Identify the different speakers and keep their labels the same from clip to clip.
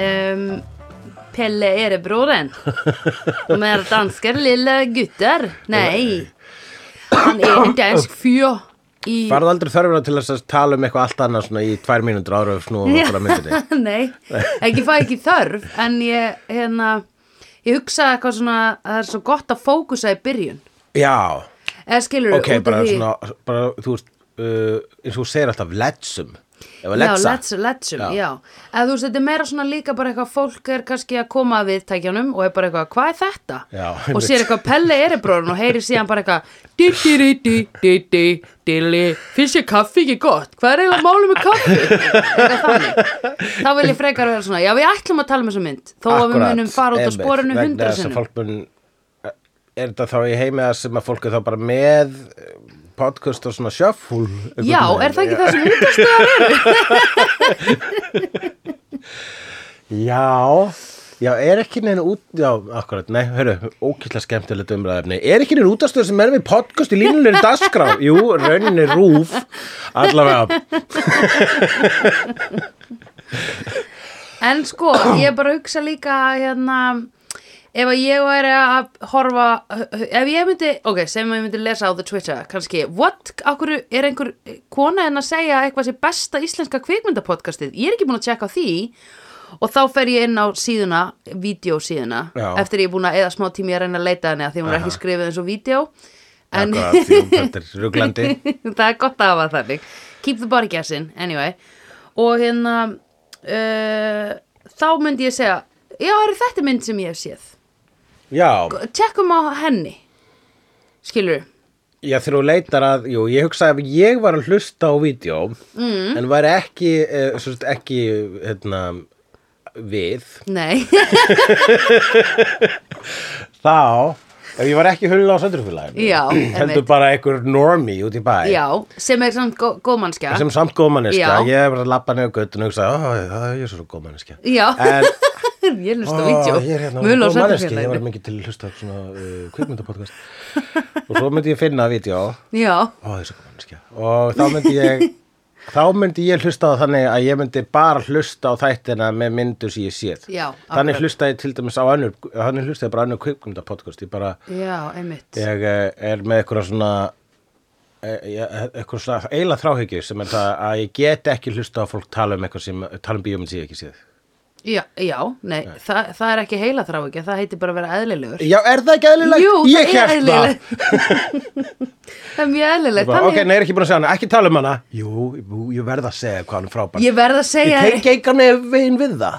Speaker 1: Ehm, til ærebroren. De er danske lille gutter. Nei. Han er en dansk fyr í...
Speaker 2: Varðu aldrei þörfina til þess að tala um eitthvað allt annað svona í tvær mínútur ára og snúa okkur að myndinni?
Speaker 1: Nei, ekki fá ekki þörf, en ég, hérna, ég hugsa eitthvað svona, að það er svo gott að fókusa í byrjun.
Speaker 2: Já,
Speaker 1: Eða skilur
Speaker 2: ok, bara svona, bara, þú veist, uh, eins og þú segir alltaf letsum. Ef að letsa.
Speaker 1: Já, letsa, letsum,
Speaker 2: Já.
Speaker 1: já. Eða þú veist, þetta er meira svona líka bara eitthvað fólk er kannski að koma að viðtækjanum og er bara eitthvað, hvað er þetta?
Speaker 2: Já,
Speaker 1: og
Speaker 2: einmitt.
Speaker 1: sér eitthvað pelle eribróðan og heyri síðan bara eitthvað, di di di di di di dilli, finnst ég kaffi ekki gott? Hvað er eiginlega málum með kaffi? Eitthvað þannig. Þá vil ég frekar vera svona, já, við ætlum að tala um þessa mynd, þó að við
Speaker 2: Akkúrat,
Speaker 1: munum fara út á
Speaker 2: einmitt,
Speaker 1: sporinu
Speaker 2: vegna
Speaker 1: hundra
Speaker 2: þess að
Speaker 1: sinnum.
Speaker 2: fólk mun, eh, er þetta þá í heimi að sem að fólk er þá bara með eh, podcast og svona shuffle einhvern
Speaker 1: Já,
Speaker 2: veginn?
Speaker 1: er það ekki það sem útastöðar er?
Speaker 2: Já, já, er ekki neina út, já, akkurat, nei, hörru, ókýrlega skemmtilegt umræðefni. Er ekki neina útastöð sem er með podcast í línunni dagskrá? Jú, rauninni rúf, allavega.
Speaker 1: En sko, ég bara hugsa líka hérna, ef að ég væri að horfa, ef ég myndi, ok, sem ég myndi lesa á the Twitter, kannski, what, akkur er einhver kona en að segja eitthvað sé besta íslenska kvikmyndapodcastið, ég er ekki búin að tjekka á því og þá fer ég inn á síðuna, vídeosíðuna,
Speaker 2: Já.
Speaker 1: eftir ég er búin að eða smá tími að reyna að leita henni að því hún er ekki skrifið eins og vídeo, en
Speaker 2: Akkurat, jú, þetta er ruglandi.
Speaker 1: það er gott að hafa það þannig keep the body guessing, anyway og hérna uh, þá myndi ég segja já, eru þetta mynd sem ég hef séð
Speaker 2: Já,
Speaker 1: tjekkum á henni skilur
Speaker 2: já, þegar þú leitar að, jú, ég hugsaði að ég var að hlusta á vídeo, mm. en var ekki, eh, svo sagt, ekki, hérna, við,
Speaker 1: nei,
Speaker 2: þá, ef ég var ekki hulun á söndrufélaginu.
Speaker 1: Já,
Speaker 2: Heldur
Speaker 1: einmitt.
Speaker 2: bara einhver normie út í bæ.
Speaker 1: já, sem er samt gó góðmannskja
Speaker 2: sem samt góðmanniska
Speaker 1: Já.
Speaker 2: ég hef verið að lappa nefn göttun og hugsa það er ég svo góðmanniska
Speaker 1: já,
Speaker 2: en
Speaker 1: ég hlusta á
Speaker 2: Eh. ó,
Speaker 1: vídeo
Speaker 2: ég er hérna
Speaker 1: Mul á
Speaker 2: góðmanniski ég var
Speaker 1: samfélaginu.
Speaker 2: mikið til að hlusta á svona uh, kvikmyndapodcast og svo myndi ég finna að vídeo ó
Speaker 1: já,
Speaker 2: það er svo góðmanniska og þá myndi ég þá myndi ég hlusta á það þannig að ég myndi bara hlusta á þættina með myndu sem ég séð
Speaker 1: Já,
Speaker 2: þannig
Speaker 1: akkurat.
Speaker 2: hlusta ég til dæmis á önnur þannig hlusta ég bara á önnur kvikmyndapodcast ég bara
Speaker 1: já, einmitt
Speaker 2: ég eh, er með eitthvað svona eh, ég- eitthvað svona eila þráhyggju sem er það að ég get ekki hlusta á fólk tala um eitthvað sem tala um bíómynd sem ég hef ekki séð
Speaker 1: já, já, nei, Þa, það er ekki heila þrá ekki það heitir bara að vera eðlilegur
Speaker 2: Já, er það ekki eðlilegt?
Speaker 1: Jú,
Speaker 2: ég
Speaker 1: það er
Speaker 2: hélt
Speaker 1: eðlilegt Það er mjög
Speaker 2: Ég
Speaker 1: eðlilegt
Speaker 2: bara,
Speaker 1: Þannig-
Speaker 2: Ok, nei, er ekki búin að segja hana, ekki tala um hana Jú, jú, ég verð að segja hvað hann er frábær
Speaker 1: Ég verð að segja
Speaker 2: Ég tengi engan veginn við það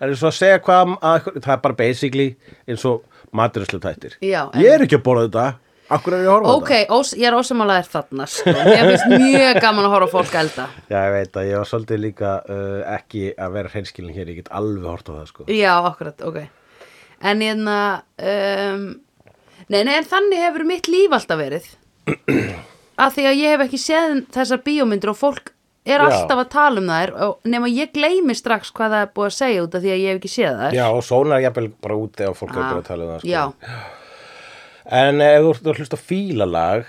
Speaker 2: Það er svo að segja hvað að, Það er bara basically eins og maturislu tættir
Speaker 1: Já,
Speaker 2: Ég er ekki að borða þetta Akkur er ég að horfa á
Speaker 1: Ok, ós, ég er ósamálaðir þarna sko. Ég finnst mjög gaman að horfa á fólk elda
Speaker 2: þetta Já, ég veit að ég var svolítið líka uh, ekki að vera hreinskilin hér Ég get alveg hort á það, sko
Speaker 1: Já, akkurat, ok En hérna um, Nei, nei, en þannig hefur mitt líf alltaf verið Af því að ég hef ekki séð þessar bíómyndir og fólk er
Speaker 2: Já.
Speaker 1: alltaf að tala um þær og nema ég gleymi strax hvað það er búið að segja út af því að ég hef ekki séð þær
Speaker 2: Já, og svona er jafnvel bara úti og fólk er bara að tala um það sko.
Speaker 1: Ah, Já,
Speaker 2: En eh, ef þú ert að hlusta á fílalag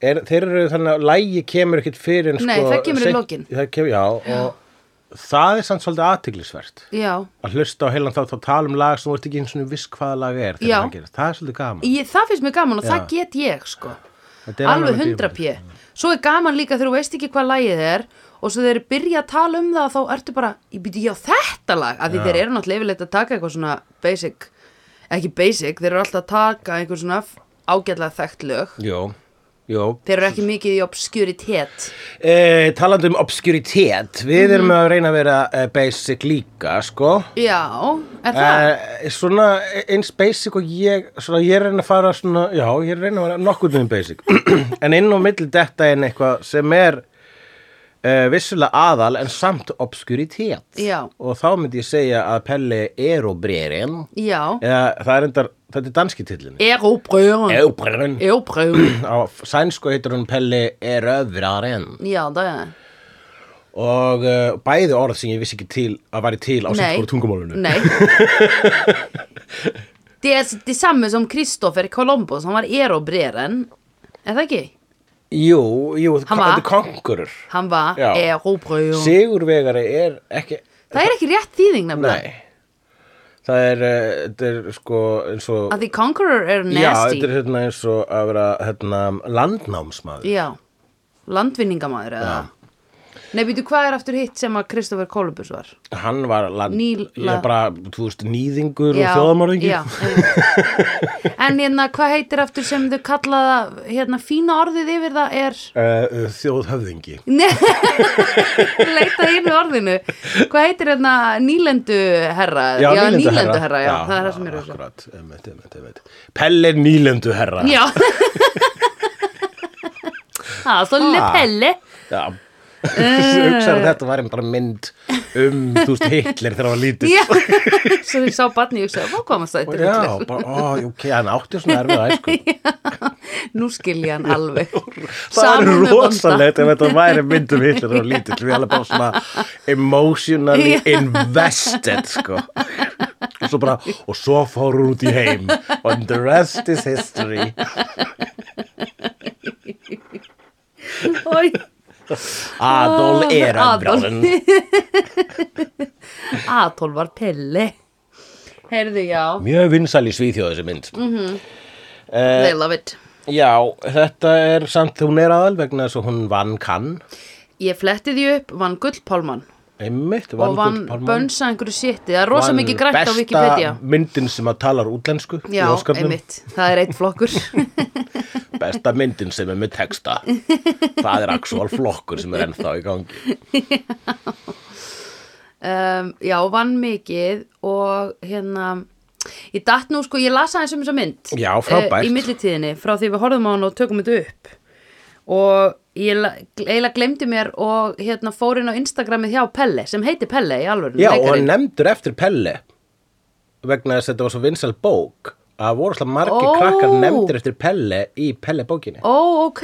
Speaker 2: er, Þeir eru þannig að lægi kemur ekkit fyrir en,
Speaker 1: Nei,
Speaker 2: sko,
Speaker 1: það kemur í
Speaker 2: seint-
Speaker 1: lokin.
Speaker 2: það kemur, Já, og það er samt svolítið aðtiglisvert
Speaker 1: já
Speaker 2: Að hlusta á heilan þá, þá tala um lag sem þú ert ekki eins og viss hvaða lag er þegar
Speaker 1: Já.
Speaker 2: það gerist. Það er svolítið gaman
Speaker 1: ég, Það finnst mér gaman og
Speaker 2: Já.
Speaker 1: það get ég sko
Speaker 2: Þetta er annað
Speaker 1: alveg
Speaker 2: með
Speaker 1: 100
Speaker 2: bíómynd.
Speaker 1: p svo er gaman líka þegar þú veist ekki hvað lagið er og svo þeir byrja að tala um það þá ertu bara, ég byrja ég á þetta lag af því þeir eru náttúrulega yfirleitt að taka eitthvað svona basic, ekki basic þeir eru alltaf að taka einhver svona f- ágætlega þekkt lög,
Speaker 2: Jó, jó
Speaker 1: þeir eru ekki mikið í obskuritet
Speaker 2: e, Talandi um obskuritet Við
Speaker 1: Mhm.
Speaker 2: erum að reyna að vera e, basic líka, sko
Speaker 1: já, er það?
Speaker 2: Eh, svona eins basic og ég svona ég er að reyna að fara svona já, ég er að reyna að vera nokkuð um basic en inn á milli detta er eitthvað sem er uh, vissulega aðal en samt obskuritet
Speaker 1: Já.
Speaker 2: og þá myndi ég segja að Pelle er og brerin
Speaker 1: já,
Speaker 2: eða það er endar, þetta er danski tillin
Speaker 1: er óbröðan
Speaker 2: Eubrun
Speaker 1: er óbröðan,
Speaker 2: á sænsku heitir hún Pelle er öfraren
Speaker 1: já það er það.
Speaker 2: og uh, bæði orð sem ég vissi ekki til að væri til á
Speaker 1: Nei.
Speaker 2: sitt hvort tungumálinu
Speaker 1: Nei Det er det samme som Kristoffer um Columbus, han var erobreren, er það ekki?
Speaker 2: Jú, jú,
Speaker 1: Hann var-
Speaker 2: þetta er konkurur
Speaker 1: Hann var
Speaker 2: Já.
Speaker 1: erobröðum
Speaker 2: Sigurvegari er ekki
Speaker 1: Það er ekki rétt þýðing nefnilega
Speaker 2: Nei það er, eh, þetta er sko eins og
Speaker 1: að því Conqueror er
Speaker 2: já, þetta
Speaker 1: nasty
Speaker 2: er hérna eins og að vera hérna, landnámsmaður
Speaker 1: já, landvinningamaður eða nei, býtu, hvað er aftur hitt sem að Kristoffer Columbus var?
Speaker 2: hann var land,
Speaker 1: Níl-
Speaker 2: ég er bara, þú veist, nýðingur
Speaker 1: Já,
Speaker 2: og þjóðamorðingi
Speaker 1: já, einmitt. en hérna, hvað heitir aftur sem þau kallaða hérna, fína orðið yfir það er
Speaker 2: uh, þjóðhöfðingi
Speaker 1: Nei, leita einu orðinu Hvað heitir hérna nýlendu herra? nýlendu herra, já, það er það sem er þessu
Speaker 2: akkurat, einmitt, einmitt, einmitt. Pelle er nýlendu herra
Speaker 1: Já Það er svolítið
Speaker 2: Ha.
Speaker 1: pelli
Speaker 2: já.
Speaker 1: Eh.
Speaker 2: hugsaðu að þetta var bara mynd um, þú veist, Hitler þegar hann var lítill
Speaker 1: Já, svo ég sá barni, ég sagði, hvað komast það
Speaker 2: já, bara, ó, ok, hann átti svona erfið æsku
Speaker 1: Nú skilja hann alveg
Speaker 2: það
Speaker 1: Samúð
Speaker 2: er
Speaker 1: með bónda.
Speaker 2: rosalegt ef þetta væri mynd um Hitler þegar hann var lítill við erum bara svona emotionally
Speaker 1: Já.
Speaker 2: invested sko og svo bara, og svo fór hún út í heim and the rest is history
Speaker 1: Oj,
Speaker 2: Adol er
Speaker 1: Ah, Adolf.
Speaker 2: öfbrálinn
Speaker 1: Adolf var pelli Heyrðu, já,
Speaker 2: Mjög vinsæl í Svíþjóð þessi mynd
Speaker 1: Mm. they love it
Speaker 2: Já, þetta er samt hún er aðal vegna þess að hún vann kann
Speaker 1: Ég fletti því upp, vann gullpálmann
Speaker 2: einmitt,
Speaker 1: og vann bönsa einhverju sétti það er rosa mikið grætt á Wikipedia
Speaker 2: Besta myndin sem að talar útlensku í
Speaker 1: Já,
Speaker 2: Óskarnum.
Speaker 1: einmitt, það er eitt flokkur
Speaker 2: Besta myndin sem er með texta Það er actual flokkur sem er ennþá í gangi
Speaker 1: um, Já, vann mikið og hérna ég datt nú sko, ég las aðeins um þessa mynd
Speaker 2: Já, frábært.
Speaker 1: eh, í millitíðinni, frá því við horfum á hann og tökum þetta upp og ég la- eiginlega glemdi mér og hérna fór inn á Instagramið hjá Pelle sem heiti Pelle í alvöru
Speaker 2: Já, og hann nefndur eftir Pelle vegna þess að þetta var svo vinsæl bók að voru slag
Speaker 1: Ó.
Speaker 2: margir krakkar nefndir eftir Pelle í Pelle bókinni
Speaker 1: Ó, ok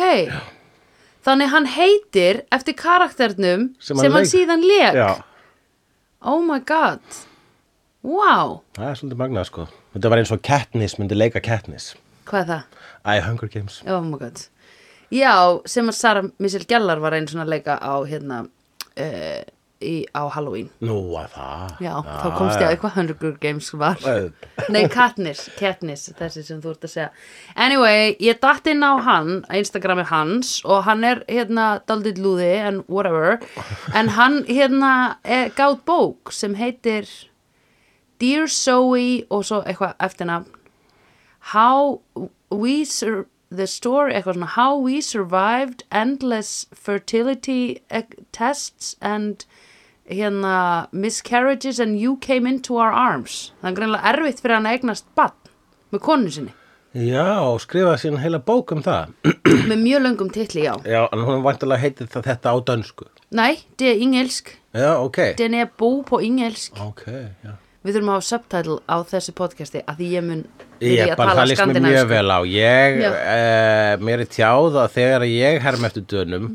Speaker 1: Þannig hann heitir eftir karakternum sem
Speaker 2: Sem
Speaker 1: hann,
Speaker 2: hann leik-
Speaker 1: síðan leik
Speaker 2: Já,
Speaker 1: Oh my god Wow,
Speaker 2: það er svolítið magnað sko Þetta var eins og Katniss myndi leika Katniss
Speaker 1: hvað er það?
Speaker 2: Æ, Hunger Games
Speaker 1: Oh my god Já, sem að Sara Missel Gellar var einn svona leika á hérna uh, í, á Halloween
Speaker 2: Nú að það
Speaker 1: Já, þá
Speaker 2: Ah.
Speaker 1: komst ég að eitthvað Hunger Games var
Speaker 2: eitthvað
Speaker 1: Nei, Katniss, Katniss, þessi sem þú ert að segja Anyway, ég datt inn á hann Instagrami hans og hann er hérna daldið lúði en whatever en hann hérna er, gátt bók sem heitir Dear Zoe og svo eitthvað eftirnafn How we sur the story, eitthvað svona How we survived endless fertility eh, tests and hérna miscarriages and you came into our arms það er greinlega erfitt fyrir hann að eignast bann með konu sinni,
Speaker 2: Já, skrifaði sín heila bók um það
Speaker 1: með mjög löngum titli, já
Speaker 2: Já, en hún vantilega heitið það þetta á dönsku
Speaker 1: Nei, þetta er engelsk
Speaker 2: Já, ok
Speaker 1: þetta er E, bú på engelsk
Speaker 2: Ok, já
Speaker 1: Við þurfum að hafa subtitle á þessu podcasti að því ég mun byrja
Speaker 2: Ég
Speaker 1: að
Speaker 2: bara
Speaker 1: tala
Speaker 2: það líst mér mjög
Speaker 1: skandinavísku.
Speaker 2: vel á ég,
Speaker 1: Já.
Speaker 2: uh, mér er tjáð að þegar ég herm eftir dönum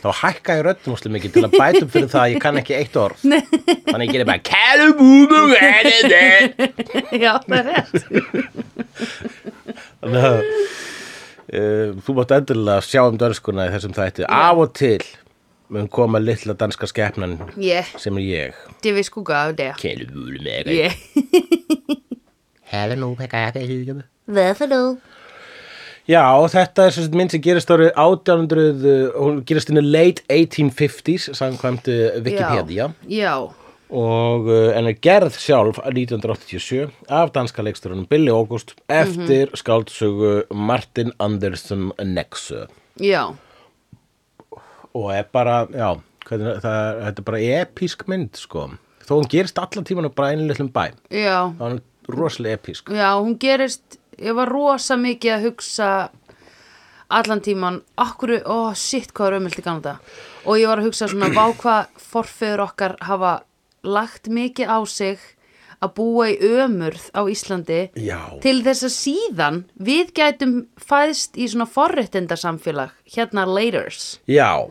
Speaker 2: þá hækka ég röddum úslega mikið til að bæta upp fyrir það að ég kann ekki eitt orð þannig ég gerir bara "Kalabúbú, eh, eh,
Speaker 1: Já, það er rétt
Speaker 2: eh." Þannig að, eh, þú mátt endilega sjá um dönskuna í þessum þætti af og til mun koma litla danska skepnan
Speaker 1: Ég,
Speaker 2: sem er ég
Speaker 1: þetta er við skúka á þetta
Speaker 2: Kalabúbú, eh, eh.
Speaker 1: Ég,
Speaker 2: Hefði nú pekka ég
Speaker 1: það er þú
Speaker 2: Já, þetta er sem sagt mynd sem gerist árið 1800, uh, hún gerist inn í late 1850s, samkvæmt uh, Wikipedia,
Speaker 1: Já,
Speaker 2: og uh, en er gerð sjálf 1987 af danska leiksturunum Billy August eftir skáldsögu Martin Andersen Nexö.
Speaker 1: já,
Speaker 2: Og er bara, já, hvernig, það, er- þetta er bara episk mynd, sko. Þó hún gerist allan tíman bara einu litlum bæ.
Speaker 1: já
Speaker 2: Það er hún rosalega episk.
Speaker 1: Já, hún gerist, ég var rosa mikið að hugsa allan tíman, akkur, ó, shit, hvað er ömult í Kanada. Og ég var að hugsa svona, vá hvað forfeður okkar hafa lagt mikið á sig að búa í ömurð á Íslandi
Speaker 2: Já.
Speaker 1: til þess að síðan við gætum fæðst í svona forréttindasamfélag, hérna laters
Speaker 2: Já,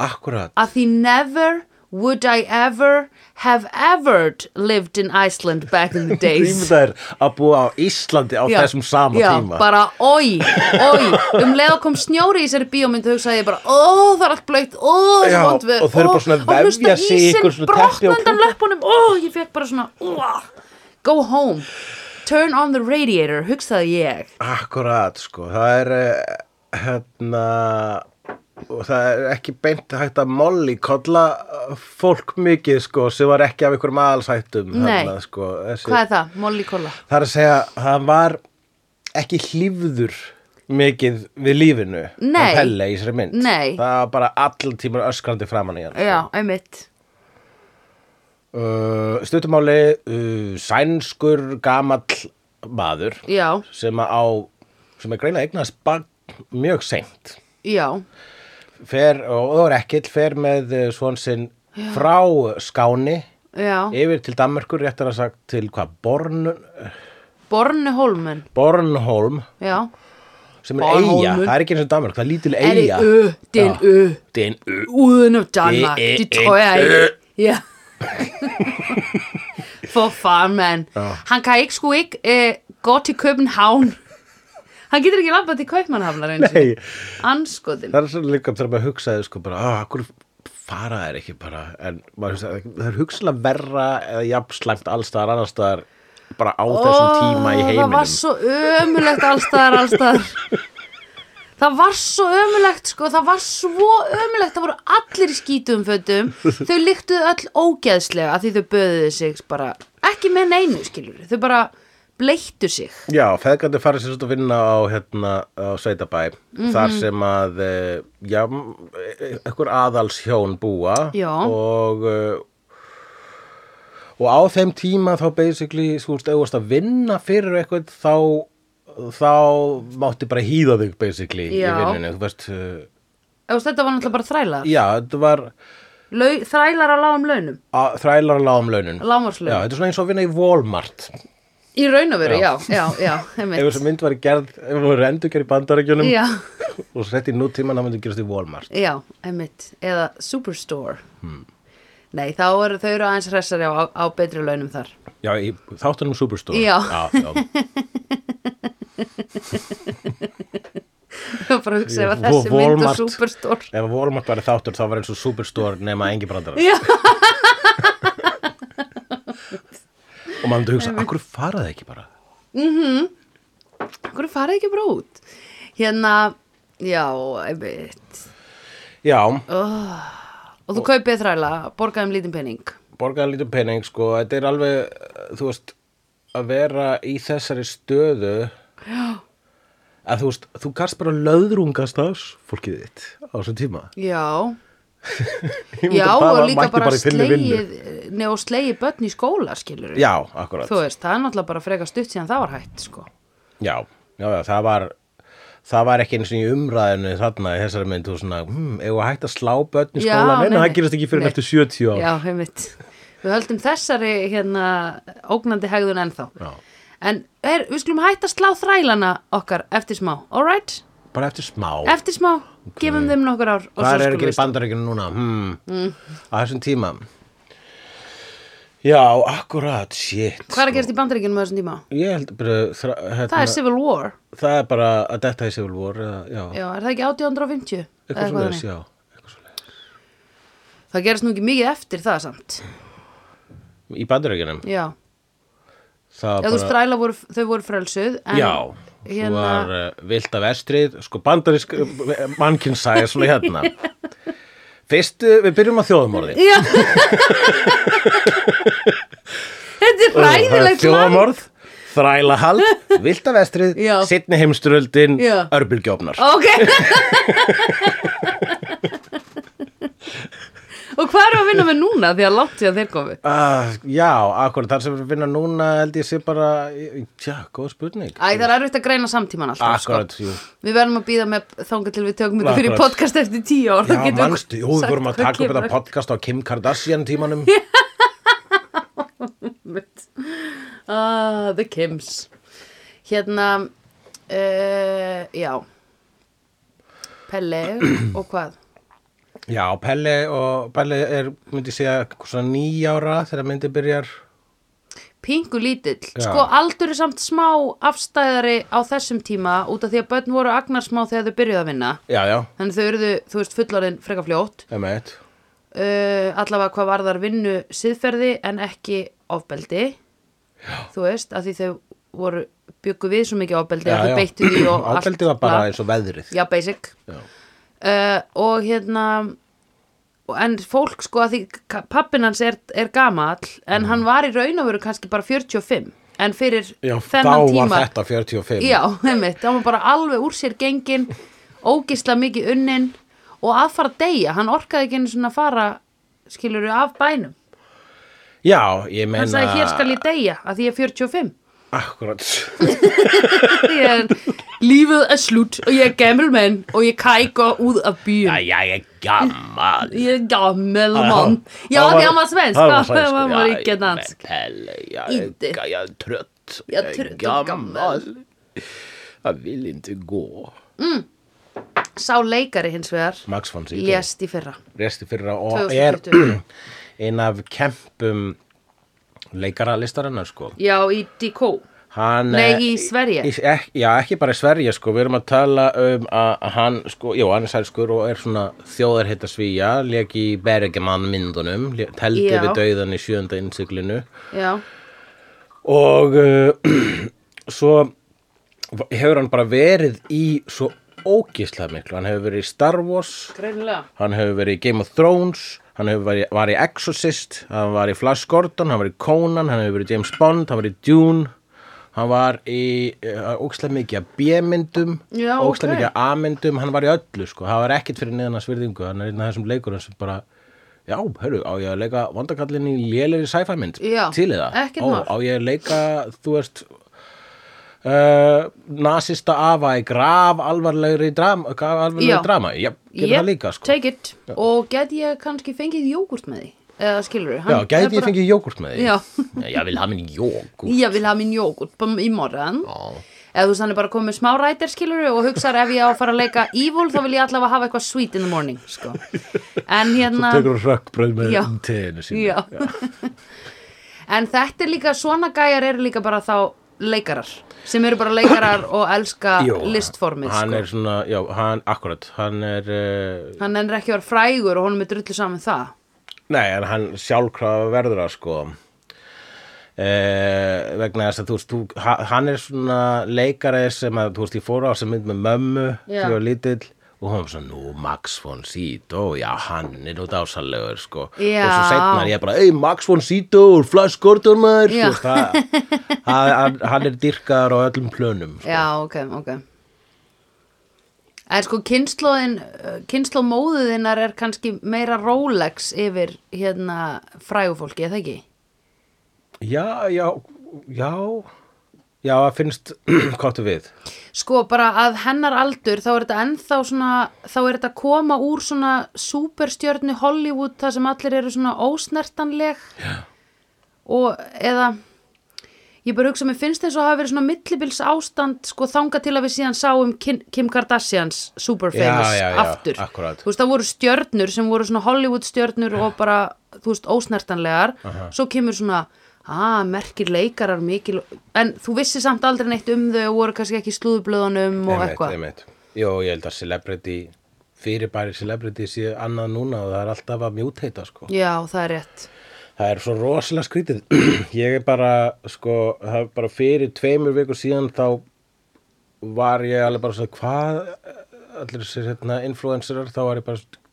Speaker 2: akkurat.
Speaker 1: að því never would I ever have ever lived in Iceland back in the days
Speaker 2: Ímynda er að búa á Íslandi á þessum sama
Speaker 1: já,
Speaker 2: tíma.
Speaker 1: bara oi, oi, um leið og kom snjóri í sér bíómynd og hugsaði ég bara, ó það er allt blöytt, ó það
Speaker 2: Já,
Speaker 1: er vond við
Speaker 2: og þau eru bara svona að vefja sig í ykkur svona teppi og
Speaker 1: brotnandan
Speaker 2: klúta.
Speaker 1: löpunum, ó ég fekk bara svona ó, go home turn on the radiator, hugsaði ég
Speaker 2: Akkurat, sko, það er eh, hérna og það er ekki beint hægt að molli kolla eh, fólk mikið sko sem var ekki af einhverjum aðalshættum
Speaker 1: Nei.
Speaker 2: þarna, sko, þessi,
Speaker 1: hvað er það, Molly Cola
Speaker 2: það er að segja það var ekki hlýfður mikið við lífinu
Speaker 1: Nei.
Speaker 2: hann Pelle í sér mynd
Speaker 1: Nei.
Speaker 2: það var bara allan tíma öskrandi framan í hann sko.
Speaker 1: já, einmitt
Speaker 2: uh, stuttumáli uh, sænskur gamall maður
Speaker 1: já,
Speaker 2: sem að á sem er greinlega eignast barn mjög seint
Speaker 1: já,
Speaker 2: fer, og það var ekkert fer með svon sinn frá skáni
Speaker 1: já
Speaker 2: yfir til Danmörkur, réttar að sagt til hvað, Born,
Speaker 1: Bornholmen,
Speaker 2: Bornholm
Speaker 1: já
Speaker 2: sem er
Speaker 1: Bornholmur.
Speaker 2: eiga, það er ekki eins og Danmörk, það er lítil
Speaker 1: er í
Speaker 2: eiga
Speaker 1: ö, din
Speaker 2: Já.
Speaker 1: ö
Speaker 2: Din Ö.
Speaker 1: Uden of Danmark,
Speaker 2: Det er
Speaker 1: det tror jeg
Speaker 2: ikke.
Speaker 1: ikke. Ja. For faren, mand.
Speaker 2: Ja.
Speaker 1: Han kan ikke sgu ikke øh, gå til København. Han gider ikke labba til København, eller
Speaker 2: Nei,
Speaker 1: Anskotin.
Speaker 2: það er svo líka þegar maður hugsaði sko bara, að hverju fara er ekki bara en maður hugsaði, það er hugsaðlega verra eða jafnslæmt allstaðar annarstaðar bara á þessum tíma í
Speaker 1: Það var
Speaker 2: heiminum
Speaker 1: svo ömulegt allstaðar, allstaðar. Það var svo ömulegt sko, það var svo ömulegt, það voru allir í skítum fötum, þau líktuðu öll ógeðslega af því þau böðuðu sig bara, ekki með neinu skilur, þau bara bleittu sig.
Speaker 2: Já, feðgandi farið sér að vinna á, hérna, á Sveitabæ
Speaker 1: Mhm.
Speaker 2: þar sem að eh, já, e, einhver aðals hjón búa
Speaker 1: Já.
Speaker 2: og eh, og á þeim tíma þá basically, þú veist, ef þú varst að vinna fyrir eitthvað þá þá mátti bara hýða þig basically í
Speaker 1: Já.
Speaker 2: vinnunni, þú veist eh,
Speaker 1: Ef þetta var náttúrulega bara þrælar
Speaker 2: já, þetta var
Speaker 1: Lau, Þrælar á lágum launum
Speaker 2: á- þrælar að lágum launun
Speaker 1: Lágmarkslaun.
Speaker 2: Já, þetta er svona eins og að vinna í Walmart
Speaker 1: Í raun og veru, já, já, já, einmitt
Speaker 2: ef þessu mynd var gerð, ef hún var endur í bandarækjunum
Speaker 1: Já,
Speaker 2: og sett í nútíman það myndi gerast í Walmart
Speaker 1: já, einmitt Eða Superstore
Speaker 2: Hmm.
Speaker 1: Nei, þá eru þau eru aðeins hressari á, á betri launum þar
Speaker 2: Já, í þáttunum Superstore
Speaker 1: Já.
Speaker 2: já, já.
Speaker 1: Það bara hugsa ef að
Speaker 2: Vo-
Speaker 1: þessi mynd og
Speaker 2: Walmart.
Speaker 1: Superstore
Speaker 2: Ef Walmart væri þáttur þá var eins og Superstore nema engi brandara
Speaker 1: Já,
Speaker 2: Og maður myndi hugsa, akkur fara það ekki bara
Speaker 1: Mhm. hverju farið ekki bara út Hérna, já, einmitt
Speaker 2: Já,
Speaker 1: Og þú kaupið þræla, borgaðum lítinn penning
Speaker 2: borgaði lítið pening sko Þetta er alveg, eh, þú veist að vera í þessari stöðu Já að þú veist, þú kannst bara löðrungast af fólkið þitt á þessum tíma
Speaker 1: Já,
Speaker 2: Ég myndi
Speaker 1: já
Speaker 2: að það
Speaker 1: og
Speaker 2: var-
Speaker 1: líka
Speaker 2: mætti
Speaker 1: bara
Speaker 2: í þinni vinnu.
Speaker 1: slegið Nei, og slegið börn í skóla, skilur
Speaker 2: Já, akkurat
Speaker 1: Þú veist, það er náttúrulega bara frekar stutt síðan það var hægt, sko.
Speaker 2: Já, já, já, það var það var ekki eins og í umræðinu þarna í þessari mynd og svona, hmm, ef að hætta að slá börn í
Speaker 1: Já,
Speaker 2: skóla,
Speaker 1: nei,
Speaker 2: neina,
Speaker 1: nei.
Speaker 2: það gerast ekki fyrir
Speaker 1: Nei.
Speaker 2: eftir 70 ár.
Speaker 1: Já, heimitt. Við höldum þessari, hérna, ógnandi hegðun ennþá.
Speaker 2: Já.
Speaker 1: En, er, við skulum hætta að slá þrælana okkar eftir smá, all right?
Speaker 2: Bara eftir smá.
Speaker 1: Eftir smá, gefum þeim nokkur ár og svo
Speaker 2: Hvað er
Speaker 1: skulum
Speaker 2: ekki í
Speaker 1: við... Mm.
Speaker 2: bandaríkjunum núna? Hmm. Á þessum tíma. Já, akkurat, shit.
Speaker 1: Hvað er að gerast í bandaríkjunum á þessum tíma?
Speaker 2: Ég held bara, þra, hérna,
Speaker 1: Það er Civil War.
Speaker 2: það er bara að detta í Civil War, eða, já,
Speaker 1: Já, er það ekki 1850? Eða
Speaker 2: eitthvað svona
Speaker 1: þannig?
Speaker 2: já.
Speaker 1: Það gerast nú ekki mikið eftir það samt.
Speaker 2: Í bandaríkjunum,
Speaker 1: Já,
Speaker 2: það
Speaker 1: Já þú veist, þræla voru, þau voru frelsuð, en...
Speaker 2: Já,
Speaker 1: hérna-
Speaker 2: hérna... var uh, vilt af vestrið, sko bandarísk mannkynnsæði svona hérna. Fyrst, uh, við byrjum á þjóðumorði.
Speaker 1: Já. Þetta er ræðilegt land.
Speaker 2: Þjóðumorð, Eh, þrælahald, vilt af vestrið,
Speaker 1: Já.
Speaker 2: sittni heimsturöldin,
Speaker 1: Já.
Speaker 2: örbulgjófnar.
Speaker 1: Ok. Og hvað erum við að vinna með núna því að langt því að þeir komi?
Speaker 2: Uh, já, akkur, þar sem við vinna núna held ég sé bara, já, góð spurning.
Speaker 1: Æ, það er erfitt að greina samtíman alltaf,
Speaker 2: Akkurat, jú.
Speaker 1: sko. Við verðum að býða með þanga til við tökum þetta fyrir
Speaker 2: Akkurat.
Speaker 1: podcast eftir tíu ár.
Speaker 2: Já,
Speaker 1: Þá getum við
Speaker 2: mannstu, jú, við
Speaker 1: sagt
Speaker 2: vorum að
Speaker 1: hvað
Speaker 2: taka upp
Speaker 1: kemur
Speaker 2: þetta podcast á Kim Kardashian tímanum.
Speaker 1: Einmitt. Ah, the Kims Hérna uh, Já Pelle og hvað
Speaker 2: Já, Pelle og Pelle er, myndi ég segja, svona nýjára þegar myndi byrjar.
Speaker 1: Pingu lítill,
Speaker 2: Já.
Speaker 1: sko aldur er samt smá afstæðari á þessum tíma út af því að börn voru agnarsmá þegar þau byrjuðu að vinna
Speaker 2: Já, já, um
Speaker 1: þannig þau eruðu, þú veist, fullorðin freka fljótt
Speaker 2: emeit.
Speaker 1: Eh, uh, allavega hvað varðar vinnu siðferði en ekki ofbeldi þú veist, að því þau voru byggu við svo mikið ábeldi
Speaker 2: Já,
Speaker 1: að
Speaker 2: já.
Speaker 1: þau beittu því og allt
Speaker 2: Ábeldi var bara
Speaker 1: bla.
Speaker 2: eins og veðrið
Speaker 1: já, basic
Speaker 2: Já.
Speaker 1: uh, og hérna og- en fólk sko að því ka- pappinn hans er, er gamall en
Speaker 2: Mm.
Speaker 1: hann var í raun og veru kannski bara 45 en fyrir
Speaker 2: Já,
Speaker 1: þennan
Speaker 2: þá
Speaker 1: tíma
Speaker 2: var þetta 45
Speaker 1: já, einmitt, hann var bara alveg úr sér gengin ógisla mikið unnin og að fara að deyja, hann orkaði ekki einu svona að fara skilur af bænum
Speaker 2: Já, ég
Speaker 1: hann
Speaker 2: meina
Speaker 1: sagði hér skal ég deyja að því ég er 45
Speaker 2: Akkurat
Speaker 1: Því að lífið er slutt og ég er gemul menn og ég kæka út af bíum
Speaker 2: Já, já, ég gammal
Speaker 1: Ég er gammel mann Já,
Speaker 2: Það
Speaker 1: því hann var svensk
Speaker 2: það var
Speaker 1: já, Hann var
Speaker 2: já,
Speaker 1: ekki
Speaker 2: ég
Speaker 1: dansk
Speaker 2: meina, hell, já,
Speaker 1: Inte.
Speaker 2: ga- Jag är trött,
Speaker 1: Jag är trött och gammal.
Speaker 2: Jag vill inte gå
Speaker 1: Sá leikari hins vegar
Speaker 2: Max von Sydow
Speaker 1: Lést í fyrra
Speaker 2: Resti fyrra og er
Speaker 1: 2020.
Speaker 2: ein af kempum leikaralistarinnar sko
Speaker 1: Já, í DK
Speaker 2: hann,
Speaker 1: Nei,
Speaker 2: eh,
Speaker 1: í Sverige.
Speaker 2: í, ek, Já, ekki bara í Sverige sko Við erum að tala um að að hann sko, Jú, hann er sænskur og er svona þjóðarhitta svíja Lék í Bergemann myndunum lé- Teldi
Speaker 1: Já.
Speaker 2: við dauðan í sjönda innsiklinu
Speaker 1: Já,
Speaker 2: og uh, svo hefur hann bara verið í svo ógislega miklu, hann hefur verið í Star Wars
Speaker 1: greinilega
Speaker 2: hann hefur verið í Game of Thrones hann hefur verið var í Exorcist hann var í Flash Gordon, hann var í Conan hann hefur verið í James Bond, hann var í Dune hann var í uh, ógislega mikið að B-myndum
Speaker 1: Já,
Speaker 2: ógislega
Speaker 1: ok.
Speaker 2: mikið að A-myndum, hann var í öllu sko, hann var ekkit fyrir neðan að svirðingu hann er einn af þessum leikurum sem bara Já, hörru, á ég að leika vandakallin í léleri sci-fi mynd
Speaker 1: Já,
Speaker 2: til í það
Speaker 1: ekkert
Speaker 2: Ó,
Speaker 1: mál.
Speaker 2: Á ég að leika, þú veist uh, nasista afa í graf alvarlegri drama, graf
Speaker 1: Já.
Speaker 2: alvarlegri drama Já, gerum
Speaker 1: Yep,
Speaker 2: það líka sko
Speaker 1: Take it Og get ég kannski fengið jógurt með því Eða skilur
Speaker 2: Já, gæti ég fengið jógurt með því?
Speaker 1: Já.
Speaker 2: Ég vil hafa minn jógurt.
Speaker 1: Ég vil hafa minn jógurt bara í morðan
Speaker 2: Já.
Speaker 1: Eða þú veist hann er bara komið smá rætir skilur og hugsar ef ég á að fara að leika evil þá vil ég allavega hafa eitthvað sweet in the morning sko. En hérna
Speaker 2: Tekur rökkbröð með
Speaker 1: Já.
Speaker 2: teginu sín.
Speaker 1: Já. en þetta er líka, svona gæjar eru líka bara þá leikarar sem eru bara leikarar og elska listformið
Speaker 2: Hann
Speaker 1: sko.
Speaker 2: er svona, já, hann, akkurat, hann er, uh,
Speaker 1: hann er ekki að vera frægur og honum er drullu saman það
Speaker 2: nei, en hann sjálfkrafa verður að sko. Uh, vegna þess að þú veist þú, ha- hann er svona leikari sem að þú veist ég fór á sem mynd með mömmu
Speaker 1: Já.
Speaker 2: því var lítill og hún var svona nú Max von Sydow, já hann er nú dásalegur sko
Speaker 1: Já.
Speaker 2: og svo setnar ég bara, ei Max von Sydow Flash Gordon maður
Speaker 1: Já.
Speaker 2: Þú veist, það- það- hann- hann er dyrkaður á öllum plönum sko.
Speaker 1: Já, ok, ok En sko kynnslóðin kynnslóð móðuðinnar er kannski meira Rolex yfir hérna frægufólki, eða ekki?
Speaker 2: já, já, já já, það finnst hvað þú við
Speaker 1: Sko bara að hennar aldur þá er þetta ennþá svona þá er þetta að koma úr svona superstjörnu Hollywood þar sem allir eru svona ósnertanleg Já. og eða ég bara hugsa, mér finnst þess að hafa verið svona millibils ástand sko þanga til að við síðan sáum Kim, Kim Kardashians superfamous
Speaker 2: Já, já, já,
Speaker 1: aftur
Speaker 2: akkúrat.
Speaker 1: þú veist það voru stjörnur sem voru svona Hollywood stjörnur og bara þú veist ósnertanlegar svo kemur svona að merkir leikarar mikil en þú vissi samt aldrei neitt um þau og voru kannski ekki í slúðublöðunum og
Speaker 2: Einmitt,
Speaker 1: eitthvað
Speaker 2: einmitt. Jó, ég held að celebrity fyrirbæri celebrity sé annað núna og það er alltaf að mjúteita sko.
Speaker 1: já það er rétt
Speaker 2: Það er svo rosalega skrítið. ég er bara, sko, það er bara fyrir tveimur vikur síðan þá var ég alveg bara svona, hvað allir þessir hérna, influencerar, þá var ég bara svona,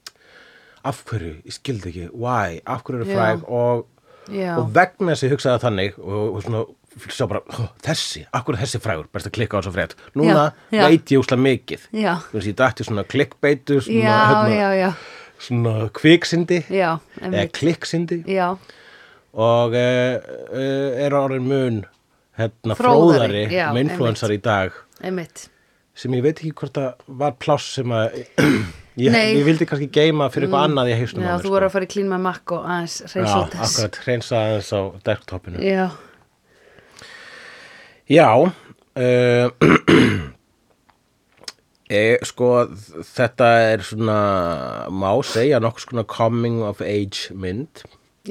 Speaker 2: af hverju, ég skildi ekki, why, af hverju eru
Speaker 1: Já.
Speaker 2: fræg og,
Speaker 1: Já.
Speaker 2: og vegna þess að ég hugsaði það þannig og, og svona, sá bara, "Hó, þessi, af hverju er þessi frægur, best að klikka á þessu frétt. Núna
Speaker 1: Já, já.
Speaker 2: veit ég úslega mikið.
Speaker 1: Já.
Speaker 2: Þú veist, ég dætti svona klikkbeitu, svona,
Speaker 1: já,
Speaker 2: hérna-
Speaker 1: já, já,
Speaker 2: svona kviksindi,
Speaker 1: já,
Speaker 2: eða
Speaker 1: einmitt.
Speaker 2: klikksindi
Speaker 1: já,
Speaker 2: og uh, uh, er orðin mun hérna,
Speaker 1: Fróðari,
Speaker 2: fróðari,
Speaker 1: já,
Speaker 2: með influensar í dag
Speaker 1: einmitt
Speaker 2: sem ég veit ekki hvort það var pláss sem að ég,
Speaker 1: Nei. Mm.
Speaker 2: ég vildi kannski geima fyrir eitthvað annað í hausnum
Speaker 1: já,
Speaker 2: á mér, sko.
Speaker 1: þú voru að fara í klín með makk og aðeins
Speaker 2: Já,
Speaker 1: reysa út þess
Speaker 2: akkurat, reynsa aðeins á desktopinu
Speaker 1: já,
Speaker 2: Já uh, e, sko þetta er svona má segja nokkuð svona coming of age mynd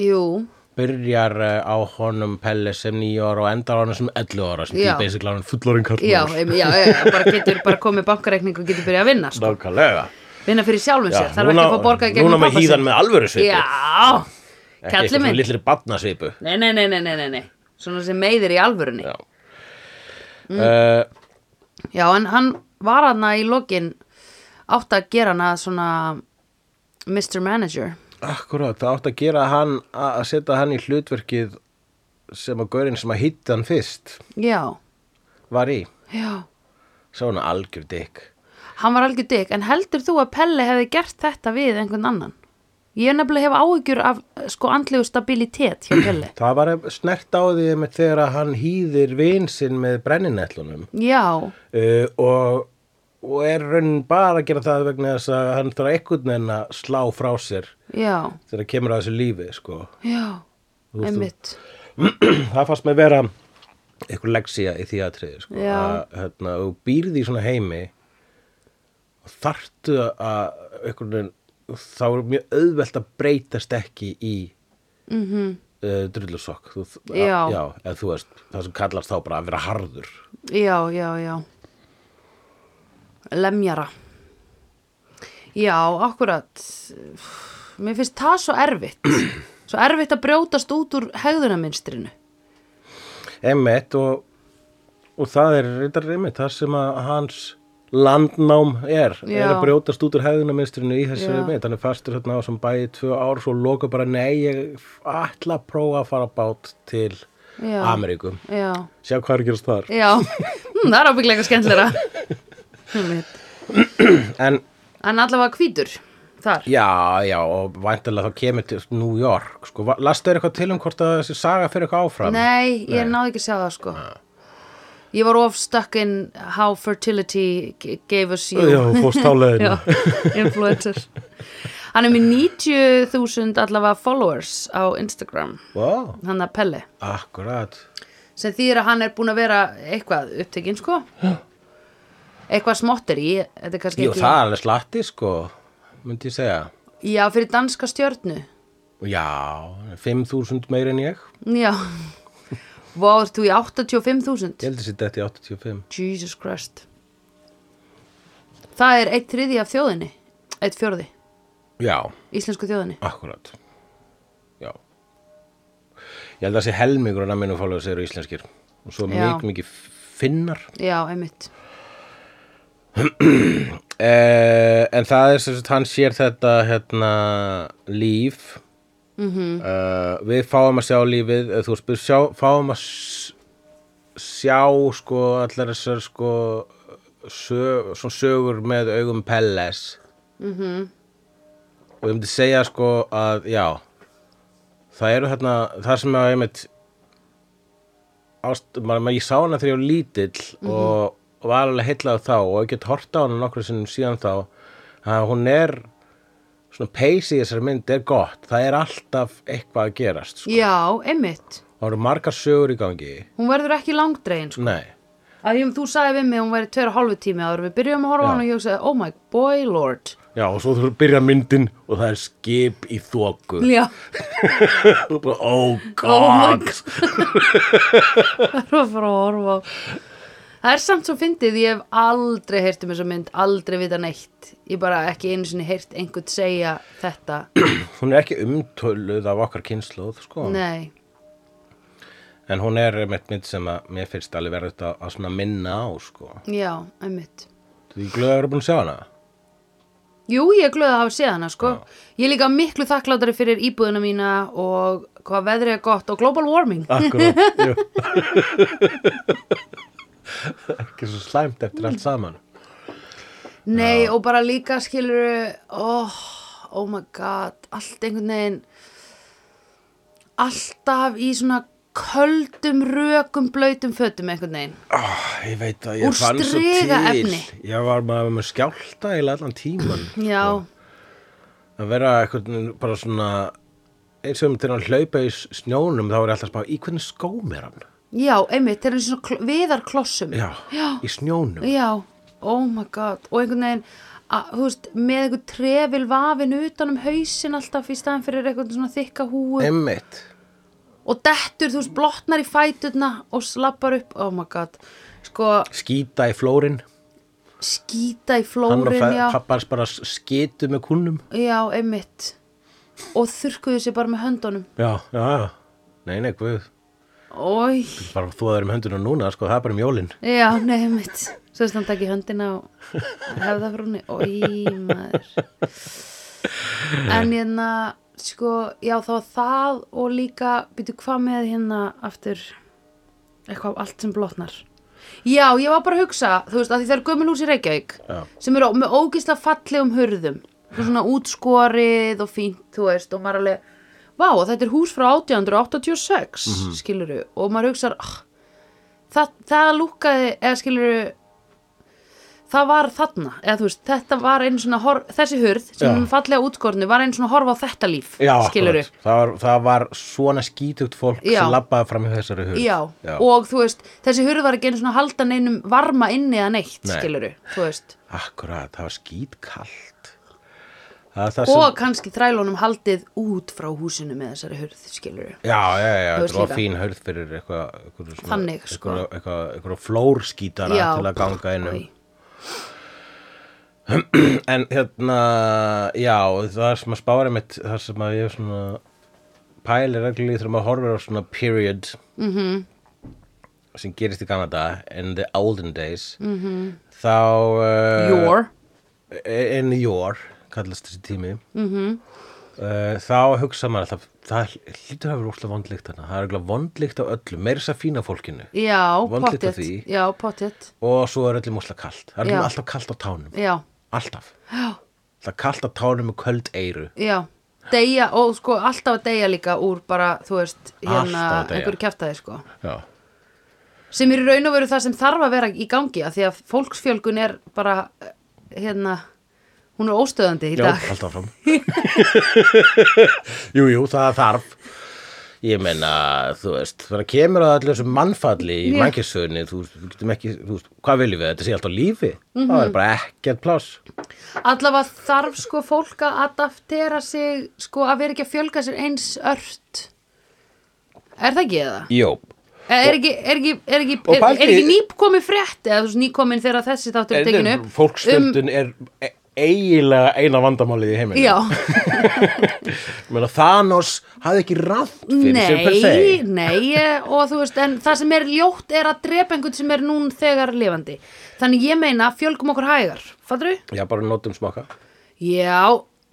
Speaker 1: jú
Speaker 2: byrjar eh, á honum Pelle sem nýja ára og endar á honum sem 11 ára sem
Speaker 1: Já.
Speaker 2: er basically hann fullorinn kallur
Speaker 1: já, einmitt, já, já, já, bara getur bara komið bankareikning og getur byrjað að vinna sko.
Speaker 2: Nákvæmlega
Speaker 1: vinna fyrir sjálfum sér, þarf
Speaker 2: núna-
Speaker 1: ekki að fá borgað
Speaker 2: Núna
Speaker 1: gegnum
Speaker 2: með híðan með alvöru svipu
Speaker 1: já,
Speaker 2: Ekki eitthvað
Speaker 1: kallið
Speaker 2: svona
Speaker 1: minn
Speaker 2: Lillri batna svipu
Speaker 1: nei, nei, nei, nei, nei, nei, nei Svona sem meiðir í alvörunni.
Speaker 2: Já.
Speaker 1: Mm.
Speaker 2: Eh,
Speaker 1: Já, en hann var hana í lokin átt að gera hana svona Mr. Manager.
Speaker 2: Akkurát, það átt að gera hann að að setja hann í hlutverkið sem að gaurinn sem að hitti hann fyrst
Speaker 1: Já,
Speaker 2: var í,
Speaker 1: já.
Speaker 2: sá hann algjör dikk
Speaker 1: Hann var algjör dykk, en heldur þú að Pelle hefði gert þetta við einhvern annan? Ég er nefnilega hef áhyggjur af eh, sko andlegu stabilitet hjá Pelle.
Speaker 2: Það var snert á því með þegar að hann hýðir vin sinn með brenninetlunum
Speaker 1: Já,
Speaker 2: uh, og, og er raunin bara að gera það vegna þess að hann þarf einhvern veginn að slá frá sér
Speaker 1: já,
Speaker 2: þegar kemur að þessu lífi sko.
Speaker 1: já,
Speaker 2: veist,
Speaker 1: einmitt.
Speaker 2: það fannst með vera einhver leksía í því aðtriði sko.
Speaker 1: Já.
Speaker 2: að hérna, þú býrð í svona heimi og þarftu að einhvern veginn þá er mjög auðvelt að breytast ekki í
Speaker 1: Mm
Speaker 2: uh, drullusokk þú,
Speaker 1: Já.
Speaker 2: já, eða þú veist, það sem kallast þá bara að vera harður
Speaker 1: Já, já, já. Lemjara. Já, akkurat. Mér finnst það svo erfitt. Svo erfitt að brjótast út úr hegðunarmynstrinu.
Speaker 2: Emmett og, og það er reyndar einmitt þar sem að hans landnám er,
Speaker 1: Já.
Speaker 2: er að brjótast út úr hefðunaminstrinu í þessu
Speaker 1: Já.
Speaker 2: mitt hann er fastur hérna á sem bæði í tvö ár svo loka bara nei, ég ætla að prófa að fara á bát til
Speaker 1: Já.
Speaker 2: Ameríku,
Speaker 1: Já,
Speaker 2: sjá hvað er að gerast þar
Speaker 1: já. Hm, það er ábygglega eitthvað skemmtilega. Einmitt.
Speaker 2: en
Speaker 1: en allavega hvítur þar.
Speaker 2: já, já, og væntanlega þá kemur til New York, sko, Va- lastu þér eitthvað til um hvort að þessi saga fyrir eitthvað áfram
Speaker 1: Nei, ég náði ekki að sjá það sko. Ég var of stuck in how fertility g- gave us you.
Speaker 2: já, þú fórst þá
Speaker 1: Já,
Speaker 2: leiðinu
Speaker 1: influencer Hann er með 90.000 allavega followers á Instagram
Speaker 2: wow,
Speaker 1: hann að Pelle
Speaker 2: akkurat
Speaker 1: sem þýðir að hann er búin að vera eitthvað upptekinn sko eitthvað smottir í þetta er kannski
Speaker 2: Jú,
Speaker 1: ekki
Speaker 2: það er alveg slatti, sko myndi ég segja
Speaker 1: Já, fyrir danska stjörnu
Speaker 2: Já, 5.000 meir en ég.
Speaker 1: Já Vá, ert þú í 85.000
Speaker 2: Ég held að þetta í 85.
Speaker 1: Jesus Christ Það er eitt þriði af þjóðinni eitt fjórði,
Speaker 2: Já,
Speaker 1: íslensku þjóðinni
Speaker 2: akkurat. Já. Ég held að þessi helmingur að minnum fólöðu segir íslenskir. Og svo
Speaker 1: Já.
Speaker 2: mikið mikið finnar.
Speaker 1: Já, einmitt
Speaker 2: Eh, en það er sem sagt hann sér þetta hérna líf. Mm við fáum að sjá lífið, eh, þú spyr, sjá, fáum að s- sjá sko allar þessar sko sög, svona sögur með augum Pelles og ég myndi segja sko að já það eru þarna það sem að ég mynd ást, maður, maður, ég sá hana þegar ég var lítill og, og var alveg heillað þá og ég get horta á hana nokkru sinnum síðan þá að hún er svona peysi í þessari mynd er gott það er alltaf eitthvað að gerast sko.
Speaker 1: Já, einmitt
Speaker 2: það eru margar sögur í gangi
Speaker 1: Hún verður ekki langdregin sko
Speaker 2: nei
Speaker 1: að því um þú sagði við mig að hún væri tveir og hálfu tími áður en við byrjum að horfa á
Speaker 2: Já.
Speaker 1: hann og ég hugsaði oh my boy lord
Speaker 2: Já, og svo þú byrja myndin og það er skip í þóku.
Speaker 1: já,
Speaker 2: Þú bara, oh
Speaker 1: Oh my
Speaker 2: god.
Speaker 1: það er bara að horfa á það er samt svo fyndið ég hef aldrei heyrt um þessa mynd aldrei vita neitt ég bara ekki einu sinni heyrt einhvern segja þetta
Speaker 2: hún er ekki umtöluð af okkar kynsluð, sko.
Speaker 1: nei,
Speaker 2: En hún er einmitt mynd sem að mér finnst alveg verið þetta að svona minna á, sko.
Speaker 1: já, einmitt
Speaker 2: Þú er glöður að búin að sjá hana?
Speaker 1: jú, ég er glöð að hafa séð hana sko ég er líka miklu þakklátari fyrir íbúðina mína og hvað veðrið er gott og global warming
Speaker 2: Akkurát, jú. ekki svo slæmt eftir allt saman.
Speaker 1: Nei, og bara líka skilur oh, oh my god allt einhvern veginn alltaf í svona köldum, rökum, blöytum fötum einhvern veginn.
Speaker 2: Oh, ég veit að ég
Speaker 1: Úr
Speaker 2: fann svo til.
Speaker 1: strigaefni.
Speaker 2: Ég var maður með skjálta í allan tíman.
Speaker 1: Já,
Speaker 2: að vera eitthvað bara svona eins og um til að hlaupa í s- snjónum þá er ég alltaf spá í hvernig skóm er hann
Speaker 1: já, einmitt, þeir eru svona kl- viðarklossum.
Speaker 2: já,
Speaker 1: já,
Speaker 2: í snjónum
Speaker 1: já, oh my god og einhvern veginn, að, þú veist, með einhvern trefil vafin utan um hausin alltaf í staðan fyrir einhvern svona þykka húu
Speaker 2: emmitt
Speaker 1: og dettur, þú veist, blotnar í fæturna og slappar upp, oh my god sko,
Speaker 2: skýta í flórin
Speaker 1: skýta í
Speaker 2: hann og
Speaker 1: flórin, já
Speaker 2: pappars bara s- skitu með kunnum
Speaker 1: Já, einmitt og þurrkuðu sér bara með höndunum
Speaker 2: já, já, já nei, nei, guð
Speaker 1: Ói,
Speaker 2: bara þú að það er um höndunum núna sko, það er bara um jólin
Speaker 1: já, nei, mitt Svo þess að hann takk í höndina og hefði það frúni Ói, maður En hérna, sko, já, þá var það og líka, býtu hvað með hérna aftur eitthvað allt sem blotnar Já, ég var bara að hugsa, þú veist, að því það er gömul hús í Reykjavík
Speaker 2: Já.
Speaker 1: sem eru með ógislega fallegum hurðum Svo svona útskorið og fínt, þú veist, og maður alveg Vá, þetta er hús frá 1886,
Speaker 2: Mhm.
Speaker 1: mm skiluru og maður hugsar, ah, það, það lúkkaði, eða skiluru það var þarna eða þú veist, þetta var einu svona hor, þessi hurð sem
Speaker 2: Já.
Speaker 1: hún fallega útskorinu var einu svona horfa á þetta líf,
Speaker 2: Já,
Speaker 1: skiluru
Speaker 2: akkurat. það var, það var svona skítugt fólk
Speaker 1: Já.
Speaker 2: sem labbaði fram í þessari hurð
Speaker 1: Já,
Speaker 2: Já.
Speaker 1: og þú veist, þessi hurð var ekki einu svona að halda neinum varma inni eða neitt,
Speaker 2: Nei.
Speaker 1: skiluru, þú veist
Speaker 2: Akkurat, það var skítkallt Það er það sem
Speaker 1: og kannski þrælunum haldið út frá húsinu með þessari hurð, skiluru
Speaker 2: Já, já, já,
Speaker 1: Þú veist
Speaker 2: þetta var
Speaker 1: líka.
Speaker 2: fín hörð fyrir eitthvað einhverju svona-
Speaker 1: Þannig, sko.
Speaker 2: einhverju- einhverju einhverju flórskítara
Speaker 1: Já,
Speaker 2: til að ganga inn um
Speaker 1: oj.
Speaker 2: En hérna, já, það sem að spára mitt það sem að ég svona pæli reglulegi þegar maður horfir á svona period mm
Speaker 1: Mhm.
Speaker 2: -hmm. sem gerist í Kanada in the olden days mm -hmm.
Speaker 1: Mhm.
Speaker 2: þá uh,
Speaker 1: Your
Speaker 2: E- in your kallast þessi tími mm
Speaker 1: Mhm.
Speaker 2: þá hugsa maður alltaf það hlýtur að vera úrslega vondlíkt hana það er eiginlega vondlíkt á öllu, meira þess að fína fólkinu
Speaker 1: Já,
Speaker 2: Vandlit á
Speaker 1: pottet
Speaker 2: því.
Speaker 1: Já, pottet
Speaker 2: og svo er öllum úrslega kalt það er
Speaker 1: Já.
Speaker 2: öllum alltaf kalt á tánum
Speaker 1: Já,
Speaker 2: alltaf það er kalt á tánum með köld eyru
Speaker 1: já Deyja, og sko alltaf að deyja líka úr bara, þú veist, hérna
Speaker 2: Alltaf að deyja.
Speaker 1: einhverju kjaftaði, sko
Speaker 2: já,
Speaker 1: sem er í raun og veru það sem þarf að vera í gangi af því að fólksfjölgun er bara eh, hérna, hún er óstöðandi í
Speaker 2: já
Speaker 1: dag
Speaker 2: alltaf fram jú, jú, það þarf ég meina, þú veist þannig kemur að allir þessu mannfalli í
Speaker 1: Já.
Speaker 2: mannkessunni, þú, veist, við getum ekki þú veist, hvað viljum við, þetta sé alltaf lífi
Speaker 1: Mhm.
Speaker 2: það er bara ekkert pláss
Speaker 1: allavega þarf sko fólk að adaptera sig sko að vera ekki að fjölga sér eins ört er það ekki eða?
Speaker 2: Jó,
Speaker 1: Eða Er ekki, er ekki, er ekki,
Speaker 2: Og
Speaker 1: er,
Speaker 2: pældi-
Speaker 1: er ekki nýpkomin frétt eða þú veist nýkomin þegar þessi þáttur er tekinu
Speaker 2: fólkstöndun er e- eiginlega eina vandamálið í heiminu
Speaker 1: Um- Já,
Speaker 2: Menna, Thanos hafði ekki rátt fyrir sér per se
Speaker 1: nei, nei eh, og þú veist, en það sem er ljótt er að drepa einhvern sem er nún þegar lifandi þannig ég meina fjölgum okkur hægar fattur við?
Speaker 2: Já, bara notum smaka
Speaker 1: Já,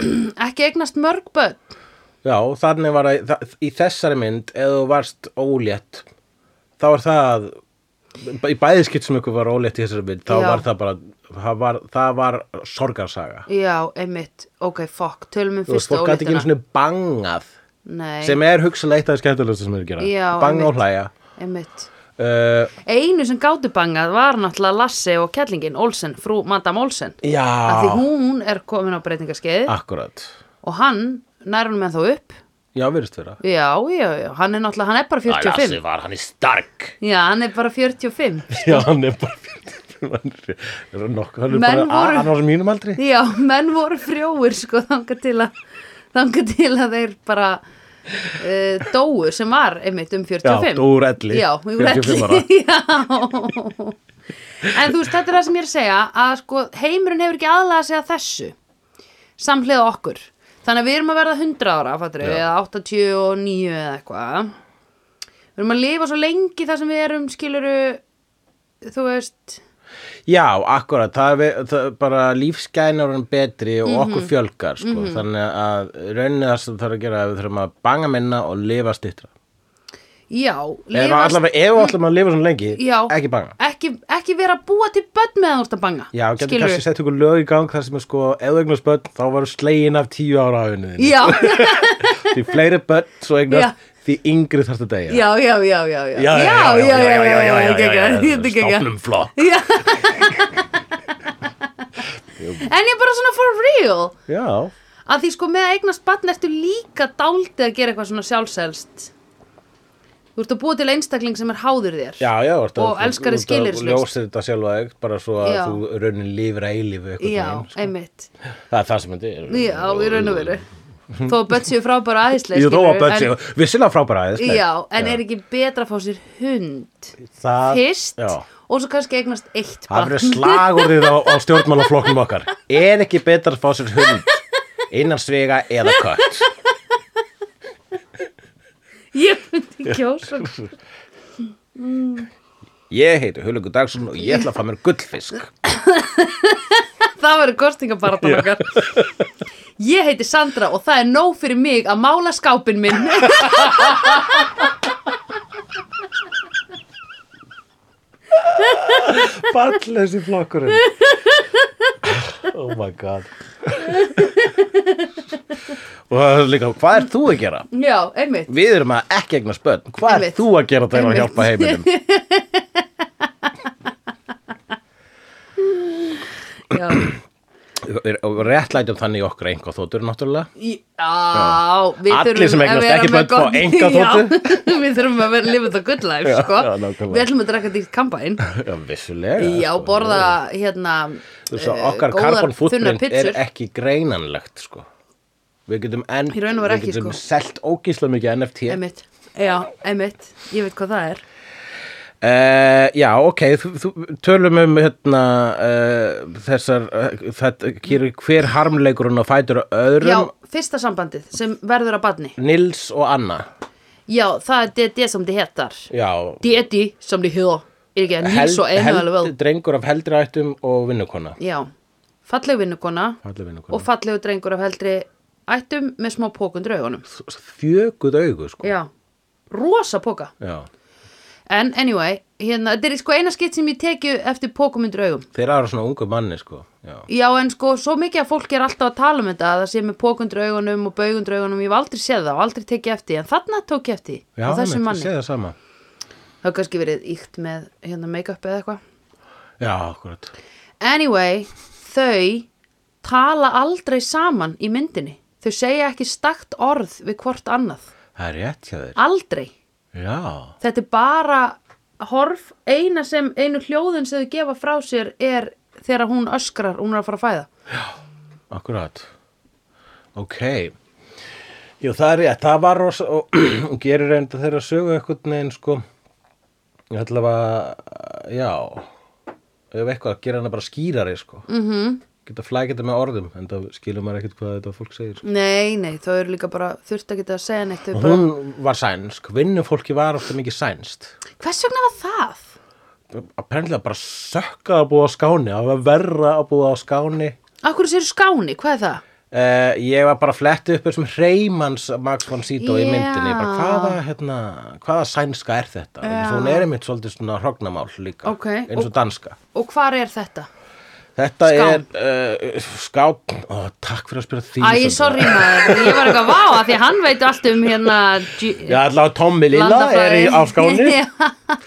Speaker 1: ekki eignast mörg börn
Speaker 2: Já, þannig var að þa- í þessari mynd ef þú varst ólétt þá var það í bæðiskipt sem ykkur var ólétt í þessari mynd þá
Speaker 1: Já.
Speaker 2: var það bara það var, það var sorgarsaga
Speaker 1: Já, einmitt, ok, fuck, tölum um
Speaker 2: Þú veist,
Speaker 1: fyrstu
Speaker 2: fólk gæti ekki
Speaker 1: óléttina
Speaker 2: einu svona bangað
Speaker 1: Nei,
Speaker 2: sem er hugsalega eitt af því skemmtilegasta sem er að gera
Speaker 1: Já,
Speaker 2: banga og
Speaker 1: einmitt.
Speaker 2: hlæja
Speaker 1: einmitt
Speaker 2: uh,
Speaker 1: Einu sem gátu bangað var náttúrulega Lasse og Kjellingin Olsen, frú Madame Olsen Af því
Speaker 2: Já, Ah.
Speaker 1: hún er komin á breytingaskeið
Speaker 2: akkurat
Speaker 1: og hann nær hún með þá upp
Speaker 2: Já, virðist vera
Speaker 1: Já, já, já, hann er náttúrulega, hann er bara 45
Speaker 2: var hann í stark
Speaker 1: Já, hann er bara 45
Speaker 2: Já, hann er bara 45 hann er- hann er nokkuð- hann er
Speaker 1: Menn
Speaker 2: bara,
Speaker 1: voru-
Speaker 2: voru... hann var mínum aldri
Speaker 1: Já, menn voru frjóir sko þanga til að þanga til að þeir bara uh, dóu sem var einmitt um 45
Speaker 2: Já, dóu úr elli,
Speaker 1: Já, úr
Speaker 2: 45 ára.
Speaker 1: elli Já En þú veist, þetta er það sem ég er að segja að sko heimurinn hefur ekki aðlega að segja þessu samhliða okkur Þannig að við erum að verða 100 ára, fattur
Speaker 2: Já.
Speaker 1: eða 89 eða eitthvað Við erum að lifa svo lengi þar sem við erum skiluru þú veist
Speaker 2: Já, akkurat, það er, við- það er bara lífsgænar hann betri og
Speaker 1: Mhm.
Speaker 2: okkur fjölgar sko. þannig að raunin það sem þarf að gera er að við þurfum að banga minna og lifa stýttra
Speaker 1: Já,
Speaker 2: Ef
Speaker 1: lifa-
Speaker 2: allavega, ef við ætlum að lifa svona lengi
Speaker 1: Já.
Speaker 2: ekki banga
Speaker 1: ekki, ekki vera að búa til börn meðan þú ert að banga
Speaker 2: Já, getur
Speaker 1: skilurðu?
Speaker 2: kannski sett ykkur lög í gang þar sem er sko, ef þú eignast börn, þá varu slegin af tíu ára á henni
Speaker 1: já,
Speaker 2: því fleiri börn, svo
Speaker 1: Já.
Speaker 2: eignast því yngri þarfst að deyja
Speaker 1: já, já, já, já, já,
Speaker 2: já, já, já, já, já, já, já, já, já,
Speaker 1: þetta er geggjað.
Speaker 2: Stofnum flokk.
Speaker 1: Já. En ég er bara svona for real
Speaker 2: Já,
Speaker 1: að því sko með að eignast barn ertu líka dáldið að gera eitthvað svona sjálfselst Þú ert að búa til einstakling sem er háður þér
Speaker 2: já, já. þú ert að-
Speaker 1: Og
Speaker 2: þú-
Speaker 1: elskari
Speaker 2: þú ert að
Speaker 1: skilyrðislaust.
Speaker 2: Ljósir þetta sjálfa þig, bara svo að
Speaker 1: Já.
Speaker 2: þú raunin lifir að eilífu eitthvað.
Speaker 1: Já,
Speaker 2: megin, sko.
Speaker 1: einmitt
Speaker 2: Það er það sem þetta er.
Speaker 1: Já, í raun og veru Þó að börn séu frábæra aðeinslega
Speaker 2: Ég þó að börn séu, vissilega frábæra aðeins.
Speaker 1: Já, en er ekki betra að fá sér hund
Speaker 2: það,
Speaker 1: fyrst
Speaker 2: Já,
Speaker 1: og svo kannski eignast eitt
Speaker 2: það
Speaker 1: barn
Speaker 2: verður slagurðið á, á stjórnmálaflokknum okkar. Er ekki betra að fá sér hund innan svega eða kött?
Speaker 1: ég myndi kjósa
Speaker 2: Ég heiti Hulungu Dagsson og ég ætla að fá mér gullfisk.
Speaker 1: Það verður kostingabaratan okkar Ég heiti Sandra og það er nóg fyrir mig að mála skápin minn
Speaker 2: Ballessi flokkurinn. Oh my god. og það er líka, hvað er þú að gera?
Speaker 1: Já, einmitt
Speaker 2: Við erum að ekki egna spönn. Hvað er
Speaker 1: Einmitt.
Speaker 2: þú að gera
Speaker 1: Einmitt.
Speaker 2: þegar að hjálpa heiminum?
Speaker 1: Já,
Speaker 2: og réttlætum þannig okkur enga þóttur náttúrulega
Speaker 1: Í- Já, við
Speaker 2: Allir
Speaker 1: þurfum
Speaker 2: sem
Speaker 1: að
Speaker 2: eignast
Speaker 1: vera
Speaker 2: ekki
Speaker 1: með
Speaker 2: börn fá
Speaker 1: gott-
Speaker 2: einkaþotu.
Speaker 1: Já, Við þurfum að vera lifið það good life,
Speaker 2: Já,
Speaker 1: sko
Speaker 2: já, nákvæmlega.
Speaker 1: Við ætlum að drekka dýrt kampæn
Speaker 2: já, vissulega
Speaker 1: Já,
Speaker 2: sko.
Speaker 1: borða hérna
Speaker 2: Þú veist að
Speaker 1: eh,
Speaker 2: okkar
Speaker 1: góðar,
Speaker 2: carbon
Speaker 1: þunnar
Speaker 2: footprint er
Speaker 1: pitsur.
Speaker 2: ekki greinanlegt sko við getum enn
Speaker 1: Í raun og veru
Speaker 2: við
Speaker 1: ekki,
Speaker 2: getum
Speaker 1: sko.
Speaker 2: selt ógísla mikið NFT uh,
Speaker 1: Einmitt, já, einmitt Ég veit hvað það er
Speaker 2: Eh, já, ok, þú, þú, tölum um hérna uh, þessar uh, þetta, hér, hver harmleikurinn og fætur
Speaker 1: Já,
Speaker 2: öðrum
Speaker 1: fyrsta sambandið sem verður að badni
Speaker 2: Nils og Anna
Speaker 1: Já, það er det, det som det heter
Speaker 2: já,
Speaker 1: Det er det som det heter Er ekki að nýs og einu alveg vel
Speaker 2: drengur af heldri ættum og vinnukona
Speaker 1: Já, falleg vinnukona
Speaker 2: Falleg vinnukona.
Speaker 1: og fallegu drengur af heldri ættum með smá pókundur augunum.
Speaker 2: þjöguð augu sko
Speaker 1: Já, rosa póka.
Speaker 2: Já.
Speaker 1: En anyway, hérna, þetta er sko eina skitt sem ég tekju eftir pókumundur augum.
Speaker 2: Þeir eru svona ungu manni sko Já,
Speaker 1: Já, en sko, svo mikið að fólk er alltaf að tala um þetta að það sé með pókundur augunum og baugundur augunum, ég hef aldrei séð það og aldrei tekið eftir, því, en þarna tók ég eftir því,
Speaker 2: Já
Speaker 1: á þessum
Speaker 2: einmitt,
Speaker 1: manni.
Speaker 2: ég sé það sama
Speaker 1: Það er kannski verið íkt með hérna, make-up eða eitthvað.
Speaker 2: Já, akkurat
Speaker 1: Anyway, þau tala aldrei saman í myndinni. Þau segja ekki stakt orð við hvort annað.
Speaker 2: Það er rétt hjá þeir
Speaker 1: Aldrei.
Speaker 2: Já,
Speaker 1: þetta er bara horf eina sem, einu hljóðin sem þau gefa frá sér er þegar hún öskrar, hún er að fara að fæða
Speaker 2: akkurat Ok Jú, það er rétt, það var rosa og, og gerir reynda þeirra sögu eitthvað neginn sko Ég ætla að Já Ef eitthvað, gera hana bara skýrari sko mm -hmm. Geta flækja þetta með orðum en það skilur maður ekkert hvað þetta fólk segir sko.
Speaker 1: nei, nei, þau eru líka bara þurft að geta að segja neitt þau bara,
Speaker 2: Hún var sænsk, vinnufólki var ofta mikið sænst
Speaker 1: hvers vegna var það?
Speaker 2: apparently bara sökka að búa á skáni að verra að búa á skáni
Speaker 1: Akkur sér skáni, hvað er það?
Speaker 2: uh, ég var bara að fletta upp þessum reymans Max von Sydow í myndinni bara,
Speaker 1: Já.
Speaker 2: hvaða, hérna, hvaða sænska er þetta yeah. hún er einmitt svolítið svona hrognamál líka
Speaker 1: Ok,
Speaker 2: eins og
Speaker 1: og-
Speaker 2: danska
Speaker 1: Og hvar er þetta?
Speaker 2: þetta
Speaker 1: Skán.
Speaker 2: er uh, skát Ó, takk fyrir að spyrja því
Speaker 1: Æ,
Speaker 2: Sandra.
Speaker 1: sorry maður, ég var eitthvað vá að því að hann veit allt um hérna
Speaker 2: Já, allavega Tommi Lilla er í,
Speaker 1: landafræði.
Speaker 2: á skáni
Speaker 1: Já.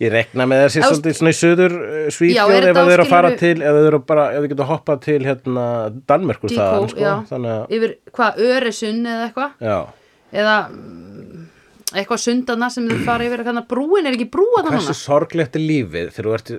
Speaker 2: Ég rekna með þessi
Speaker 1: Ást-
Speaker 2: svolítið svona í söður uh,
Speaker 1: Já, er
Speaker 2: Svíþjóð ef
Speaker 1: þetta
Speaker 2: þau eru að fara
Speaker 1: áskilur-
Speaker 2: til ef þau eru bara, ef þau getur hoppað til hérna, Danmerkur
Speaker 1: Díkó,
Speaker 2: þaðan sko,
Speaker 1: já.
Speaker 2: þannig að
Speaker 1: Yfir, hvað, Öresunn eða eitthvað?
Speaker 2: Já.
Speaker 1: Eða mm, eitthvað sundana sem þau fara yfir hérna, brúin er ekki brúa þannig
Speaker 2: Hversu sorglegt er lífið þegar þú ert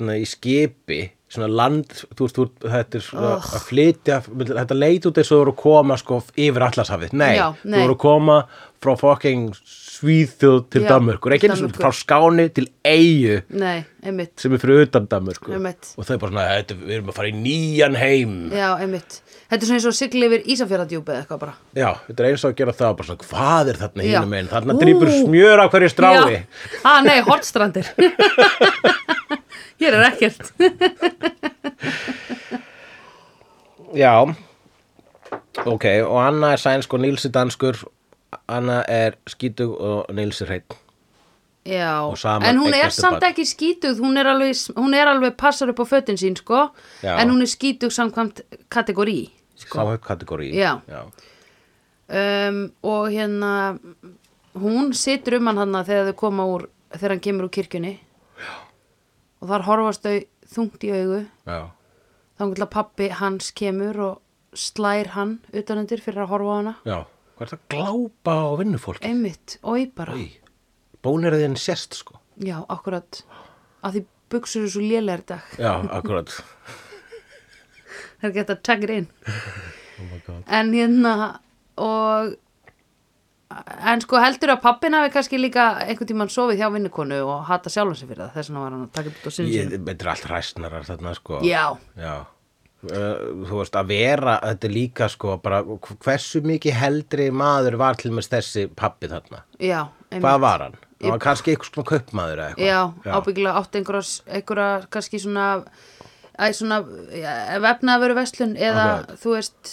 Speaker 2: hérna, í skipi, svona land, þú veist, þú, ert- þetta er svona að flytja, þetta leit út eins og þú eru að koma sko yfir allasafið. Nei,
Speaker 1: Já,
Speaker 2: þú
Speaker 1: nei.
Speaker 2: eru að koma frá fucking Svíþjóð til
Speaker 1: Já,
Speaker 2: Danmörkur, ekki eins og
Speaker 1: Danmerkur.
Speaker 2: frá Skáni til Eyju
Speaker 1: Nei, einmitt,
Speaker 2: sem er fyrir utan Danmörkur.
Speaker 1: Einmitt.
Speaker 2: Og þau bara svona, þetta, við erum að fara í nýjan heim.
Speaker 1: já, einmitt Þetta er svona eins og sigli yfir Ísafjörðadjúpi eða eitthvað bara
Speaker 2: Já, þetta er eins og að gera það, bara svona, hvað er þarna
Speaker 1: Já.
Speaker 2: hínum einn? Þarna
Speaker 1: Ú.
Speaker 2: drýpur smjör á hverju strái.
Speaker 1: Já, ah, nei, hortstrandir Hér er ekkert
Speaker 2: Já Ok, og Anna er sænsk og Níls er danskur Anna er skítug og Níls er hreitt
Speaker 1: Já,
Speaker 2: Og saman
Speaker 1: en hún er
Speaker 2: eignast þau
Speaker 1: samt
Speaker 2: barn.
Speaker 1: ekki skítug hún er, alveg, hún er alveg passar upp á fötin sín sko,
Speaker 2: Já.
Speaker 1: en hún er skítug samkvæmt kategóri
Speaker 2: sko. Sáhauð kategóri
Speaker 1: Já.
Speaker 2: Já.
Speaker 1: um, og hérna hún situr um hann hann þegar þau koma úr þegar hann kemur úr kirkjunni já. og þar horfast þau þungt í augu
Speaker 2: Já.
Speaker 1: þá hann að pappi hans kemur og slær hann utanundir fyrir að horfa á hana
Speaker 2: Já. Hvað er það að glápa á vinnufólki?
Speaker 1: einmitt, oi bara
Speaker 2: Í. Bónir þinn sérst sko
Speaker 1: já, akkurat að því buksur eru svo lélegar í dag
Speaker 2: Já, akkurat
Speaker 1: það er ekki hægt að taka þér inn
Speaker 2: Oh God.
Speaker 1: en hérna og en sko heldur að pappin hafi kannski líka einhvern tímann sofið hjá vinnukonu og hata sjálfum sig fyrir það þess vegna var hann að taka þetta á sinni
Speaker 2: Ég,
Speaker 1: sinni
Speaker 2: Þetta er allt hræstnarar þarna sko
Speaker 1: já,
Speaker 2: Já. Uh, þú veist að vera þetta er líka sko bara hversu mikið heldri maður var til með þessi pappi þarna
Speaker 1: já, einmitt
Speaker 2: hvað var hann? það var kannski eitthvað svona kaupmaður eða eitthvað
Speaker 1: Já, ábyggilega átt einhverja, einhverja kannski svona, æ, svona vefnaveru verslun eða
Speaker 2: Akkurat.
Speaker 1: þú veist,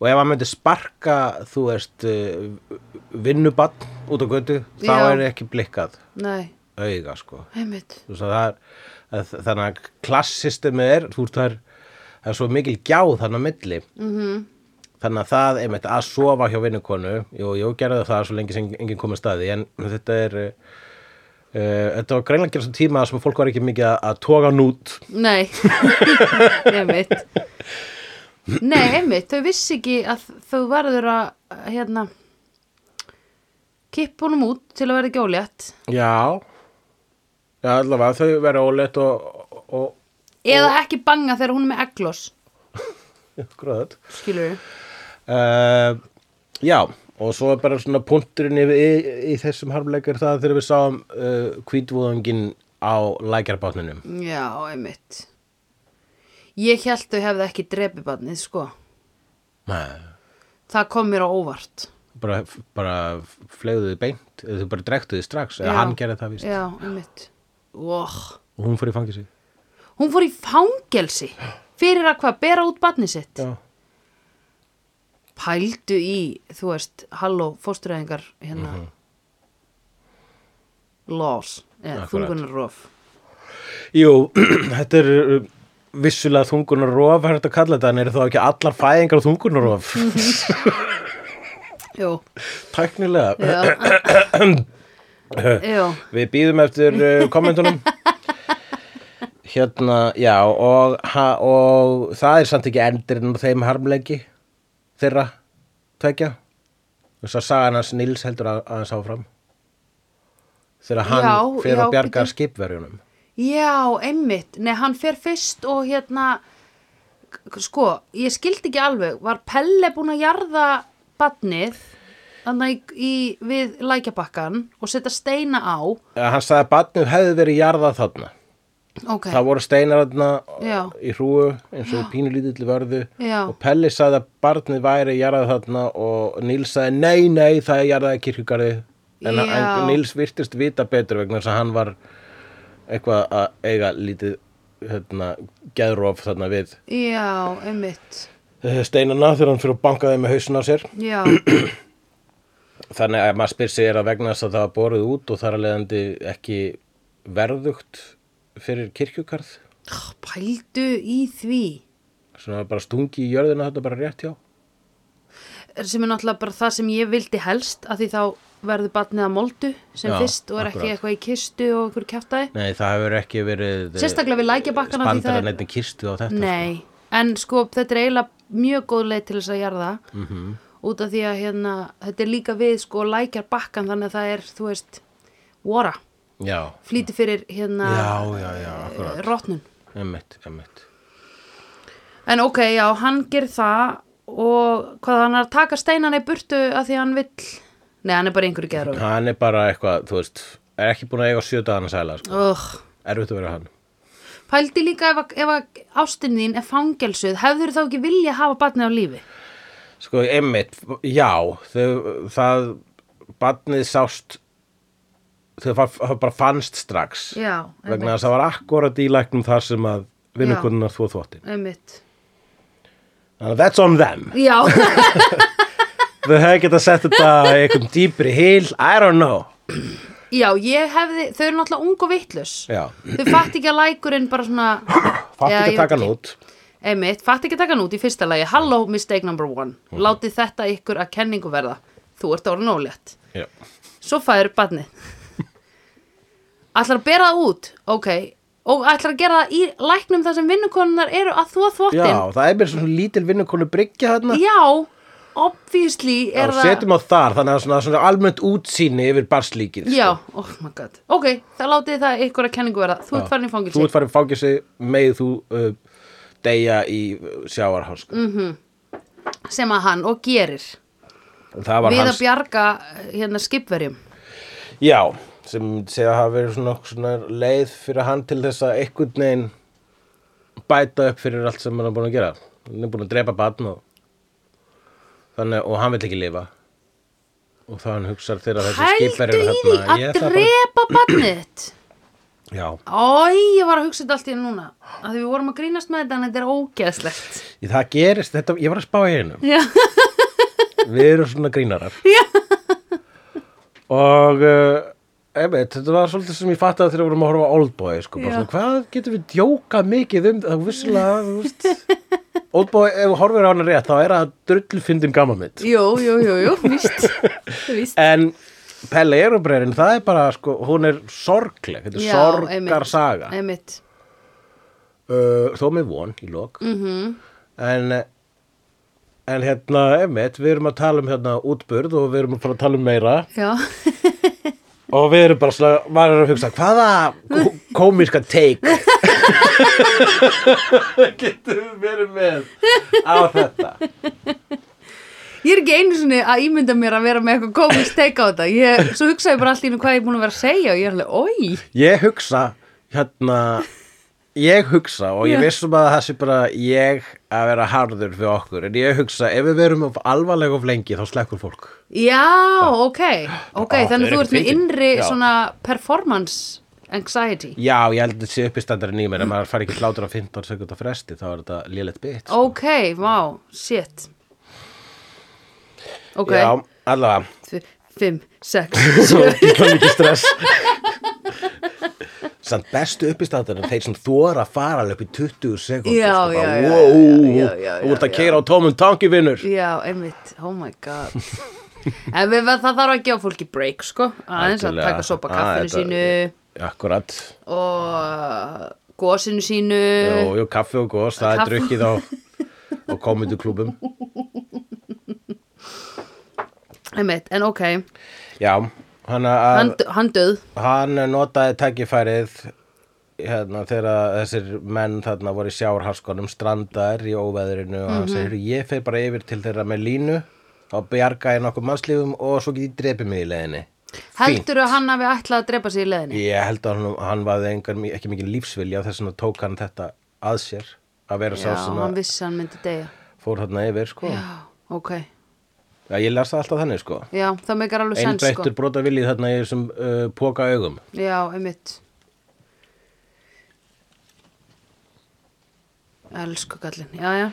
Speaker 2: og ef hann myndi sparka þú veist uh, vinnubann út á götu þá
Speaker 1: Já.
Speaker 2: er ekki blikkað
Speaker 1: nei,
Speaker 2: auga sko
Speaker 1: heimitt,
Speaker 2: Þú veist að það er, að, þannig að klassistemið er þú veist það er, það er svo mikil gjá þannig að milli -hmm. þannig að það einmitt að sofa hjá vinnukonu jú, jú, gerðu það svo lengi sem enginn komið staði en þetta er uh, uh, þetta var greinlega að gera svo tíma sem fólk var ekki mikið að, að toga hann út
Speaker 1: nei, heimitt. Nei, heimitt, þau vissi ekki að þau verður að, hérna, kippa honum út til að verða ekki ólétt.
Speaker 2: já, já allavega þau vera óleitt og, og, og
Speaker 1: Eða ekki banga þegar hún er með eglós,
Speaker 2: gróðat
Speaker 1: skilur við.
Speaker 2: uh, já og svo er bara svona punkturinn yfir í, í þessum harmleikar það þegar við sáum uh, kvítvúðangin á lækjarbátninum
Speaker 1: Já, heimitt. Ég held þau hefði ekki drepi barnið, sko.
Speaker 2: bara,
Speaker 1: Það kom mér á óvart.
Speaker 2: Eh, bara flegðu þið beint eða þau bara drektu þið strax eða
Speaker 1: Já.
Speaker 2: hann gerði það víst
Speaker 1: Já, einmitt. Oh.
Speaker 2: og hún fór í fangisi
Speaker 1: Hún fór í fangelsi fyrir að hvað bera út barni sitt.
Speaker 2: já.
Speaker 1: Pældu í, þú veist, halló, fóstureyðingar, hérna,
Speaker 2: Mhm.
Speaker 1: mm -hmm. laws, eða
Speaker 2: Akkurat.
Speaker 1: þungunarrof.
Speaker 2: jú, þetta er uh, vissulega þungunarrof er þetta að kalla þetta en eru þá ekki allar fæðingar þungunarrof
Speaker 1: Jú,
Speaker 2: tæknilega
Speaker 1: já. Jú,
Speaker 2: Við býðum eftir uh, kommentunum Hérna, já og, ha, og það er samt ekki endurinn á þeim harmleiki þeirra tvekja þess að sagan hans Nils heldur að, aðeins áfram þegar hann
Speaker 1: Já,
Speaker 2: fer
Speaker 1: já,
Speaker 2: að bjarga
Speaker 1: bíddu.
Speaker 2: skipverjunum
Speaker 1: já, einmitt. Nei, hann fer fyrst og hérna, k- sko, ég skildi ekki alveg, var Pelle búin að jarða barnið, þannig í, við lækjabakkan og setja steina á,
Speaker 2: Eh, Hann sagði að barnið hefði verið jarðað þarna
Speaker 1: Ok,
Speaker 2: Það voru steinar þarna
Speaker 1: Já.
Speaker 2: í hrúu eins og pínulítill vörðu
Speaker 1: Já.
Speaker 2: og Pelli sagði að barnið væri jarðað þarna og Níls sagði nei, nei, það er jarðaði kirkjugarði
Speaker 1: Já.
Speaker 2: en, en Níls virtist vita betur vegna þess að hann var eitthvað að eiga lítið hérna, geðróf þarna við
Speaker 1: já, einmitt
Speaker 2: eh, steinana þegar hann fyrir að banka þeim með hausin á sér
Speaker 1: Já,
Speaker 2: þannig að maður spyr sig er að vegna þess að það var borðið út og þar að leiðandi ekki verðugt fyrir kirkjugarð
Speaker 1: Ó, pældu í því
Speaker 2: svona bara stungi í jörðina þetta bara rétt hjá
Speaker 1: sem er náttúrulega bara það sem ég vildi helst að því þá verður batnið að moldu sem
Speaker 2: Já,
Speaker 1: fyrst og er ekki
Speaker 2: akkurat.
Speaker 1: eitthvað í kistu og einhver kjaftaði
Speaker 2: Nei, það hefur ekki verið eh,
Speaker 1: Sérstaklega við lækjabakkana, því það
Speaker 2: Spandara
Speaker 1: er-
Speaker 2: neitt kirstu á þetta
Speaker 1: Nei, en sko þetta er eiginlega mjög góð leið til þess að jarða -hmm.
Speaker 2: Mhm.
Speaker 1: út af því að hérna, þetta er líka við sko lækjar bakkan þannig að það er, þú veist, vora
Speaker 2: sko. Já,
Speaker 1: flýti fyrir hérna eh,
Speaker 2: já, já, já, akkurat
Speaker 1: rotnun
Speaker 2: Emmett, emmett
Speaker 1: En ok, já, hann ger það og hvað hann er að taka steinana í burtu að því hann vill Nei, hann er bara í einhverju gerður
Speaker 2: Hann er bara eitthvað, þú veist Er ekki búin að eiga sjö dagana sæla sko.
Speaker 1: Ugh.
Speaker 2: Erfitt að vera hann
Speaker 1: Pældi líka ef, að- ef að ástin þín er fangelsuð hefur þá ekki vilja hafa batnið á lífi
Speaker 2: Sko, emmett, já þau, Það, barnið sást Þau fa- það bara fannst strax
Speaker 1: Já,
Speaker 2: Vegna þess að það var akkurat í læknum þar sem að vinnukunnar þvó þvottin
Speaker 1: Einmitt
Speaker 2: Þannig að that's on them
Speaker 1: Já,
Speaker 2: Þau hefði getað sett þetta í einhvern dýpri hil I don't know
Speaker 1: já, ég hefði þau eru náttúrulega ung og vittlus
Speaker 2: Já,
Speaker 1: þau fatt ekki að lækurinn bara svona
Speaker 2: fatt
Speaker 1: Já,
Speaker 2: ekki
Speaker 1: ég
Speaker 2: að taka
Speaker 1: veit
Speaker 2: hann
Speaker 1: ekki.
Speaker 2: út
Speaker 1: Einmitt, fatt ekki að taka hann út í fyrsta lagi Hello, mistake number one
Speaker 2: Mhm.
Speaker 1: Látið þetta ykkur að kenningu verða Þú ert orðin ólétt
Speaker 2: Já.
Speaker 1: Svo fæður barnið Ætlar að bera það út Ok Og ætlar að gera það í læknum þar sem vinnukonunnar eru að þvó þvottin
Speaker 2: Já, það er mér svona lítil vinnukonu bryggja þarna
Speaker 1: Já, obviously
Speaker 2: Já,
Speaker 1: er það
Speaker 2: setjum á þar, þannig að svona, svona almennt útsýni yfir sko. barslíkið
Speaker 1: Já, oh my god Ok, það látið það ykkur að kenningu verða Þú ert farin í fangilsi
Speaker 2: Þú ert farin fangilsi, megið þú uh, deyja í uh, sjávarháska mm.
Speaker 1: sem að hann og gerir
Speaker 2: Það var
Speaker 1: Við
Speaker 2: hans,
Speaker 1: að bjarga hérna skipverjum
Speaker 2: já sem segja að hafa verið svona, svona leið fyrir hann til þess að einhvern veginn bæta upp fyrir allt sem hann er búin að gera hann er búin að drepa barn og þannig, og hann vill ekki lifa og þann hugsar þegar þessi skipar
Speaker 1: Hældu
Speaker 2: eru
Speaker 1: í því
Speaker 2: hérna
Speaker 1: að
Speaker 2: ég ætla bara-
Speaker 1: drepa barnið þitt
Speaker 2: já,
Speaker 1: Æ, ég var að hugsa þetta allt í einu núna að því við vorum að grínast með þetta en þetta er ógeðslegt
Speaker 2: Í það gerist, þetta, ég var að spá í einu
Speaker 1: Já,
Speaker 2: við erum svona grínarar og uh, einmitt, þetta var svolítið sem ég fattaði þegar við vorum að horfa á Oldboy sko, bara
Speaker 1: Já.
Speaker 2: svona, hvað getum við djóka mikið um það vissulega þú veist, Oldboy, ef þú horfir á hana rétt þá er það drullfyndin gaman mitt
Speaker 1: jú, jú, jú, jú, víst Víst,
Speaker 2: en Pelle Erubreyrinn, það er bara sko, hún er sorgleg, þetta er
Speaker 1: Já,
Speaker 2: sorgarsaga
Speaker 1: einmitt
Speaker 2: uh, þó með von í lok
Speaker 1: Mm.
Speaker 2: -hmm.
Speaker 1: Mhm.
Speaker 2: en en hérna, einmitt, við erum að tala um hérna útburð og við erum að fara að tala um meira
Speaker 1: Já,
Speaker 2: og við erum bara svona, maður er að hugsa hvaða ko- komiska take getum við verið með á þetta
Speaker 1: ég er ekki einu sinni að ímynda mér að vera með eitthvað komist teika á þetta ég, Svo hugsaði ég bara allt í einu hvað ég er búin að vera að segja og ég er alveg, oi
Speaker 2: ég hugsa, hérna ég hugsa og ég
Speaker 1: Já.
Speaker 2: vissum að það sé bara ég að vera harður fyrir okkur en ég hugsa, ef við verum of alvarlega of lengi þá slekkur fólk
Speaker 1: Já, ok, ok,
Speaker 2: Á, það
Speaker 1: þannig
Speaker 2: er
Speaker 1: þú ert
Speaker 2: ekkert
Speaker 1: með
Speaker 2: fyndin.
Speaker 1: innri
Speaker 2: Já.
Speaker 1: svona performance anxiety
Speaker 2: Já, ég held að sé uppistandari nýjum en ef maður fari ekki hlátur á 15 sekundar fresti þá er þetta lélegt bit
Speaker 1: Ok, vá, shit Ok,
Speaker 2: Já, allavega,
Speaker 1: F- fimm, sex
Speaker 2: svo gísla mikið stress Samt bestu uppistandari þeir sem þóra að fara alveg upp í 20 sekundur
Speaker 1: Já,
Speaker 2: sko, bara,
Speaker 1: já, já,
Speaker 2: wow,
Speaker 1: já, já, já, já,
Speaker 2: Þú ert að
Speaker 1: já.
Speaker 2: keira á tómum tangi vinnur
Speaker 1: Já, einmitt, oh my god En við, það þarf að gefa fólki break, sko aðeins að
Speaker 2: Algjörlega.
Speaker 1: taka sopa
Speaker 2: Ah,
Speaker 1: kaffinu
Speaker 2: þetta-
Speaker 1: sínu
Speaker 2: Akkurat,
Speaker 1: og gósinu sínu
Speaker 2: jú, jú, kaffi og gos,
Speaker 1: Eh.
Speaker 2: það
Speaker 1: Kaffi-
Speaker 2: er drukkið á, á komundu klubum
Speaker 1: einmitt, en ok,
Speaker 2: Já, hann að
Speaker 1: hann, hann döð
Speaker 2: hann notaði tækifærið hérna þegar þessir menn þarna voru í sjárhaskonum strandaðir í óveðrinu og hann
Speaker 1: Mhm.
Speaker 2: segir ég fer bara yfir til þeirra með línu þá bjarga ég nokkuð mannslífum og svo get ég drepið mig í leiðinni Fínt.
Speaker 1: Heldurðu að hann hafi ætlað að drepa sig í leðinni?
Speaker 2: Ég held að hann, hann vaði engan, ekki mikið lífsvilja þess vegna tók hann þetta að sér að vera sá
Speaker 1: Já,
Speaker 2: sem
Speaker 1: hann
Speaker 2: að
Speaker 1: vissi að hann myndi deyja
Speaker 2: fór þarna yfir sko Já,
Speaker 1: Já, ok,
Speaker 2: ég las það alltaf þannig sko
Speaker 1: já, það meikar alveg sens sko
Speaker 2: Einbeittur brota viljið þarna í þessum uh, póka augum
Speaker 1: Já, einmitt Elsku kallinn, já, já,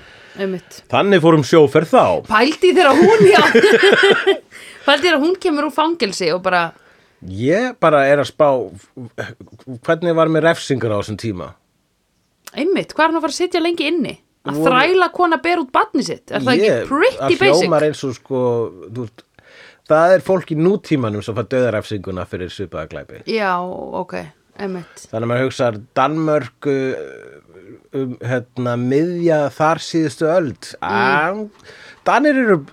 Speaker 1: einmitt
Speaker 2: Þannig fórum sjóferð þá
Speaker 1: Pældi í þegar hún, já Pældi í þegar hún kemur úr fangelsi og bara
Speaker 2: Ég bara er að spá hvernig var mér refsingar á þessum tíma
Speaker 1: Einmitt, hvað er hann að fara að sitja lengi inni? Að
Speaker 2: Voru-
Speaker 1: þræla kona ber út barni sitt Er það
Speaker 2: Ég-
Speaker 1: ekki pretty
Speaker 2: Það
Speaker 1: basic?
Speaker 2: hljómar eins og sko þú, veist, það er fólk í nútímanum sem fær döðarefsinguna fyrir svipaða glæpi
Speaker 1: Já, ok, einmitt
Speaker 2: Þannig að maður hugsar Danmörk uh, um, hérna, miðja þar síðustu öld mm. Danir eru í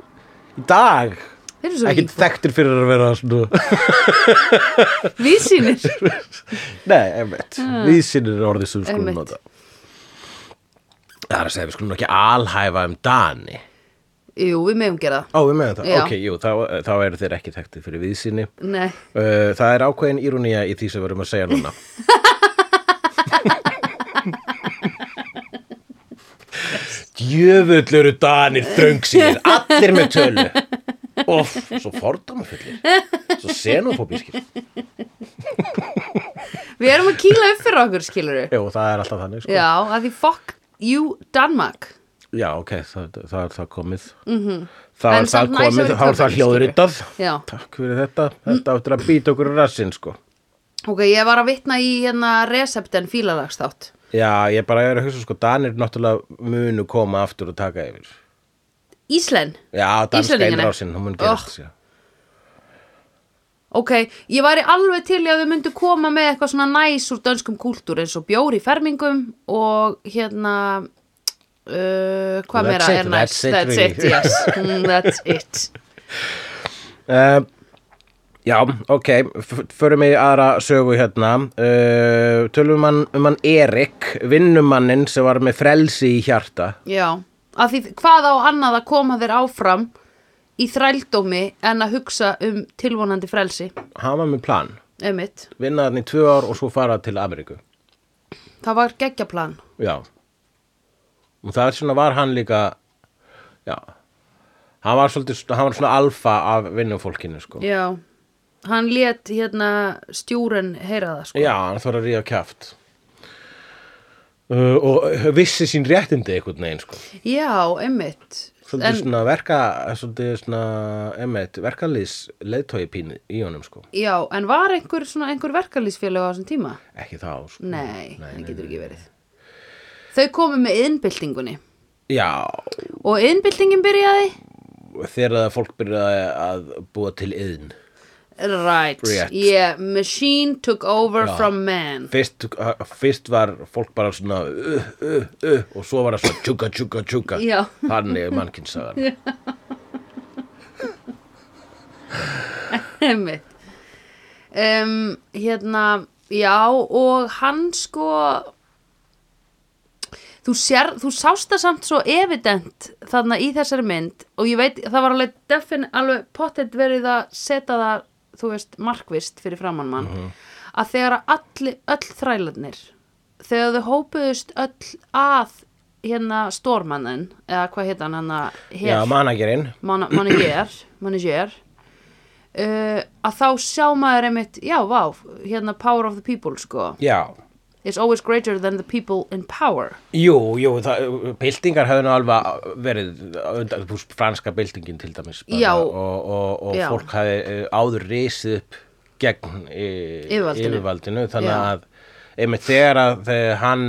Speaker 2: dag
Speaker 1: Þeir eru svo
Speaker 2: ekkert
Speaker 1: ekki
Speaker 2: þekktir fyrir að vera svona
Speaker 1: vísýnir
Speaker 2: Nei, einmitt, mm. vísinir er orðið sem við skulum
Speaker 1: Ah. Einmitt.
Speaker 2: nota Það er að segja, við skulum nú ekki alhæfa um Dani
Speaker 1: Jú, við meðum gera það
Speaker 2: Ó, við meðum það,
Speaker 1: Já.
Speaker 2: ok, jú, þá, þá eru þeir ekki þekktir fyrir viðsýni.
Speaker 1: Nei,
Speaker 2: Uh, það er ákveðin írónía í því sem við erum að segja núna. Djöfull eru danir þröngsýnir, allir með tölu. Óf, svo fordómafullir, svo xenofóbískir.
Speaker 1: við erum að kýla upp fyrir okkur, skilur
Speaker 2: Jú, það er alltaf þannig, sko.
Speaker 1: Já, að því fuck you Danmark
Speaker 2: Já, ok, það, það er það komið. Mm -hmm.
Speaker 1: Mhm. En
Speaker 2: Það er það
Speaker 1: samt næs að
Speaker 2: komið,
Speaker 1: vera
Speaker 2: þá er
Speaker 1: töffarinn,
Speaker 2: það hljóðritað.
Speaker 1: Já.
Speaker 2: Takk fyrir þetta, þetta áttur að býta okkur rassinn, sko.
Speaker 1: Ok, ég var að vitna í hérna Recepten fílalagstátt
Speaker 2: Já, ég bara er að hugsa sko, Danir náttúrulega munu koma aftur og taka yfir.
Speaker 1: Íslen
Speaker 2: Já, danska
Speaker 1: Íslendingana?
Speaker 2: einrásin, hún mun gerast. Oh.
Speaker 1: Ok, ég væri alveg til í að þau myndu koma með eitthvað svona næs úr dönskum kúltúr eins og bjór í fermingum og hérna uh, hvað
Speaker 2: That's
Speaker 1: meira
Speaker 2: it,
Speaker 1: er næst
Speaker 2: that's it,
Speaker 1: that's it,
Speaker 2: really.
Speaker 1: yes, Mm, that's it
Speaker 2: Uh, já, ok, f- förum við í aðra sögu hérna. Uh, tölum hann, um hann Erik, vinnumanninn sem var með frelsi í hjarta.
Speaker 1: Já, af því hvað á annað að koma þér áfram í þrældómi en að hugsa um tilvonandi frelsi
Speaker 2: Hann var með plan,
Speaker 1: emitt,
Speaker 2: vinna hann í tvö ár og svo fara til Ameríku.
Speaker 1: það var geggjaplan
Speaker 2: Já. Og það er svona var hann líka, já, hann var svolítið, hann var svona alfa af vinnufólkinu sko
Speaker 1: já hann lét hérna stjúren heyra það sko
Speaker 2: Já, hann þarf að ríða kjaft uh, og vissi sín réttindi einhvern veginn sko
Speaker 1: já einmitt
Speaker 2: svolítið svona verka svolítið svona, emeit, verkalýs leiðtói pínu í honum sko
Speaker 1: já en var einhver, svona, einhver verkalýsfélag á þessum tíma?
Speaker 2: ekki þá sko
Speaker 1: Nei, það getur ekki verið Þau komu með innbyltingunni
Speaker 2: Já,
Speaker 1: og innbyltingin byrjaði
Speaker 2: þegar að fólk byrjaði að búa til yðn
Speaker 1: Right,
Speaker 2: Rétt.
Speaker 1: yeah, machine took over
Speaker 2: Já.
Speaker 1: from man
Speaker 2: fyrst, uh, fyrst var fólk bara svona uh, uh, uh, og svo var það svona tjúka, tjúka, tjúka
Speaker 1: Já.
Speaker 2: þannig er mannkynsagan
Speaker 1: Einmitt. um, Hérna, já og hann sko þú, sér, þú sást það samt svo evident þarna í þessari mynd og ég veit, það var alveg defin, alveg pottet verið að setja það þú veist, markvist fyrir framann mann að þegar að all, öll þrælarnir þegar þau hópuðust öll að hérna stórmannin eða hvað hétt hann hann að
Speaker 2: Já, managerinn
Speaker 1: man- manager, manager uh, að þá sjá maður einmitt, já, vá, hérna power of the people, sko,
Speaker 2: Já,
Speaker 1: is always greater than the people in power
Speaker 2: jú, jú, það, byltingar hefðu nú alveg verið undan- þú veist, franska byltingin til dæmis bara,
Speaker 1: Já.
Speaker 2: og, og, og
Speaker 1: Já.
Speaker 2: fólk hefði eh, áður risið upp gegn e,
Speaker 1: Yfirvaldinu.
Speaker 2: þannig
Speaker 1: Já.
Speaker 2: að einmitt þegar að þegar hann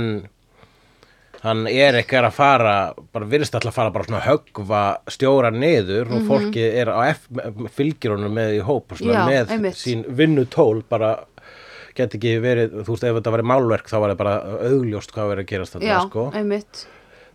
Speaker 2: hann er ekki að fara bara virðist alltaf að fara bara svona að höggva stjóra niður og fólkið er á F, fylgir honum með í hóp og svona
Speaker 1: Mhm. Já,
Speaker 2: með
Speaker 1: einmitt.
Speaker 2: sín vinnutól bara get ekki verið, þú veist ef þetta væri málverk þá var það bara augljóst hvað verið að gerast þarna
Speaker 1: já,
Speaker 2: sko
Speaker 1: einmitt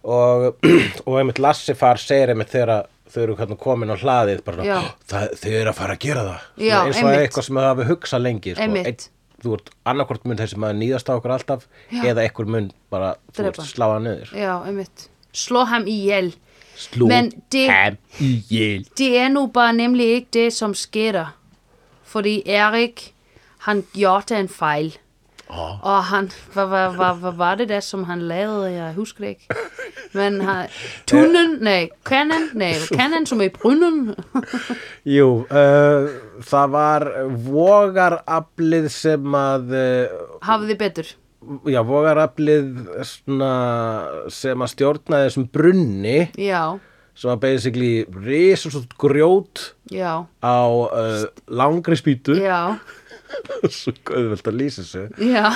Speaker 2: og, og einmitt Lassi far segir einmitt þegar að þau eru hvernig komin á hlaðið bara,
Speaker 1: Já.
Speaker 2: "Hó, það, þau eru að fara að gera það Svona
Speaker 1: Já,
Speaker 2: eins og
Speaker 1: einmitt.
Speaker 2: eitthvað sem þau hafi hugsað lengi sko.
Speaker 1: Einmitt.
Speaker 2: þú ert annarkvort mun þessi maður nýðast á okkur alltaf eða einhver mun bara þú
Speaker 1: Drepa.
Speaker 2: ert sláða niður
Speaker 1: já, einmitt, slå ham í hjel
Speaker 2: slú
Speaker 1: Men det-
Speaker 2: hem í jél
Speaker 1: det er nu bare nemlig ikke det, som sker fordi Erik, han gjorde en fejl
Speaker 2: Åh.
Speaker 1: og han, hvad, hvad, hvad, hvad var det der, som han lavede, jeg husker det ikke men han, tunnen, nej, kanon, nej, kanon som i brynnen
Speaker 2: Jú, uh, það var vogaraflið sem að uh,
Speaker 1: hafið þið betur
Speaker 2: já, vogaraflið svona, sem að stjórnaði þessum brunni
Speaker 1: já,
Speaker 2: sem að basically risa svo grjót
Speaker 1: já,
Speaker 2: á uh, langri spýtu
Speaker 1: já
Speaker 2: svo auðvelt að lýsa þessu
Speaker 1: já,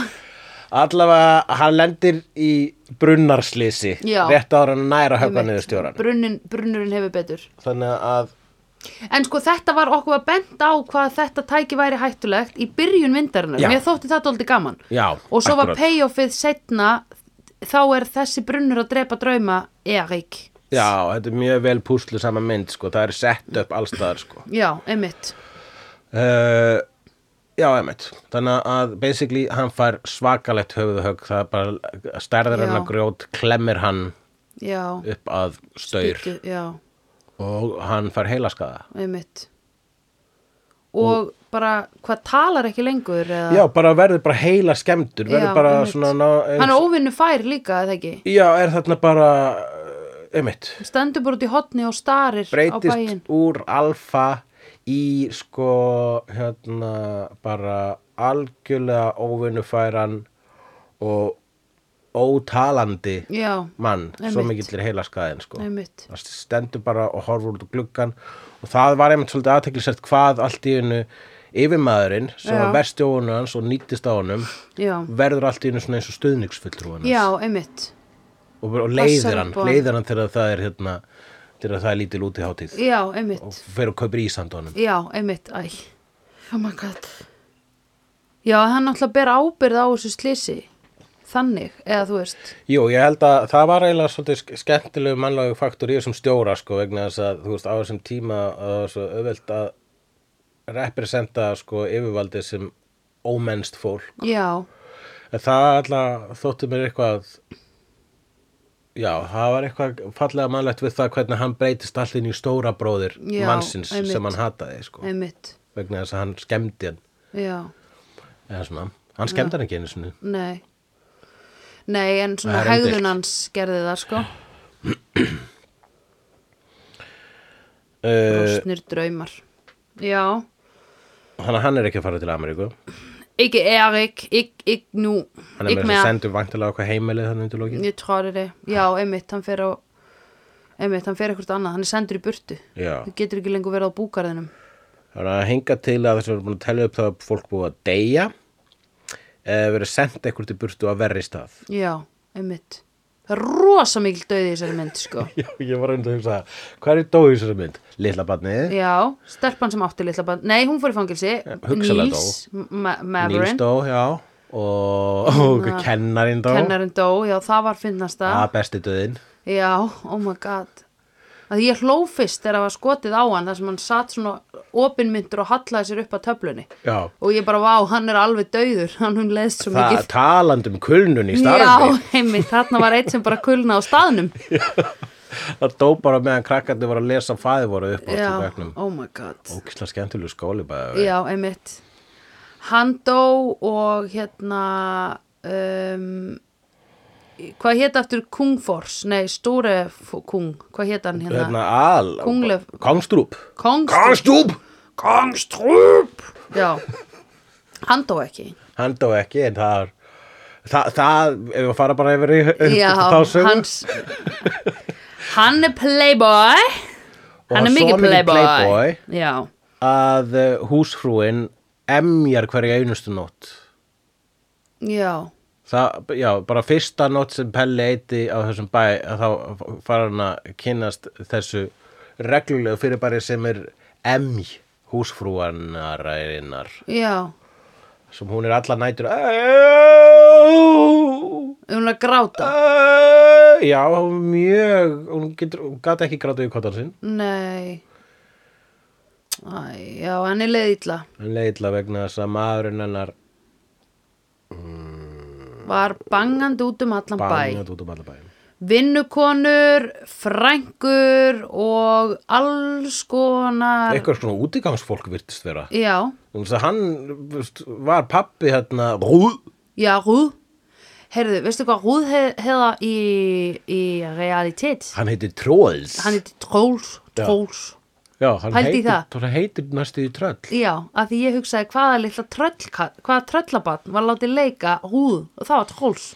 Speaker 2: allavega hann lendir í brunnarslýsi
Speaker 1: Já.
Speaker 2: rétt ára hann nær að höfna niður stjóran
Speaker 1: brunnin, brunnurinn hefur betur
Speaker 2: þannig að
Speaker 1: en sko þetta var okkur að benda á hvað þetta tæki væri hættulegt í byrjun vindarinnar,
Speaker 2: Já.
Speaker 1: mér þótti það dóldi gaman
Speaker 2: Já,
Speaker 1: og svo
Speaker 2: akkurat.
Speaker 1: var payoffið setna þá er þessi brunnur að drepa drauma Erik,
Speaker 2: já, þetta er mjög vel púslu sama mynd sko, það er sett upp allstaðar sko
Speaker 1: já, einmitt
Speaker 2: uh, Já, emitt Þannig að basically hann fær svakalegt höfuðhögg það er bara stærðar hann
Speaker 1: Já.
Speaker 2: að grjót klemmir hann
Speaker 1: já,
Speaker 2: upp að staur
Speaker 1: Bíddu, já,
Speaker 2: og hann fær heilaskaða
Speaker 1: einmitt og, bara, hvað talar ekki lengur eða?
Speaker 2: Já, bara verður bara heila skemmtur verður
Speaker 1: Já,
Speaker 2: bara
Speaker 1: einmitt.
Speaker 2: svona ná, eins,
Speaker 1: hann er óvinnu fær líka, eða ekki
Speaker 2: Já, er þarna bara uh, emitt,
Speaker 1: stendur bara út í hotni og starir á bæinn
Speaker 2: breytist úr alfa í sko hérna bara algjörlega óvinnufæran og ótalandi
Speaker 1: já,
Speaker 2: mann, svo
Speaker 1: Einmitt.
Speaker 2: mikill er heilaskaðin sko.
Speaker 1: einmitt
Speaker 2: það stendur bara og horfur út úr gluggan og það var einmitt svolítið aðteklisert hvað allt í hennu yfirmaðurinn sem
Speaker 1: Já.
Speaker 2: var versti á honum hans og nýttist á honum
Speaker 1: já,
Speaker 2: verður allt í hennu svona eins og stuðningsfulltrú hans
Speaker 1: já, einmitt
Speaker 2: og, og leiðir
Speaker 1: Passar
Speaker 2: hann,
Speaker 1: upp á hann.
Speaker 2: leiðir hann þegar það er hérna, þegar það er lítil út í hátíð
Speaker 1: já, einmitt,
Speaker 2: og fer og kaupir ísand á honum
Speaker 1: já, einmitt æ, oh my god já, hann náttúrulega ber ábyrð á þessu slisi þannig, eða þú veist
Speaker 2: Jú, ég held að það var eiginlega svolítið sk- skemmtilegu mannlegu faktor í þessum stjóra sko vegna þess að þú veist á þessum tíma að það var svo auðvelt að representa sko yfirvaldið sem ómennst fólk
Speaker 1: já,
Speaker 2: en það alltaf þótti mér eitthvað já, það var eitthvað fallega mannlegt við það hvernig hann breytist allir í stóra bróðir
Speaker 1: Já,
Speaker 2: mannsins
Speaker 1: einmitt.
Speaker 2: sem hann hataði sko
Speaker 1: einmitt
Speaker 2: vegna þess að hann skemmdi hann
Speaker 1: já,
Speaker 2: eða svona, hann skemmdi hann ekki einu sinni
Speaker 1: nei nei, en svona
Speaker 2: Það er umdeilt.
Speaker 1: hegðun hans gerði það, sko
Speaker 2: uh,
Speaker 1: Rosnir draumar Já,
Speaker 2: Eh, hann, hann er ekki að fara til Ameríku
Speaker 1: ikke Erik, ikke, ikke nu,
Speaker 2: hann er
Speaker 1: ikke
Speaker 2: með þess að
Speaker 1: mere.
Speaker 2: sendur vantilega okkur heimilið þannig undir lókin
Speaker 1: Ég tror det er det. Já, einmitt, hann fer á, einmitt, hann fer eitthvað annað, hann er sendur í burtu.
Speaker 2: Já.
Speaker 1: Þú getur ekki lengur verið á búgarðinum.
Speaker 2: Það er að hinga til að þess að við erum búin að telja upp það að fólk búið að deyja eða verið sendt eitthvað til burtu að verri stað.
Speaker 1: Já, einmitt. Það er rosa mikil döði í þessari mynd, sko.
Speaker 2: Já, ég var reynd að hugsa það. Hvað er dóið í þessari mynd? Lilla barnið,
Speaker 1: Já, stelpan sem átti litla band Nei, hún fór í fangilsi
Speaker 2: hugsanlega
Speaker 1: Níls, Ma
Speaker 2: Níls
Speaker 1: Maverin
Speaker 2: dó, já, og, og kennarinn dó,
Speaker 1: Kennarinn dó, já, það var finnasta
Speaker 2: að besti döðin.
Speaker 1: Já, oh my god Það ég hló fyrst þegar það var skotið á hann þar sem hann satt svona opinmyndur og hallaði sér upp að töflunni
Speaker 2: Já,
Speaker 1: og ég bara, vá, hann er alveg dauður hann hún leðst svo
Speaker 2: það
Speaker 1: mikið
Speaker 2: talandi um kulnun í
Speaker 1: Já,
Speaker 2: starfi,
Speaker 1: heimi, þarna var einn sem bara kulna á staðnum
Speaker 2: það dó bara meðan krakkandi voru að lesa fæði voru upp á til
Speaker 1: Já,
Speaker 2: bekknum.
Speaker 1: oh my god
Speaker 2: Ókislega skemmtilegu skóli bara.
Speaker 1: Já, einmitt Hann dó og hérna um, hvað hétt aftur Kungfors, nei, Stóre Kung, hvað hétt hann hérna?
Speaker 2: Hérna, al,
Speaker 1: Kunglev-
Speaker 2: Kongstrúp.
Speaker 1: Kongstrú,
Speaker 2: Kongstrúp! Kongstrúp!
Speaker 1: já Hann dó ekki
Speaker 2: hann dó ekki en það er það, það ef við fara bara yfir í
Speaker 1: Já,
Speaker 2: þá sögum
Speaker 1: hans Hann er playboy
Speaker 2: Og
Speaker 1: Hann er
Speaker 2: svo
Speaker 1: mikið
Speaker 2: mikið
Speaker 1: playboy.
Speaker 2: playboy.
Speaker 1: Já,
Speaker 2: að eh, húsfrúin emjar hverja einustu nótt
Speaker 1: já,
Speaker 2: það, já, bara fyrsta nótt sem Pelli eiti á þessum bæ að þá fara hann að kynnast þessu reglulegu fyrirbæri sem er emj húsfrúanarinnar
Speaker 1: já
Speaker 2: sem hún er alla nætur "Au,
Speaker 1: Hún er að gráta
Speaker 2: au." Eh, já, hún mjög hún, getur, hún gat ekki gráta í kottan sinn
Speaker 1: Nei Æ, já, hann er leið illa
Speaker 2: hann leitla vegna þess að maðurinn hennar
Speaker 1: Var bangandi út um allan bæ
Speaker 2: bangat út um alla bæin
Speaker 1: vinnukonur, frængur og alls konar
Speaker 2: eitthvað svona útigangsfólk virtist vera
Speaker 1: já,
Speaker 2: Þú veist að hann þú veist, var pappi hérna rúð
Speaker 1: já, Rúð heyrðu, veistu hvað Rúð he heða í, í realitet
Speaker 2: hann heitir Tróðs
Speaker 1: hann heitir Tróls,
Speaker 2: Já.
Speaker 1: Tróls
Speaker 2: já, hann
Speaker 1: Pældu í
Speaker 2: heitir,
Speaker 1: það.
Speaker 2: hann heitir næstu í tröll
Speaker 1: já, af því ég hugsaði hvaða litla tröll hvaða tröllabatn var látið leika Rúð og það var Tróls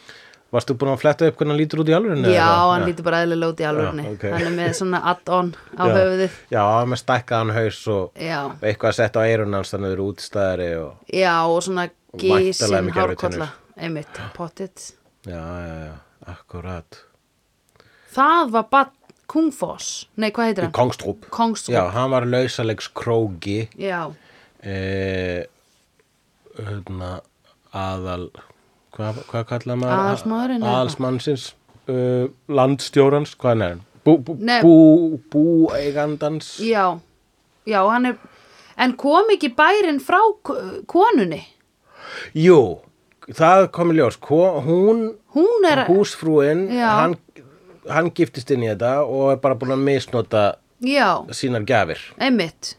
Speaker 2: varstu búin að fletta upp hvernig hann lítur út í alvörinu
Speaker 1: já,
Speaker 2: eða?
Speaker 1: hann
Speaker 2: Nei.
Speaker 1: lítur bara eðlilega út í alvörni
Speaker 2: Já, ok.
Speaker 1: hann er með svona add-on á
Speaker 2: Já.
Speaker 1: höfuðið
Speaker 2: já, hann með stækkaðan haus og
Speaker 1: já,
Speaker 2: eitthvað að setja á eirun hans þannig að það eru útstæðari og
Speaker 1: já, og svona
Speaker 2: væntanlega
Speaker 1: gísin
Speaker 2: með gervitennur.
Speaker 1: hárkolla einmitt, pottitt
Speaker 2: já, já, já, akkurat
Speaker 1: Það var bara Kungfoss, nei hvað heitir hann?
Speaker 2: Kongstrúp
Speaker 1: Kongstrú,
Speaker 2: já,
Speaker 1: já.
Speaker 2: hann var lausalegs krógi
Speaker 1: já
Speaker 2: eh, hérna, aðal hvað, hvað kallaði maður
Speaker 1: Aðalsmaðurinn, eða?
Speaker 2: aðalsmannsins uh, landstjórans, hvað er hann bú, bú,
Speaker 1: Nei.
Speaker 2: bú, búeigandans
Speaker 1: Já, já, hann er En kom ekki bærin frá k- konunni?
Speaker 2: jú, það kom í ljós Ko, hún,
Speaker 1: Hún er,
Speaker 2: húsfrúin
Speaker 1: Já.
Speaker 2: hann, hann giftist inn í þetta og er bara búin að misnota
Speaker 1: já,
Speaker 2: sínar gjafir
Speaker 1: einmitt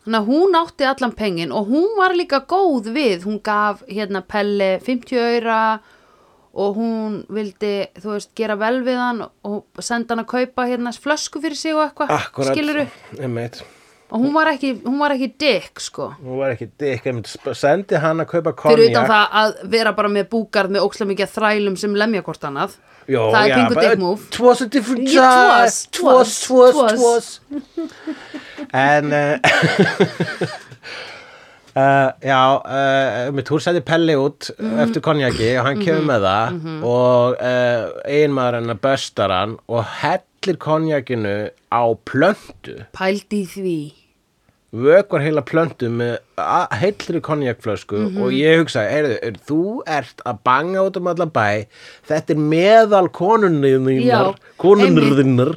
Speaker 1: Þannig að hún átti allan pengin og hún var líka góð við, hún gaf hérna Pelle 50 aura og hún vildi, þú veist, gera vel við hann og senda hann að kaupa hérna flösku fyrir sig og eitthvað,
Speaker 2: akkurat,
Speaker 1: skilurðu?
Speaker 2: einmitt
Speaker 1: Og hún var ekki, hún var ekki dick, sko.
Speaker 2: hún var ekki dikk, einmitt sp- sendi hann að kaupa
Speaker 1: fyrir utan
Speaker 2: konjak
Speaker 1: það að vera bara með búgarð með ókslega mikið af þrælum sem lemja hvort annað
Speaker 2: Jó,
Speaker 1: það er
Speaker 2: já,
Speaker 1: pingu
Speaker 2: bara,
Speaker 1: dick move
Speaker 2: It was a different
Speaker 1: It
Speaker 2: time
Speaker 1: was,
Speaker 2: twas,
Speaker 1: twas,
Speaker 2: twas, twas. En uh, uh, Já uh, mitt húr seti Pelli út
Speaker 1: Mhm.
Speaker 2: eftir konjaki og hann kemur með það og uh, eiginmaður hennar böstar hann og hellir konjakinu á plöntu
Speaker 1: pældi í því
Speaker 2: vökvar heila plöntu með a- heillri konjakflösku
Speaker 1: Mhm.
Speaker 2: og ég hugsaði, heyrðu, er, þú ert að banga út um alla bæ þetta er meðal
Speaker 1: Já,
Speaker 2: konunniðinnar konunniðinnar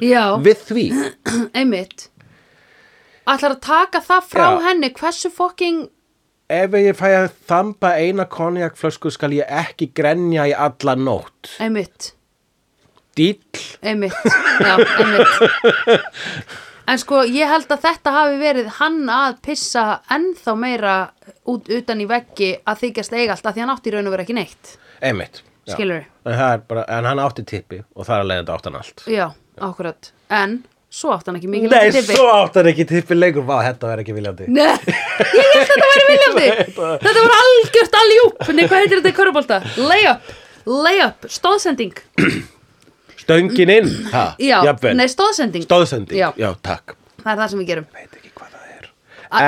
Speaker 1: einmitt, já.
Speaker 2: við því
Speaker 1: einmitt ætlar að taka það frá
Speaker 2: Já.
Speaker 1: henni hversu fokking
Speaker 2: ef ég fæ að þamba eina konjakflösku skal ég ekki grenja í alla nótt
Speaker 1: einmitt,
Speaker 2: dýll
Speaker 1: einmitt, já, einmitt en sko ég held að þetta hafi verið hann að pissa ennþá meira út utan í veggi að þykjast eiga allt að því hann átti í raun og vera ekki neitt
Speaker 2: einmitt já.
Speaker 1: Skilurðu?
Speaker 2: en, það er bara, en hann átti tippi og þar að leiða þetta átti hann allt
Speaker 1: já, akkurat en svo átt hann ekki mikið
Speaker 2: Nei, svo átt hann ekki tippi leikur Vá, þetta verður ekki viljandi
Speaker 1: Nei, ég held þetta væri viljandi Þetta var algjört aljúp Nei, hvað heitir þetta í körubólta? Layup, layup, stóðsending
Speaker 2: Stöngin inn ha,
Speaker 1: Já,
Speaker 2: jafnvel.
Speaker 1: nei, stóðsending
Speaker 2: Stóðsending,
Speaker 1: Já.
Speaker 2: já. takk
Speaker 1: Það er það sem við gerum
Speaker 2: Veit ekki hvað það er
Speaker 1: en...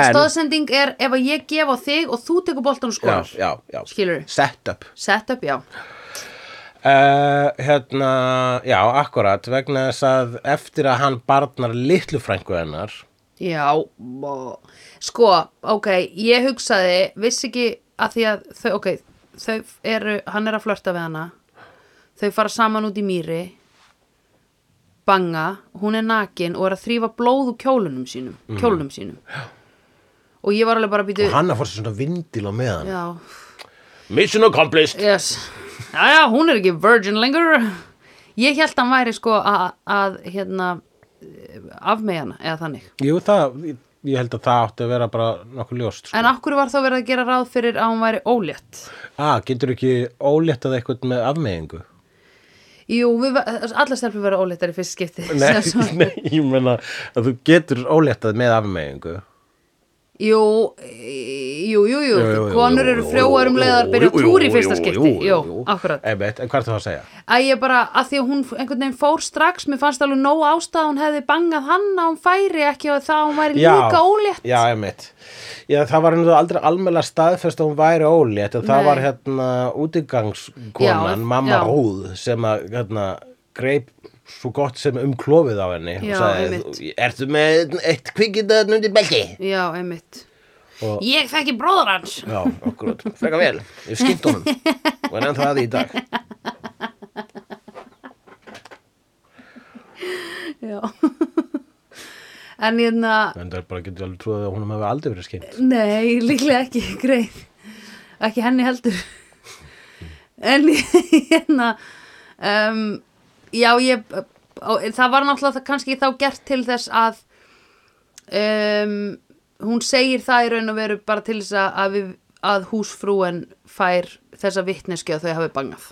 Speaker 2: En-
Speaker 1: Stóðsending er ef að ég gef á þig og þú tekur boltan og skorar
Speaker 2: Já, já, já
Speaker 1: Skilurðu?
Speaker 2: Set up
Speaker 1: Set up, já
Speaker 2: Uh, hérna, já, akkurat vegna þess að eftir að hann barnar litlu frængu hennar
Speaker 1: Já, bó. sko, ok, ég hugsaði, vissi ekki að því að þau, ok, þau eru, hann er að flörta við hana, þau fara saman út í mýri, banga, hún er nakin og er að þrýfa blóð úr kjólunum sínum, kjólunum sínum. Og ég var alveg bara að býtu,
Speaker 2: Mhm. og hann að fór sér svona vindil á meðan
Speaker 1: já,
Speaker 2: Mission accomplished
Speaker 1: yes, já, já, hún er ekki virgin lengur. Ég held hann væri sko að, að hérna, afmeið hana, eða þannig.
Speaker 2: Jú, það, ég- ég held að það átti að vera bara nokkuð ljóst sko.
Speaker 1: En af hverju var þá verið að gera ráð fyrir að hún væri ólétt?
Speaker 2: Ah, getur ekki óléttað eitthvað með afmeðingu?
Speaker 1: Jú, við, alla stelpur verða óléttar í fyrst skipti Sem
Speaker 2: Nei,
Speaker 1: svo-
Speaker 2: nei, ég meina að þú getur óléttað með afmeðingu
Speaker 1: Jú, e, jú, jú, jú,
Speaker 2: Jú, jú, jú,
Speaker 1: konur
Speaker 2: jú,
Speaker 1: eru
Speaker 2: jú,
Speaker 1: frjóar um
Speaker 2: jú,
Speaker 1: leiðar
Speaker 2: jú,
Speaker 1: byrja
Speaker 2: jú,
Speaker 1: túr í
Speaker 2: jú,
Speaker 1: fyrsta
Speaker 2: jú,
Speaker 1: skipti
Speaker 2: jú,
Speaker 1: Jú,
Speaker 2: jú.
Speaker 1: akkurat
Speaker 2: Einmitt, En hvað er það að segja?
Speaker 1: Að ég bara, að því að hún einhvern veginn fór strax mér fannst alveg nóg ástæð að hún hefði bangað hann að hún færi ekki og það að hún væri líka ólétt
Speaker 2: Já, einmitt. Já, það var nú aldrei almela staðfest að hún væri ólétt en það
Speaker 1: Nei.
Speaker 2: var hérna útigangskonan,
Speaker 1: Já,
Speaker 2: mamma
Speaker 1: já.
Speaker 2: Rúð sem að hérna, greip svo gott sem umklofið á henni
Speaker 1: Já,
Speaker 2: og sagði,
Speaker 1: einmitt.
Speaker 2: "Þú- ertu með eitt kvikindaðn undir belti?
Speaker 1: Já, einmitt
Speaker 2: Og-
Speaker 1: Ég þekki bróður hans
Speaker 2: Já, okkur, freka vel, ég skipt honum og er ennþá að því í dag.
Speaker 1: Já En hérna,
Speaker 2: En það er bara getur alveg trúið að hún hefur aldrei verið skipt.
Speaker 1: Nei, líklega ekki, greið ekki henni heldur en hérna um, já ég á- það var náttúrulega það kannski þá gert til þess að um, hún segir það í raun og veru bara til þess að, að, við, að húsfrúen fær þessa vitneski að þau hafi bangað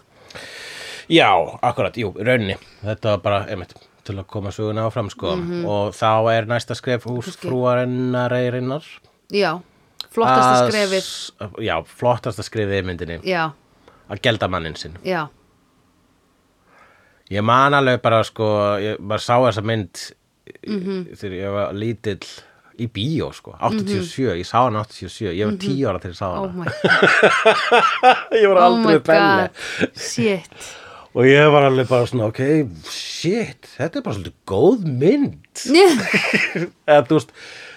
Speaker 2: Já, akkurat, jú, í rauninni Þetta var bara, einmitt, til að koma söguna áfram sko
Speaker 1: Mhm.
Speaker 2: og þá er næsta skref hús frúarinnareirinnar
Speaker 1: já, flottasta skrefið
Speaker 2: Já, flottasta skrefið í myndinni
Speaker 1: já,
Speaker 2: að gelda mannin sinn
Speaker 1: já,
Speaker 2: Ég man alveg bara sko ég bara sá þessa mynd
Speaker 1: Mhm.
Speaker 2: þegar ég var lítill í bíó sko, 87, ég sá hana 87 ég var 10 ára til ég sá hana
Speaker 1: oh my,
Speaker 2: ég
Speaker 1: oh
Speaker 2: var
Speaker 1: my
Speaker 2: aldrei belli
Speaker 1: god shit
Speaker 2: og ég var alveg bara svona, ok, shit þetta er bara svolítið góð mynd eða þú veist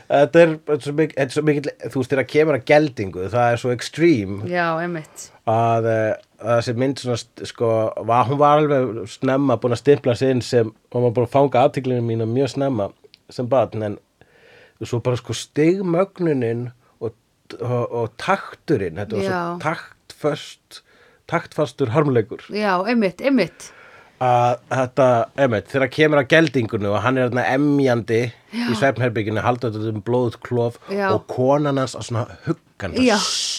Speaker 2: þetta er, þetta er svo mikil, þetta er svo mikil þú veist þegar kemur að geldingu það er svo extreme
Speaker 1: já, emmitt
Speaker 2: að, eh, að þessi mynd svona st- sko, var, hún var alveg snemma búin að stimpla sig inn sem hún var búin að fanga aftiklinu mína mjög snemma sem barn en svo bara sko stigmögnunin og, og, og takturinn þetta var svo
Speaker 1: Já.
Speaker 2: taktföst taktfastur harmleikur
Speaker 1: já, emmitt, emmitt
Speaker 2: að þetta, einmitt, þegar kemur að geldingunu og hann er þarna emjandi í svefnherbygginu, haldur þetta um blóðklof
Speaker 1: Já.
Speaker 2: og konan hans að svona huggan
Speaker 1: Já,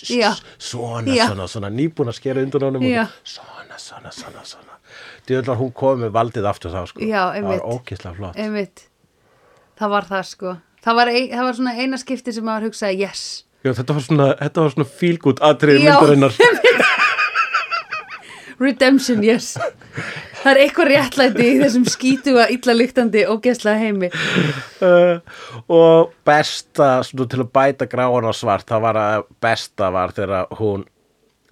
Speaker 1: já.
Speaker 2: svona,
Speaker 1: Já.
Speaker 2: svona, svona, nýbúin að skera undan honum
Speaker 1: Já.
Speaker 2: og svona, svona, svona, svona djöðlar hún komið með valdið aftur þá sko.
Speaker 1: Já,
Speaker 2: það
Speaker 1: einmitt.
Speaker 2: var ókislega flott
Speaker 1: Einmitt. Það var það sko. Það var, ein, það var svona eina skipti sem maður hugsaði yes.
Speaker 2: Já, þetta var svona, þetta var svona fílgút atriði
Speaker 1: Já.
Speaker 2: myndarinnar
Speaker 1: Redemption yes. Það er eitthvað réttlæti í þessum skítuga, illaliktandi og gesla heimi.
Speaker 2: Uh, og besta svona, til að bæta gráan á svart það var að besta var þegar hún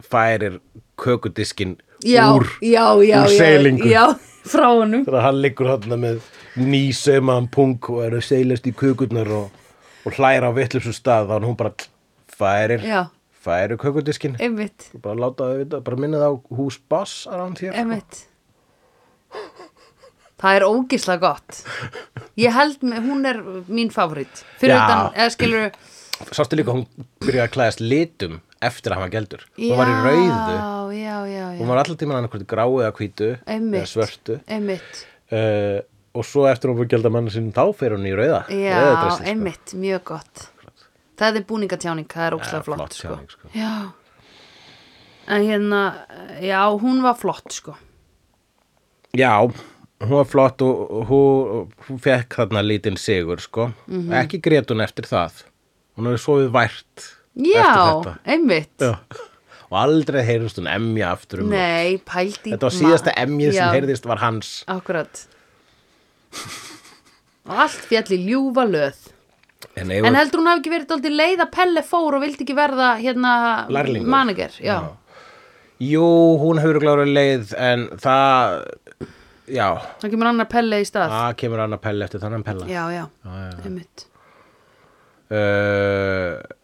Speaker 2: færir kökudiskin
Speaker 1: Já,
Speaker 2: úr
Speaker 1: já, já,
Speaker 2: úr
Speaker 1: já,
Speaker 2: seilingu.
Speaker 1: já, frá honum.
Speaker 2: þegar hann liggur hann með nýsaumaðan punk og eru seilast í kökurnar og, og hlæra á vitlusum stað þá er hún bara færir
Speaker 1: Já.
Speaker 2: færir kökudiskin
Speaker 1: Einmitt,
Speaker 2: bara láta þau vita, bara minna það á hús bass around hér
Speaker 1: einmitt. Það er ógisla gott. Ég held með, hún er mín favorít. Fyrir
Speaker 2: Já.
Speaker 1: utan, eða skilur,
Speaker 2: sástu líka að hún byrjaði að klæðast litum eftir að hann var geldur hún var í rauðu
Speaker 1: Já, já, já, já.
Speaker 2: hún var alltaf tíma annað hvort gráu eða hvítu eða
Speaker 1: Einmitt.
Speaker 2: svörtu
Speaker 1: Einmitt.
Speaker 2: uh, og svo eftir hún búið að gelda manna sínum þá fer hún í rauða rauða
Speaker 1: Já,
Speaker 2: dressið, sko.
Speaker 1: einmitt, mjög gott Það er búningatjáning, það er ókslega flott,
Speaker 2: flott
Speaker 1: sko.
Speaker 2: tjáning, sko.
Speaker 1: Já En hérna, já, hún var flott sko
Speaker 2: já, hún var flott og og hún, hún fekk þarna lítinn sigur sko.
Speaker 1: Mhm.
Speaker 2: ekki grét hún eftir það hún hefur sofið vært eftir
Speaker 1: Já,
Speaker 2: þetta
Speaker 1: einmitt
Speaker 2: Já. og aldrei heyrðist hún emja aftur um það.
Speaker 1: Nei, pældi
Speaker 2: þetta var síðasta emjið sem heyrðist var hans
Speaker 1: Akkurat Og allt fjall í ljúfa löð
Speaker 2: en,
Speaker 1: En
Speaker 2: en
Speaker 1: heldur hún hafi ekki verið dálítið leið að Pelle fór og vildi ekki verða hérna
Speaker 2: Lærlingur.
Speaker 1: manager já.
Speaker 2: jú, hún hefur glára leið en það já,
Speaker 1: Þá kemur annar Pelle í stað
Speaker 2: það kemur annar pelle eftir þannan pella
Speaker 1: Já, já,
Speaker 2: Ah. já,
Speaker 1: einmitt
Speaker 2: uh,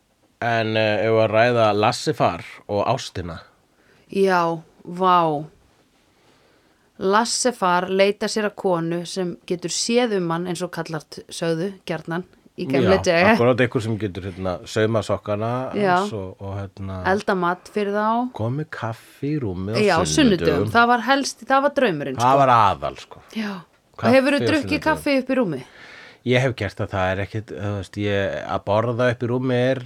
Speaker 2: en uh, ef að ræða Lassifar og Ástina
Speaker 1: Já, vá Lassefar leita sér að konu sem getur séð um hann eins og kallar t- sögðu gjarnan í gamle degi
Speaker 2: akkurát einhver sem getur hérna, sauma sokkana
Speaker 1: Já.
Speaker 2: hans og, og hérna,
Speaker 1: elda mat fyrir þá
Speaker 2: komi kaffi í rúmið
Speaker 1: Já,
Speaker 2: á
Speaker 1: sunnudum, það var helst, það var draumurinn sko.
Speaker 2: það var aðal sko.
Speaker 1: Já,
Speaker 2: Kaffi
Speaker 1: og hefur
Speaker 2: á
Speaker 1: þú drukkið
Speaker 2: sunnudögum.
Speaker 1: kaffi upp í rúmi?
Speaker 2: ég hef gert að það er ekkit þú veist, ég, að borða upp í rúmi er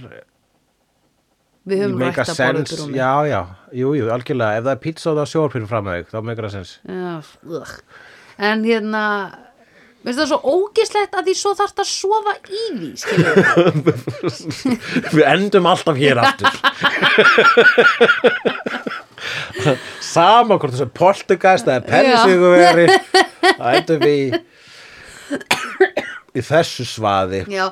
Speaker 1: Við höfum
Speaker 2: make a
Speaker 1: rætt að borða upp í
Speaker 2: sense.
Speaker 1: rúmi
Speaker 2: já, já, jú, jú, algjörlega ef það er pizza og það er sjórpín fram að þau þá meikra sens
Speaker 1: Já, ugh. En hérna Veistu það svo ógislegt að því svo þarft að sofa í því skilur við.
Speaker 2: Við endum alltaf hér aftur Sama hvort þessu poltugast eða pennisuguveri þá endum við í, í þessu svaði
Speaker 1: Já,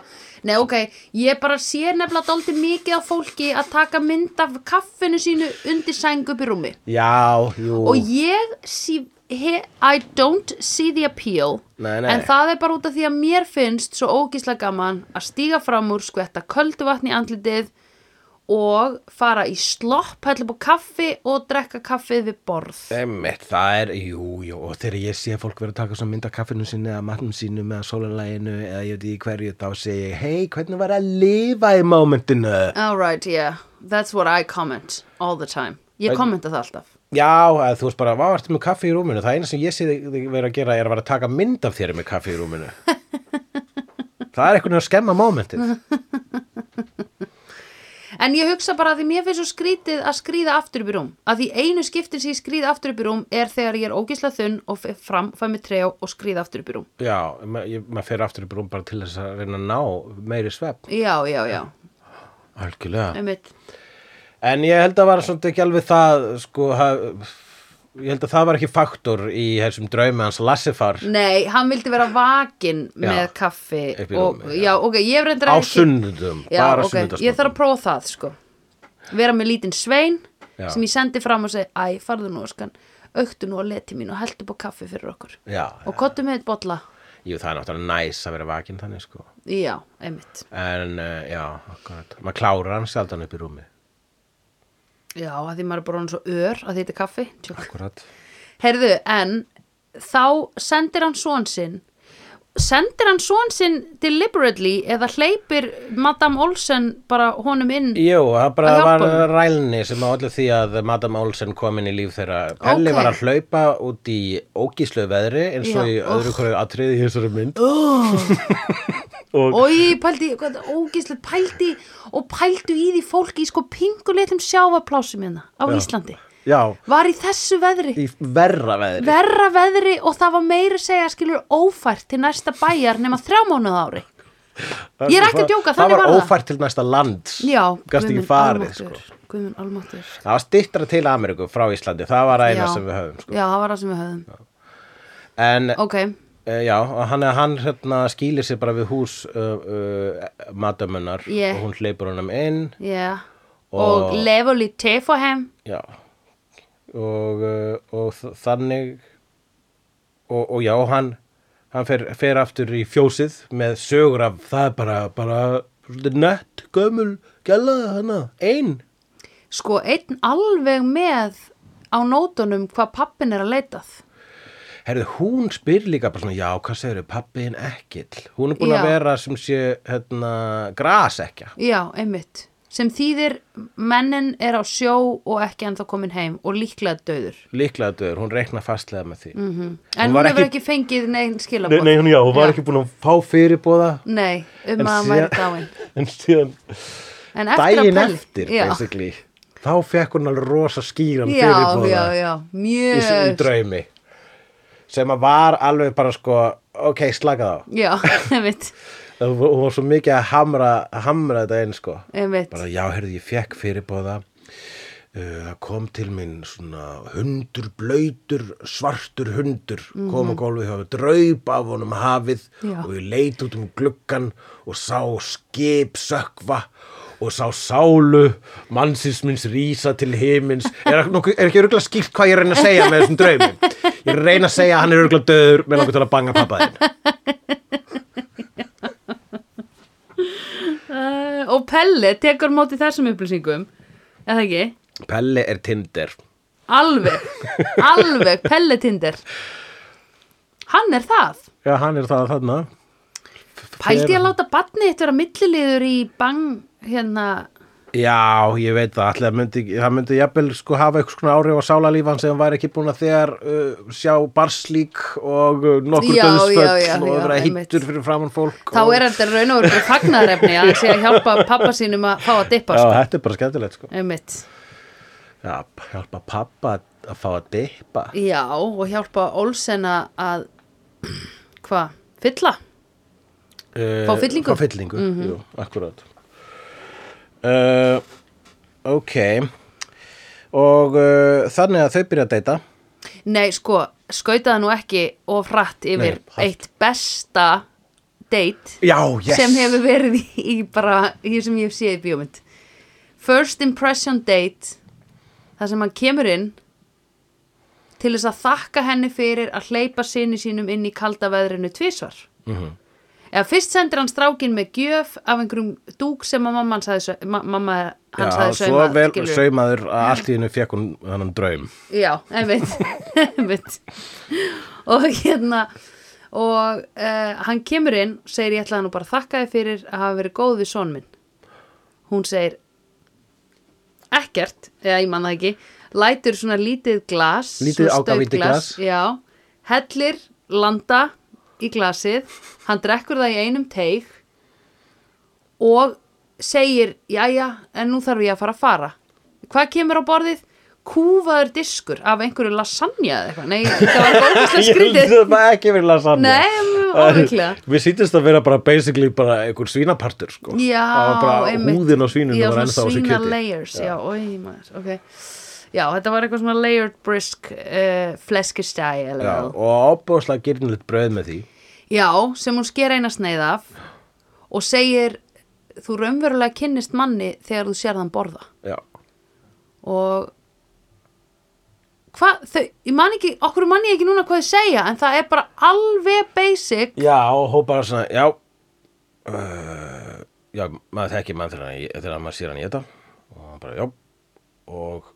Speaker 1: nei ok Ég bara sé nefnilega dálítið mikið af fólki að taka mynd af kaffinu sínu undir sæng upp í rúmi
Speaker 2: Já, jú
Speaker 1: Og ég sí, he, I don't see the appeal
Speaker 2: Nei, nei.
Speaker 1: En það er bara út af því að mér finnst svo ógísla gaman að stíga fram úr skvetta köldu vatni í andlitið og fara í slopp, hella upp á kaffi og drekka kaffið við borð
Speaker 2: Einmitt, það er, jú, jú, og þegar ég sé fólk vera að taka svona mynd af kaffinu sinni eða matnum sínum eða sólanlæginu eða ég veit í hverju þá segi ég, hei, hvernig var að lifa í momentinu?
Speaker 1: All right, yeah, that's what I comment all the time Ég kommenta það alltaf
Speaker 2: Já, að þú veist bara, hvað ertu með kaffi í rúminu? Það eina sem ég sé þig þig vera að gera er að vera að taka mynd af þér með kaffi í rúminu. það er einhvern veginn að skemma mómentið.
Speaker 1: En ég hugsa bara að því mér finnst svo skrítið að skrýða aftur upp í rúm. Að því einu skiptin sem ég skrýð aftur upp í rúm er þegar ég er ógísla þunn og fer fram, fæ mig trejá og skrýð aftur upp í rúm.
Speaker 2: Já, ma- ég- maður fer aftur í brúm bara til þess að reyna að ná meiri svepp.
Speaker 1: Já, já, já.
Speaker 2: Algjörlega.
Speaker 1: Einmitt.
Speaker 2: En ég held að var svolítið ekki alveg það, sko, haf, ég held að það var ekki faktor í þessum draumi hans Lassifar
Speaker 1: Nei, hann vildi vera vakin
Speaker 2: Já.
Speaker 1: með kaffi.
Speaker 2: Upp í
Speaker 1: og,
Speaker 2: rúmi,
Speaker 1: já. ok, ég hef reyndar
Speaker 2: á
Speaker 1: ekki...
Speaker 2: sunnudum,
Speaker 1: Já,
Speaker 2: bara
Speaker 1: ok,
Speaker 2: sunnudagsmorgun.
Speaker 1: ég þarf að prófa það, sko. Vera með lítinn svein
Speaker 2: Já.
Speaker 1: sem ég sendi fram og segi, æ, farðu nú, skan, auktu nú á leti mín og heldu upp á kaffi fyrir okkur.
Speaker 2: Já,
Speaker 1: Og kottu með eitt bolla.
Speaker 2: jú, það er náttúrulega næs að vera vakin þannig, sko.
Speaker 1: Já, einmitt.
Speaker 2: En, eh, já, akkurat. Maður klárar hann sjaldan upp í rúmi.
Speaker 1: Já, að því maður er bara hann svo ör að því þetta er kaffi. Tjók.
Speaker 2: Akkurat.
Speaker 1: Heyrðu, en þá sendir hann són sinn sendir hann són sinn deliberately eða hleypir Madame Olsen bara honum inn
Speaker 2: Jú, það bara
Speaker 1: Að hjálpa
Speaker 2: var rælni sem að allir því að Madame Olsen kom inn í líf þeirra. Pelli
Speaker 1: Ok.
Speaker 2: var að hlaupa út í ógíslu veðri eins
Speaker 1: Já,
Speaker 2: og í öðru
Speaker 1: oh.
Speaker 2: hverju atriði í þessari mynd. Oh. og
Speaker 1: Ói, pældi, hvað, ógíslega pældi og pældu í því fólki í sko pingulitum sjávaplásum hérna á
Speaker 2: Já.
Speaker 1: Íslandi
Speaker 2: já,
Speaker 1: var í þessu veðri
Speaker 2: í verra veðri.
Speaker 1: verra veðri og það var meira að segja skilur ófært til næsta bæjar nema þrjá mánuð ári ég er ekki að djóka,
Speaker 2: það
Speaker 1: þannig
Speaker 2: var
Speaker 1: var það.
Speaker 2: ófært til næsta lands.
Speaker 1: Já,
Speaker 2: Gast ekki
Speaker 1: Guðmund
Speaker 2: farið,
Speaker 1: almáttugur,
Speaker 2: sko.
Speaker 1: Guðmund almáttur
Speaker 2: Það var stittra til Ameríku frá Íslandi, það var eina
Speaker 1: Já.
Speaker 2: sem við höfum, sko.
Speaker 1: Já, það var það sem við höfum
Speaker 2: En,
Speaker 1: Ok,
Speaker 2: Eh, Já, og hann, hann hérna, skýlir sér bara við hús uh, uh, matamunnar
Speaker 1: Yeah.
Speaker 2: og hún hleypur honum inn
Speaker 1: Já,
Speaker 2: Og-
Speaker 1: og, leva lítið te for him.
Speaker 2: já, og, uh, og þ- þannig og, og já, hann, hann fer, fer aftur í fjósið með sögur af það er bara, bara svolítið nött, gömul, gæla hana, ein
Speaker 1: Sko, einn alveg með á nótunum hvað pappin er að leitað.
Speaker 2: Herðu, hún spyr líka bara svona, já, hvað segirðu, pappiðin ekkill hún er búin
Speaker 1: Já.
Speaker 2: að vera sem sé hérna, grasekja
Speaker 1: Já, einmitt. Sem þýðir mennin er á sjó og ekki ennþá komin heim og líklega döður.
Speaker 2: líklega döður, hún reikna fastlega með því mm -hmm.
Speaker 1: En
Speaker 2: Hún
Speaker 1: hún
Speaker 2: var
Speaker 1: hefur ekki
Speaker 2: ekki-
Speaker 1: fengið neginn
Speaker 2: Nei,
Speaker 1: skilabóð.
Speaker 2: nei, hún já, hún var ekki búin að fá fyrirbóða
Speaker 1: Nei, um að hann væri dáin.
Speaker 2: en síðan
Speaker 1: En eftir að
Speaker 2: daginn
Speaker 1: Pelli-
Speaker 2: eftir,
Speaker 1: já,
Speaker 2: basically þá fekk hún alveg rosa skýran
Speaker 1: Já,
Speaker 2: fyrirbóða
Speaker 1: já, já,
Speaker 2: í, í
Speaker 1: mjög.
Speaker 2: draumi sem að var alveg bara sko ok, slaka þá
Speaker 1: já, einmitt,
Speaker 2: Það var- hún var svo mikið að hamra, hamra þetta einn sko
Speaker 1: einmitt
Speaker 2: bara já, heyrðu, ég fekk fyrirbóða Uh, það kom til minn svona hundur, blöytur, svartur hundur kom á gólfið hjá, draup af honum hafið
Speaker 1: Já.
Speaker 2: og ég leit út um gluggan og sá skip sökva og sá sálu mannsins minns rísa til himins er, nokkuð- er ekki örgulega skilt hvað ég reyna að segja með þessum draumi ég er að reyna að segja að hann er örgulega döður með langar til að banga pappa þinn
Speaker 1: uh, og Pelle tekur á móti þessum upplýsingum eða ekki,
Speaker 2: Pelle er Tinder
Speaker 1: alveg alveg Pelle Tinder hann er það
Speaker 2: Já, hann er það þarna
Speaker 1: pældi ég að láta batni eitt vera milliliður í bang hérna,
Speaker 2: Já, ég veit það, allir myndi, það myndi jafnvel sko hafa eitthvað svona áhrif á sálalíf hans ef hann væri ekki búin að þegar uh, sjá barslík og uh, nokkur
Speaker 1: Já, já, já,
Speaker 2: döðsföll og
Speaker 1: já,
Speaker 2: vera
Speaker 1: einmitt.
Speaker 2: hittur fyrir framann fólk
Speaker 1: þá
Speaker 2: og,
Speaker 1: er þetta raun og verið fagnarefni að hann sé að hjálpa pappa sínum að fá að dippa
Speaker 2: Já,
Speaker 1: sko.
Speaker 2: þetta er bara skemmtilegt sko
Speaker 1: einmitt
Speaker 2: Já, hjálpa pappa að fá að dippa
Speaker 1: Já, og hjálpa Olsen að- að hvað, fylla
Speaker 2: uh,
Speaker 1: Fá fyllingu? Mhm.
Speaker 2: Fá fyllingu, jú, akkurát uh, Ok Og uh, þannig að þau byrja að deyta
Speaker 1: Nei, sko, skautaði nú ekki of hratt yfir
Speaker 2: Nei, hægt.
Speaker 1: eitt besta date
Speaker 2: Já, Oh, yes
Speaker 1: sem hefur verið í, í bara, hér sem ég hef séð í bíómynd First impression date þar sem hann kemur inn til þess að þakka henni fyrir að hleypa sinni sínum inn í kalda veðrinu tvisvar
Speaker 2: Mhm.
Speaker 1: eða fyrst sendir hann strákin með gjöf af einhverjum dúk sem að mamma hans hafi, sau- ma mamma hans
Speaker 2: Já,
Speaker 1: hafi
Speaker 2: svo
Speaker 1: saumað,
Speaker 2: vel
Speaker 1: skilurðu.
Speaker 2: saumaður að allt í hennu fekk hún þannan draum
Speaker 1: Já, einmitt, einmitt. og hérna og uh, hann kemur inn og segir ég ætlaði nú bara að þakka þér fyrir að hafa verið góð við son minn hún segir ekkert, eða ég man það ekki lætur svona lítið glas
Speaker 2: Lítið
Speaker 1: svona staupglas,
Speaker 2: ágafítið glas.
Speaker 1: já, hellir landa í glasið hann drekkur það í einum teig og segir, jæja, en nú þarf ég að fara að fara. Hvað kemur á borðið? Kúfaður diskur af einhverju lasagna eða eitthvað. Nei, þetta var góðslega
Speaker 2: Ég held að
Speaker 1: skrítið.
Speaker 2: það var ekki verið lasagna
Speaker 1: Nei, óvíklega.
Speaker 2: Við sýttist að vera bara basically bara einhver svínapartur sko
Speaker 1: Já,
Speaker 2: Það var bara
Speaker 1: einmitt.
Speaker 2: húðin á svíninu
Speaker 1: Já,
Speaker 2: var
Speaker 1: svona
Speaker 2: ennþá á þessu
Speaker 1: svína
Speaker 2: kjöti
Speaker 1: layers, já, oi, maður, ok. Já, þetta var eitthvað svona layered brisk uh, fleskistæ
Speaker 2: Já,
Speaker 1: eða
Speaker 2: og ábúðslega gyrnilegt brauð með því
Speaker 1: Já, sem hún sker eina sneið af og segir, þú raunverulega kynnist manni þegar þú sér þann borða.
Speaker 2: Já,
Speaker 1: og hvað, þau, ég man ekki okkur man ég ekki núna hvað þau segja en það er bara alveg basic
Speaker 2: já og hó bara svona, já uh, Já, maður þekki mann þegar, hann- þegar maður sér hann í þetta og hann bara, já og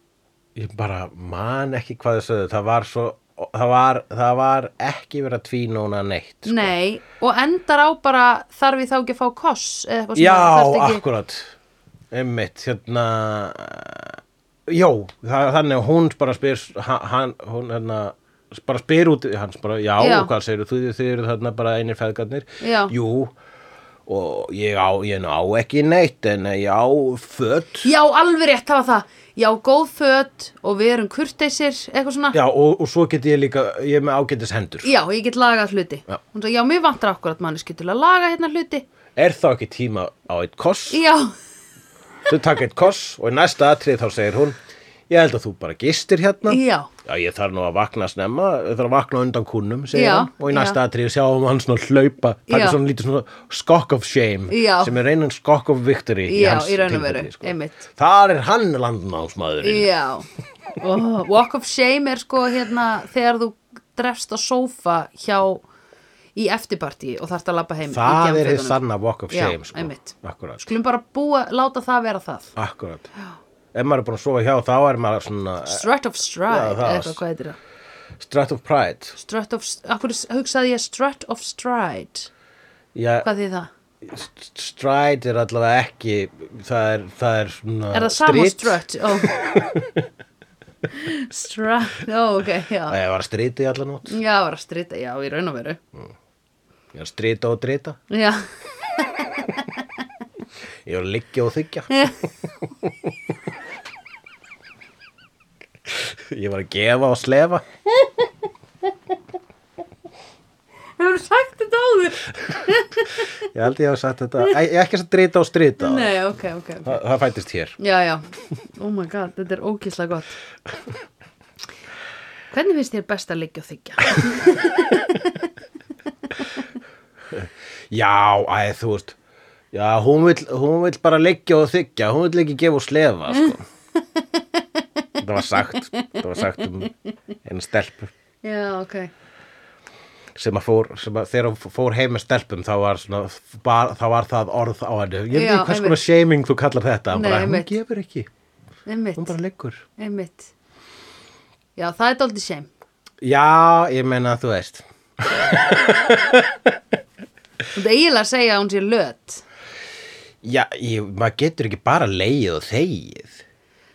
Speaker 2: ég bara man ekki hvað þau sögðu það var svo, það var, það var ekki verið að tvínóna neitt sko.
Speaker 1: nei, og endar á bara þarf ég þá ekki að fá koss eða eitthvað sem
Speaker 2: Já,
Speaker 1: þarf ekki
Speaker 2: akkurat Einmitt, hérna Jó, það, þannig að hún bara spyr ha- hann, hún hérna bara spyr út, hans bara, já,
Speaker 1: Já.
Speaker 2: og hvað segir þú, þið eru þarna bara einir feðgarnir
Speaker 1: Já.
Speaker 2: Jú, og ég á ég ná ekki neitt, en ég á föt
Speaker 1: já, alveg rétt, það var það já, góð föt og við erum kurteisir eitthvað svona,
Speaker 2: Já, og, og svo get ég líka, ég er með ágætis hendur
Speaker 1: ég get lagað hluti
Speaker 2: Já.
Speaker 1: hún sagði, já, mér vantar akkurat manneski til að laga hérna hluti
Speaker 2: Er þá ekki tíma á eitt koss?
Speaker 1: já,
Speaker 2: Þau taka eitt koss og í næsta atrið þá segir hún Ég held að þú bara gistir hérna
Speaker 1: já
Speaker 2: Já, ég þarf nú að vakna snemma, ég þarf að vakna á undan kúnum, segir
Speaker 1: Já,
Speaker 2: hann, og í
Speaker 1: já.
Speaker 2: næsta atrið sjáum hann svona hlaupa, taka
Speaker 1: Já.
Speaker 2: svona lítið svona skokk of shame,
Speaker 1: Já.
Speaker 2: sem er reynan skokk of victory
Speaker 1: Já,
Speaker 2: hans
Speaker 1: í raun og
Speaker 2: tilfelli, sko.
Speaker 1: veru, einmitt.
Speaker 2: Þar er hann landnámsmaðurinn.
Speaker 1: Já, oh, walk of shame er sko hérna þegar þú drefst á sófa hjá í eftirparti og þarft að labba heim í
Speaker 2: Það er hið
Speaker 1: gjamfötunum.
Speaker 2: sanna walk of
Speaker 1: Já,
Speaker 2: shame, sko.
Speaker 1: einmitt.
Speaker 2: Akkurat,
Speaker 1: Skulum bara búa, láta það vera það
Speaker 2: akkurat. Ef maður er búin að sofa hjá, þá er maður svona eh,
Speaker 1: Strut of stride,
Speaker 2: Já, það
Speaker 1: eða
Speaker 2: var-
Speaker 1: eitthvað hvað heitir það
Speaker 2: strut of pride.
Speaker 1: Strut of, akkur hugsaði ég strut of stride
Speaker 2: Já,
Speaker 1: Hvað þið það?
Speaker 2: st- stride er allavega ekki, það er, það er svona
Speaker 1: Er það sama og
Speaker 2: strit.
Speaker 1: strut? Ó. strut, ó ok,
Speaker 2: Það
Speaker 1: já
Speaker 2: er að vera striti allan út,
Speaker 1: Já, var að strita, já, í raun og veru
Speaker 2: ég er strita og drita,
Speaker 1: Já,
Speaker 2: ég er að liggja og þykja. Ég var að gefa og slefa Ég held ég hafa sagt þetta Æ, Ég er ekki að drita og strita á það.
Speaker 1: Nei, ok, ok, ok
Speaker 2: það, það fættist hér
Speaker 1: Já, já, oh my god, þetta er ógíslega gott Hvernig finnst þér best að liggja og þykja?
Speaker 2: Já, æ, þú veist Já, hún vill, hún vill bara leggja og þykja Hún vill ekki gefa og slefa sko. Þetta var sagt Þetta var sagt um einu stelpu
Speaker 1: Já, ok
Speaker 2: sem að fór, sem að þegar hún fór heim með stelpum þá var, svona, bar, þá var það orð á henni, ég
Speaker 1: Já,
Speaker 2: veit ekki hvers konar
Speaker 1: einmitt.
Speaker 2: shaming þú kallar þetta, Hún
Speaker 1: Nei,
Speaker 2: bara, hún
Speaker 1: einmitt.
Speaker 2: gefur ekki hún
Speaker 1: Einmitt,
Speaker 2: bara liggur
Speaker 1: einmitt Já, það er dálítið sem
Speaker 2: Já, ég meina þú veist
Speaker 1: Þú ert eiginlega að segja að hún sé löt
Speaker 2: Já, ég, maður getur ekki bara leið og þegið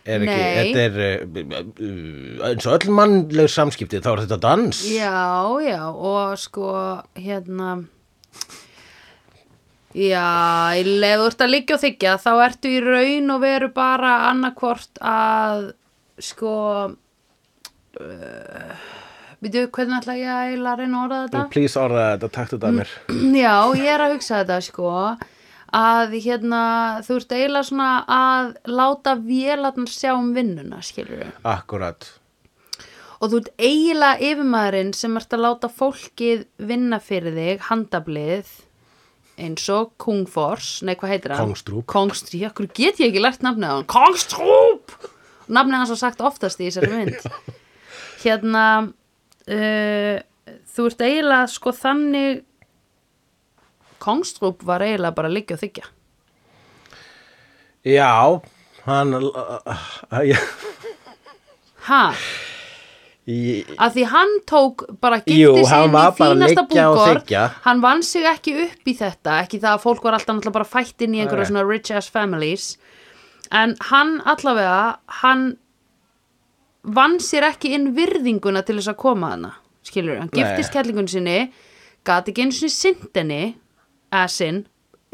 Speaker 2: er ekki,
Speaker 1: Nei.
Speaker 2: Þetta er uh, uh, eins og öll mannleg samskipti þá er þetta dans
Speaker 1: Já, já, og sko, hérna, já, í leið þú ert að liggja og þykja, þá ertu í raun og veru bara annarkvort að, sko, uh, við hvernig ætla ég að eiginlega reyna að orða þetta?
Speaker 2: Please orða þetta, taktu þetta að
Speaker 1: Mm.
Speaker 2: mér
Speaker 1: Já, ég er að hugsa þetta sko að hérna, þú ert eiginlega svona að láta vélarnar sjá um vinnuna, skilur við.
Speaker 2: Akkurat
Speaker 1: Og þú ert eiginlega yfirmaðurinn sem ert að láta fólkið vinna fyrir þig, handablið, eins og Kungfors, nei hvað heitir hann?
Speaker 2: Kongstrúp.
Speaker 1: Kongstrúp, já, hverju get ég ekki lært nafnið á hann? Kongstrúp! Nafnið hans var sagt oftast í þessari mynd. hérna, uh, þú ert eiginlega sko þannig, Kongstrúp var eiginlega bara að liggja og þykja.
Speaker 2: Já, hann uh, uh,
Speaker 1: Ha,
Speaker 2: ég,
Speaker 1: að því hann tók bara
Speaker 2: Jú,
Speaker 1: gifti sig
Speaker 2: hann
Speaker 1: inn í
Speaker 2: var bara að
Speaker 1: fínasta
Speaker 2: liggja og
Speaker 1: búkor
Speaker 2: þiggja.
Speaker 1: hann vann sig ekki upp í þetta ekki það að fólk var alltaf náttúrulega bara fætt inn í einhverja
Speaker 2: Nei.
Speaker 1: svona rich ass families en hann allavega hann vann sér ekki inn virðinguna til þess að koma hana skilur, hann
Speaker 2: Nei.
Speaker 1: giftist kellingun sinni gat ekki einu sinni sindinni asinn,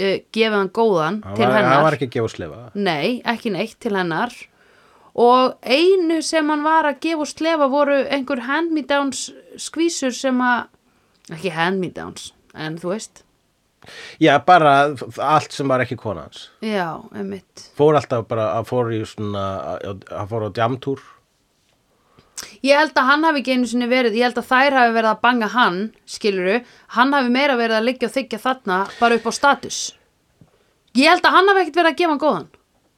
Speaker 1: uh, gefið hann góðan
Speaker 2: hann,
Speaker 1: til
Speaker 2: var,
Speaker 1: hennar
Speaker 2: hann var ekki að gefa og slefa
Speaker 1: Nei, ekki neitt til hennar og einu sem hann var að gefa og slefa voru einhver hand-me-downs skvísur sem að ekki hand-me-downs, en þú veist
Speaker 2: Já, bara f- allt sem var ekki kona hans
Speaker 1: Já, einmitt
Speaker 2: Fór alltaf bara, hann fór í svona hann fór á djamtúr
Speaker 1: Ég held að hann hafi ekki einu sinni verið ég held að þær hafi verið að banga hann skiluru, hann hafi meira verið að liggja og þykja þarna bara upp á status Ég held að hann hafi ekkert verið að gefa hann góðan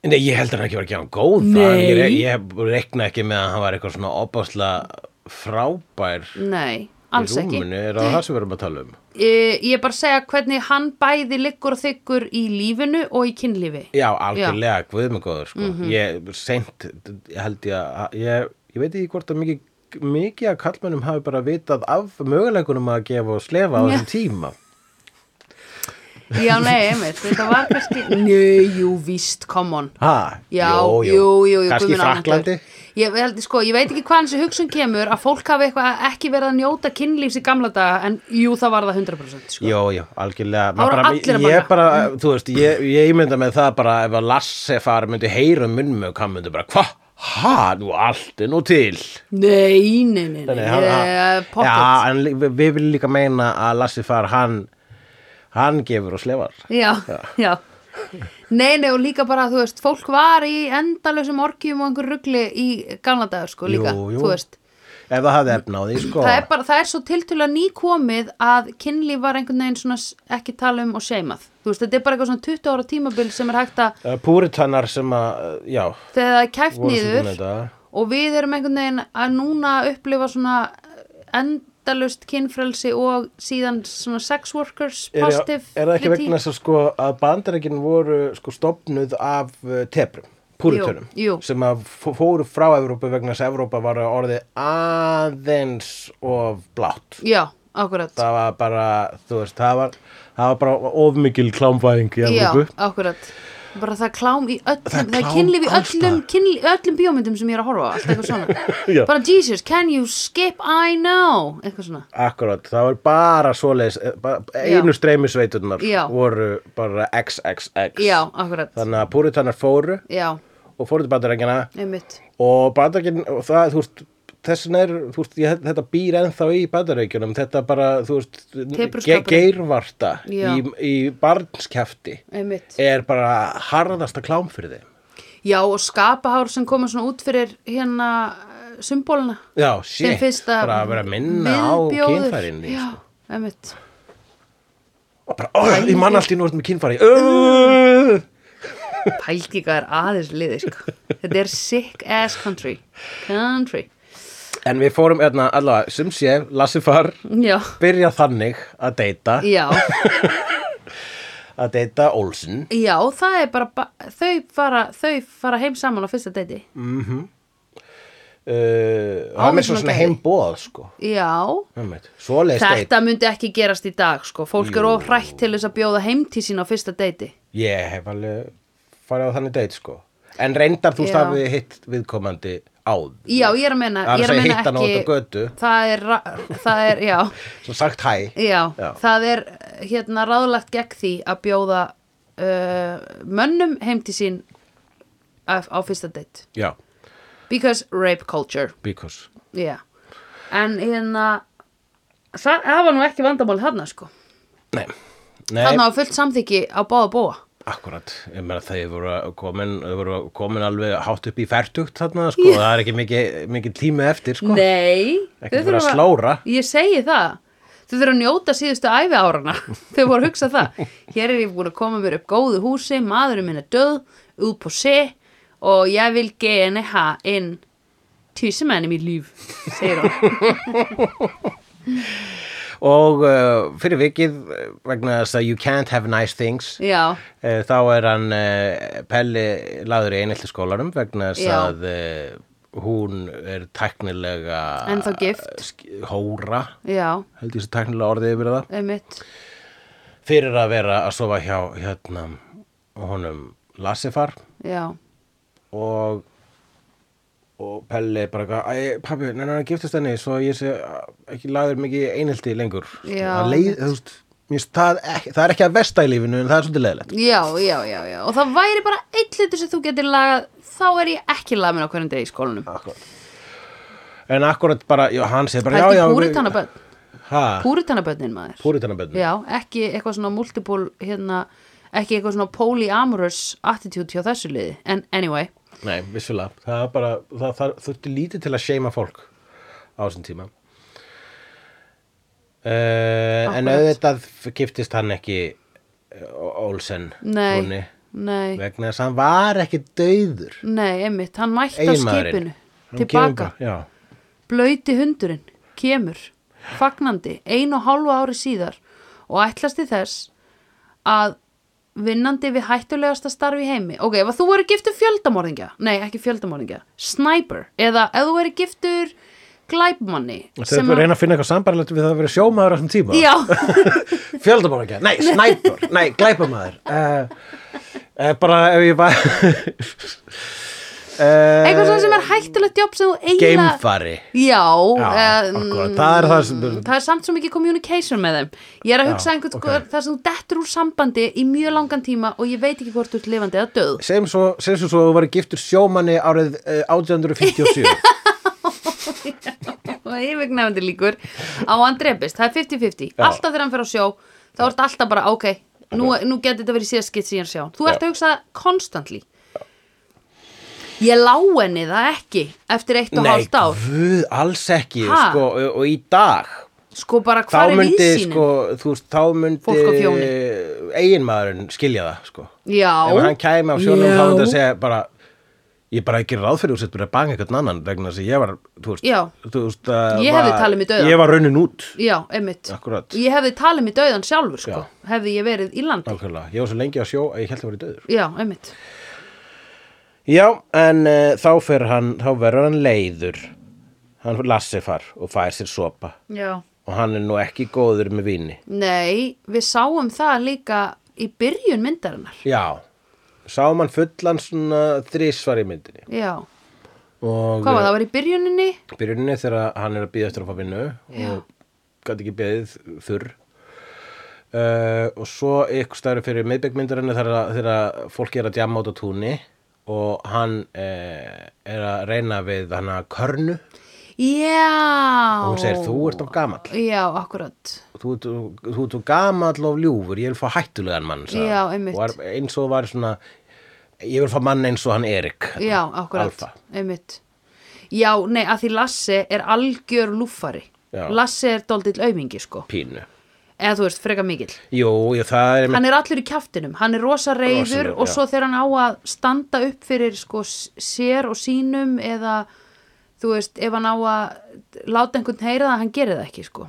Speaker 2: Nei, ég heldur hann ekki var að gefa hann góð
Speaker 1: Nei.
Speaker 2: Ég, re- ég rekna ekki með að hann var eitthvað svona opaslega frábær
Speaker 1: Nei, alls
Speaker 2: í
Speaker 1: ekki
Speaker 2: rúminu, er það það sem við erum að tala um
Speaker 1: Eh, Ég er bara að segja hvernig hann bæði liggur og þykkur í lífinu og í kynlífi
Speaker 2: Já, algjörlega, guð mig góður sko.
Speaker 1: Mhm.
Speaker 2: Ég, seint, ég held ég að ég, ég veit ekki hvort að mikið mikið að kallmennum hafi bara vitað af möguleikunum að gefa og slefa á þessum tíma
Speaker 1: Já, nei, einmitt, þetta var kannski Nei, jú, víst, come on
Speaker 2: ha,
Speaker 1: Já, jú, jú, jú, jú guð
Speaker 2: Kannski í
Speaker 1: minn almáttugur.
Speaker 2: Fraklandi
Speaker 1: ég, held, sko, ég veit ekki hvaðan þessi hugsun kemur að fólk hafi eitthvað ekki verið að njóta kynlífs í gamla daga en jú, það var það 100% sko.
Speaker 2: Jó, jó, algjörlega
Speaker 1: Það voru
Speaker 2: bara,
Speaker 1: allir að
Speaker 2: Ég
Speaker 1: banga.
Speaker 2: bara, þú veist, ég, ég ímynda með það bara ef að Lasse fari myndi heyra um munnmög hann myndi bara, hva? Ha, nú allt er nú til
Speaker 1: Nei, nei, nei, nei,
Speaker 2: Nei,
Speaker 1: nei
Speaker 2: hann-
Speaker 1: eh,
Speaker 2: hann-
Speaker 1: pocket
Speaker 2: Já, en li- við við viljum líka meina að Lasse far hann, hann gefur og slefar
Speaker 1: já, já. Nei, nei, og líka bara, þú veist, fólk var í endalausum orkjum og einhver ruggli í gamla dagar, sko, líka,
Speaker 2: Jú, jú.
Speaker 1: þú veist.
Speaker 2: ef það hafði efna á því, sko
Speaker 1: Það er bara, það er svo tiltölu að nýkomið að kynlíf var einhvern veginn svona s- ekki tala um og seimað. Þú veist, þetta er bara eitthvað svona 20 ára tímabil sem er hægt að,
Speaker 2: Uh, Púritanar sem að, uh, já
Speaker 1: þegar það er kæft
Speaker 2: voru svolítið
Speaker 1: niður
Speaker 2: með þetta.
Speaker 1: og við erum einhvern veginn að núna upplifa svona endalust kynfrelsi og síðan svona sex workers,
Speaker 2: Er,
Speaker 1: positive.
Speaker 2: er það ekki
Speaker 1: liti.
Speaker 2: vegna þess að sko að bandarækin voru sko stopnuð af uh, tebrum, púritunum
Speaker 1: Jú, jú.
Speaker 2: sem að fó- fóru frá Evrópu vegna þess að Evrópa var orðið aðeins of blátt
Speaker 1: Já, akkurat.
Speaker 2: það var bara, þú veist, það var það var bara of mikil klámvæðing í Evrópu
Speaker 1: Já, akkurat bara það er klám í öllum það
Speaker 2: Það
Speaker 1: er,
Speaker 2: er klám
Speaker 1: kynlíf í
Speaker 2: alls
Speaker 1: öllum, kynlíf, öllum bíómyndum sem ég er að horfa á allt eitthvað svona
Speaker 2: Já.
Speaker 1: bara Jesus, can you skip I know eitthvað svona
Speaker 2: Akkurat, það var bara svoleiðis eh, bara,
Speaker 1: Já.
Speaker 2: einu streymisveiturnar
Speaker 1: Já.
Speaker 2: voru bara XXX
Speaker 1: já, akkurat
Speaker 2: þannig að púritanar fóru
Speaker 1: já,
Speaker 2: og fóru til bandarækina
Speaker 1: einmitt
Speaker 2: og bandarækin, það, þú veist þess vegna er, þú veist, ég, þetta býr ennþá í bandarækjunum, þetta bara, þú veist, ge
Speaker 1: Tepruskapurinn.
Speaker 2: geirvarta
Speaker 1: Já.
Speaker 2: í, í barnskjafti
Speaker 1: einmitt.
Speaker 2: er bara harðasta klám fyrir þeim.
Speaker 1: Já, og skapahár sem koma svona út fyrir hérna eh, symbolna.
Speaker 2: Já,
Speaker 1: Sem
Speaker 2: shit,
Speaker 1: fyrsta
Speaker 2: bara að vera að minna á sko.
Speaker 1: viðbjóður.
Speaker 2: kynfærinni.
Speaker 1: Já, einmitt.
Speaker 2: Og bara, ó, ég man allt í nú ertu með kynfæri. Uh!
Speaker 1: Pæltíka er aðeins liðið, sko. Þetta er sick ass country. Country.
Speaker 2: En við fórum, öðna, allavega, sem sé, Lassi far,
Speaker 1: Já,
Speaker 2: byrja þannig að deyta,
Speaker 1: já.
Speaker 2: að deyta Olsen.
Speaker 1: Já, það er bara, ba þau fara, þau fara heim saman á fyrsta deiti.
Speaker 2: Uh, og hann er svo
Speaker 1: Olsen og
Speaker 2: svona
Speaker 1: Geiri.
Speaker 2: heimboð, sko.
Speaker 1: Já,
Speaker 2: Svoleiðis deyt.
Speaker 1: þetta myndi ekki gerast í dag, sko. Fólk er
Speaker 2: Jú.
Speaker 1: of hrætt til þess að bjóða heim til sín á fyrsta deiti.
Speaker 2: Ég hef alveg farið á þannig date sko En reyndar þú
Speaker 1: Já.
Speaker 2: stafi hitt viðkomandi áð
Speaker 1: Já, ég er að meina,
Speaker 2: Það er
Speaker 1: ég er
Speaker 2: að
Speaker 1: að
Speaker 2: segja
Speaker 1: meina
Speaker 2: hitt hann út á götu.
Speaker 1: ekki, það er, ra- það er, já,
Speaker 2: Svo sagt hæ
Speaker 1: já,
Speaker 2: Já.
Speaker 1: það er hérna ráðlagt gegn því að bjóða uh, mönnum heim til sín af, á fyrsta date.
Speaker 2: Já,
Speaker 1: Because rape culture,
Speaker 2: because
Speaker 1: já. En hérna, það það var nú ekki vandamál þarna, sko.
Speaker 2: Nei, Nei
Speaker 1: Þarna var fullt samþyggi á báða bóa.
Speaker 2: akkurat Ég meina þeir voru komin, þeir voru komin alveg hátt upp í færtugt þarna sko Það er ekki mikið, mikið tími eftir sko
Speaker 1: Nei
Speaker 2: Ekki
Speaker 1: þau
Speaker 2: vera að
Speaker 1: þurfa-
Speaker 2: slóra.
Speaker 1: Ég segi það Þau þurfa að njóta síðustu æfi árana Þau voru að hugsa það Hér er ég búin að koma mér upp góðu húsi Maðurinn minn er döð, út på se Og ég vil geni ha inn Tísumenni mér líf Segir hún
Speaker 2: Og uh, fyrir vikið eh, vegna þess að you can't have nice things
Speaker 1: Já,
Speaker 2: Eh, Þá er hann eh, Pelli lagður í einhelti skólanum vegna þess
Speaker 1: Já.
Speaker 2: að eh, hún er teknilega
Speaker 1: Ennþá gift.
Speaker 2: sk- Hóra,
Speaker 1: já,
Speaker 2: held ég svo teknilega orðið yfir það
Speaker 1: einmitt
Speaker 2: Fyrir að vera að sofa hjá hérna honum Lassifar
Speaker 1: Já,
Speaker 2: og og Pelli bara eitthvað, æ, pabbi, neina hann giftist henni svo ég sé ah, ekki lagður mikið í einhelti lengur
Speaker 1: Já,
Speaker 2: Það leið,
Speaker 1: einmitt.
Speaker 2: þú veist, mér finnst það, ekki, það er ekki að vesta í lífinu en það er svolítið leiðilegt
Speaker 1: já, já, já, já Og það væri bara einn hlutur sem þú getur lagað Þá er ég ekki lagað minn á hverjum degi í skólanum
Speaker 2: Akkurat. En akkurat bara, já, hann segir bara,
Speaker 1: Það
Speaker 2: já,
Speaker 1: er
Speaker 2: já,
Speaker 1: ekki
Speaker 2: við-
Speaker 1: púritanabönn
Speaker 2: Ha,
Speaker 1: Púritanabönnin maður
Speaker 2: púritanabönn.
Speaker 1: Já, ekki eitthvað svona multiple hérna, ekki eitthvað svona polyamorous attitude hjá þessu liði en anyway,
Speaker 2: Nei, vissulega, það er bara, það, það þurfti lítið til að seima fólk á þessum tíma. Uh, en
Speaker 1: Akkurat.
Speaker 2: auðvitað giftist hann ekki eh, Ó- Olsen
Speaker 1: nei
Speaker 2: konunni,
Speaker 1: nei,
Speaker 2: vegna þess að hann var ekki dauður
Speaker 1: nei, einmitt, hann mætti á
Speaker 2: eiginmaðurinn
Speaker 1: skipinu tilbaka,
Speaker 2: já,
Speaker 1: blöyti hundurinn kemur, fagnandi einu og hálfu ári síðar og ætlast til þess að vinnandi við hættulegasta starfi í heimi ok, ef að þú verið giftur fjöldamorðingja nei, ekki fjöldamorðingja, sniper eða ef þú verið giftur glæpmanni
Speaker 2: þau
Speaker 1: sem
Speaker 2: eru að
Speaker 1: að-
Speaker 2: reyna að finna eitthvað sambarlegt við það að vera sjómaður á þessum tíma
Speaker 1: já,
Speaker 2: Fjöldamorðingja, nei, snæpur, nei, glæpamaður uh, uh, Bara ef ég var uh,
Speaker 1: eitthvað svona sem er hættulegt jobb sem þú eiginlega
Speaker 2: Geimfari
Speaker 1: já,
Speaker 2: Já,
Speaker 1: em,
Speaker 2: akkúrat, það er það sem-
Speaker 1: það er samt svo mikið communication með þeim ég er að
Speaker 2: Já,
Speaker 1: hugsa einhvern
Speaker 2: ok.
Speaker 1: okay. það sem þú dettur úr sambandi í mjög langan tíma og ég veit ekki hvort þú ert lifandi eða döð
Speaker 2: Sem svo, sem svo svo þú varir giftur sjómanni árið uh, 1857
Speaker 1: og ég veit nefndi líkur á hann drefist, það er 50-50
Speaker 2: Já.
Speaker 1: alltaf þegar hann fer á sjó, þá ert alltaf bara ok, nú, nú getur þetta verið síðast skitt síðan sjá þú ert
Speaker 2: Já.
Speaker 1: að hugsa það constantly ég lá henni það ekki eftir eitt og
Speaker 2: Nei,
Speaker 1: hálft ár
Speaker 2: guð, alls ekki
Speaker 1: Ha?
Speaker 2: sko, og, og í dag
Speaker 1: sko bara
Speaker 2: Þá
Speaker 1: hvar er
Speaker 2: myndi,
Speaker 1: vísinin
Speaker 2: sko, þú veist, þá myndi
Speaker 1: Fólk á fjóni.
Speaker 2: Eiginmaðurinn skilja það, sko
Speaker 1: já,
Speaker 2: Ef hann kæmi á sjónum
Speaker 1: Já.
Speaker 2: þá myndi að segja bara Ég bara ekki ráð fyrir þú sett bara að banga eitthvað annan vegna þess að ég var, þú veist,
Speaker 1: Já.
Speaker 2: þú veist uh,
Speaker 1: Ég hefði talið mig dauðan.
Speaker 2: Ég var raunin út,
Speaker 1: Já, einmitt.
Speaker 2: akkurat,
Speaker 1: Ég hefði talið mér dauðan sjálfur, sko.
Speaker 2: Já.
Speaker 1: Hefði ég verið í landi.
Speaker 2: nákvæmlega, ég var svo lengi á sjó að ég held að vera í döður.
Speaker 1: Já, einmitt.
Speaker 2: Já, en uh, þá fer hann, þá verður hann leiður, hann lassi far og fær sér sopa
Speaker 1: Já.
Speaker 2: og hann er nú ekki góður með vini.
Speaker 1: Nei, við sáum það líka í byrjun myndarinnar.
Speaker 2: Já, sáum hann fullan svona þrísvar í myndinni.
Speaker 1: Já.
Speaker 2: Og
Speaker 1: Hvað var það? Var í byrjuninni?
Speaker 2: eh, byrjuninni þegar hann er að býða eftir að fá vinnu og gæti ekki beðið þurr. Uh, og svo ykkur stæður fyrir miðbyggmyndarinnu þegar, þegar fólki er að djama át á eh, túnni og hann uh, er að reyna við hann að körnu
Speaker 1: Já
Speaker 2: og hún segir þú ert of gamall
Speaker 1: Já, akkurat
Speaker 2: þú, þú, þú ert of gamall of ljúfur ég vil fá hættulegan mann sagði
Speaker 1: Já,
Speaker 2: hún.
Speaker 1: einmitt.
Speaker 2: Og var, eins og var svona ég vil fá mann eins og hann Erik
Speaker 1: Já, akkurat
Speaker 2: Alfa.
Speaker 1: Einmitt Já, nei, að því Lasse er algjör lúffari
Speaker 2: Já.
Speaker 1: Lasse er dóldill aumingi, sko
Speaker 2: pínu
Speaker 1: Eða þú veist, freka mikill
Speaker 2: jú, jú, það er
Speaker 1: Hann er allur í kjaftinum, hann er rosa reyður
Speaker 2: Rosalegur,
Speaker 1: og
Speaker 2: já.
Speaker 1: svo þegar hann á að standa upp fyrir sko s- sér og sínum eða þú veist, ef hann á að láta einhvern heyra það, hann gerir það ekki sko.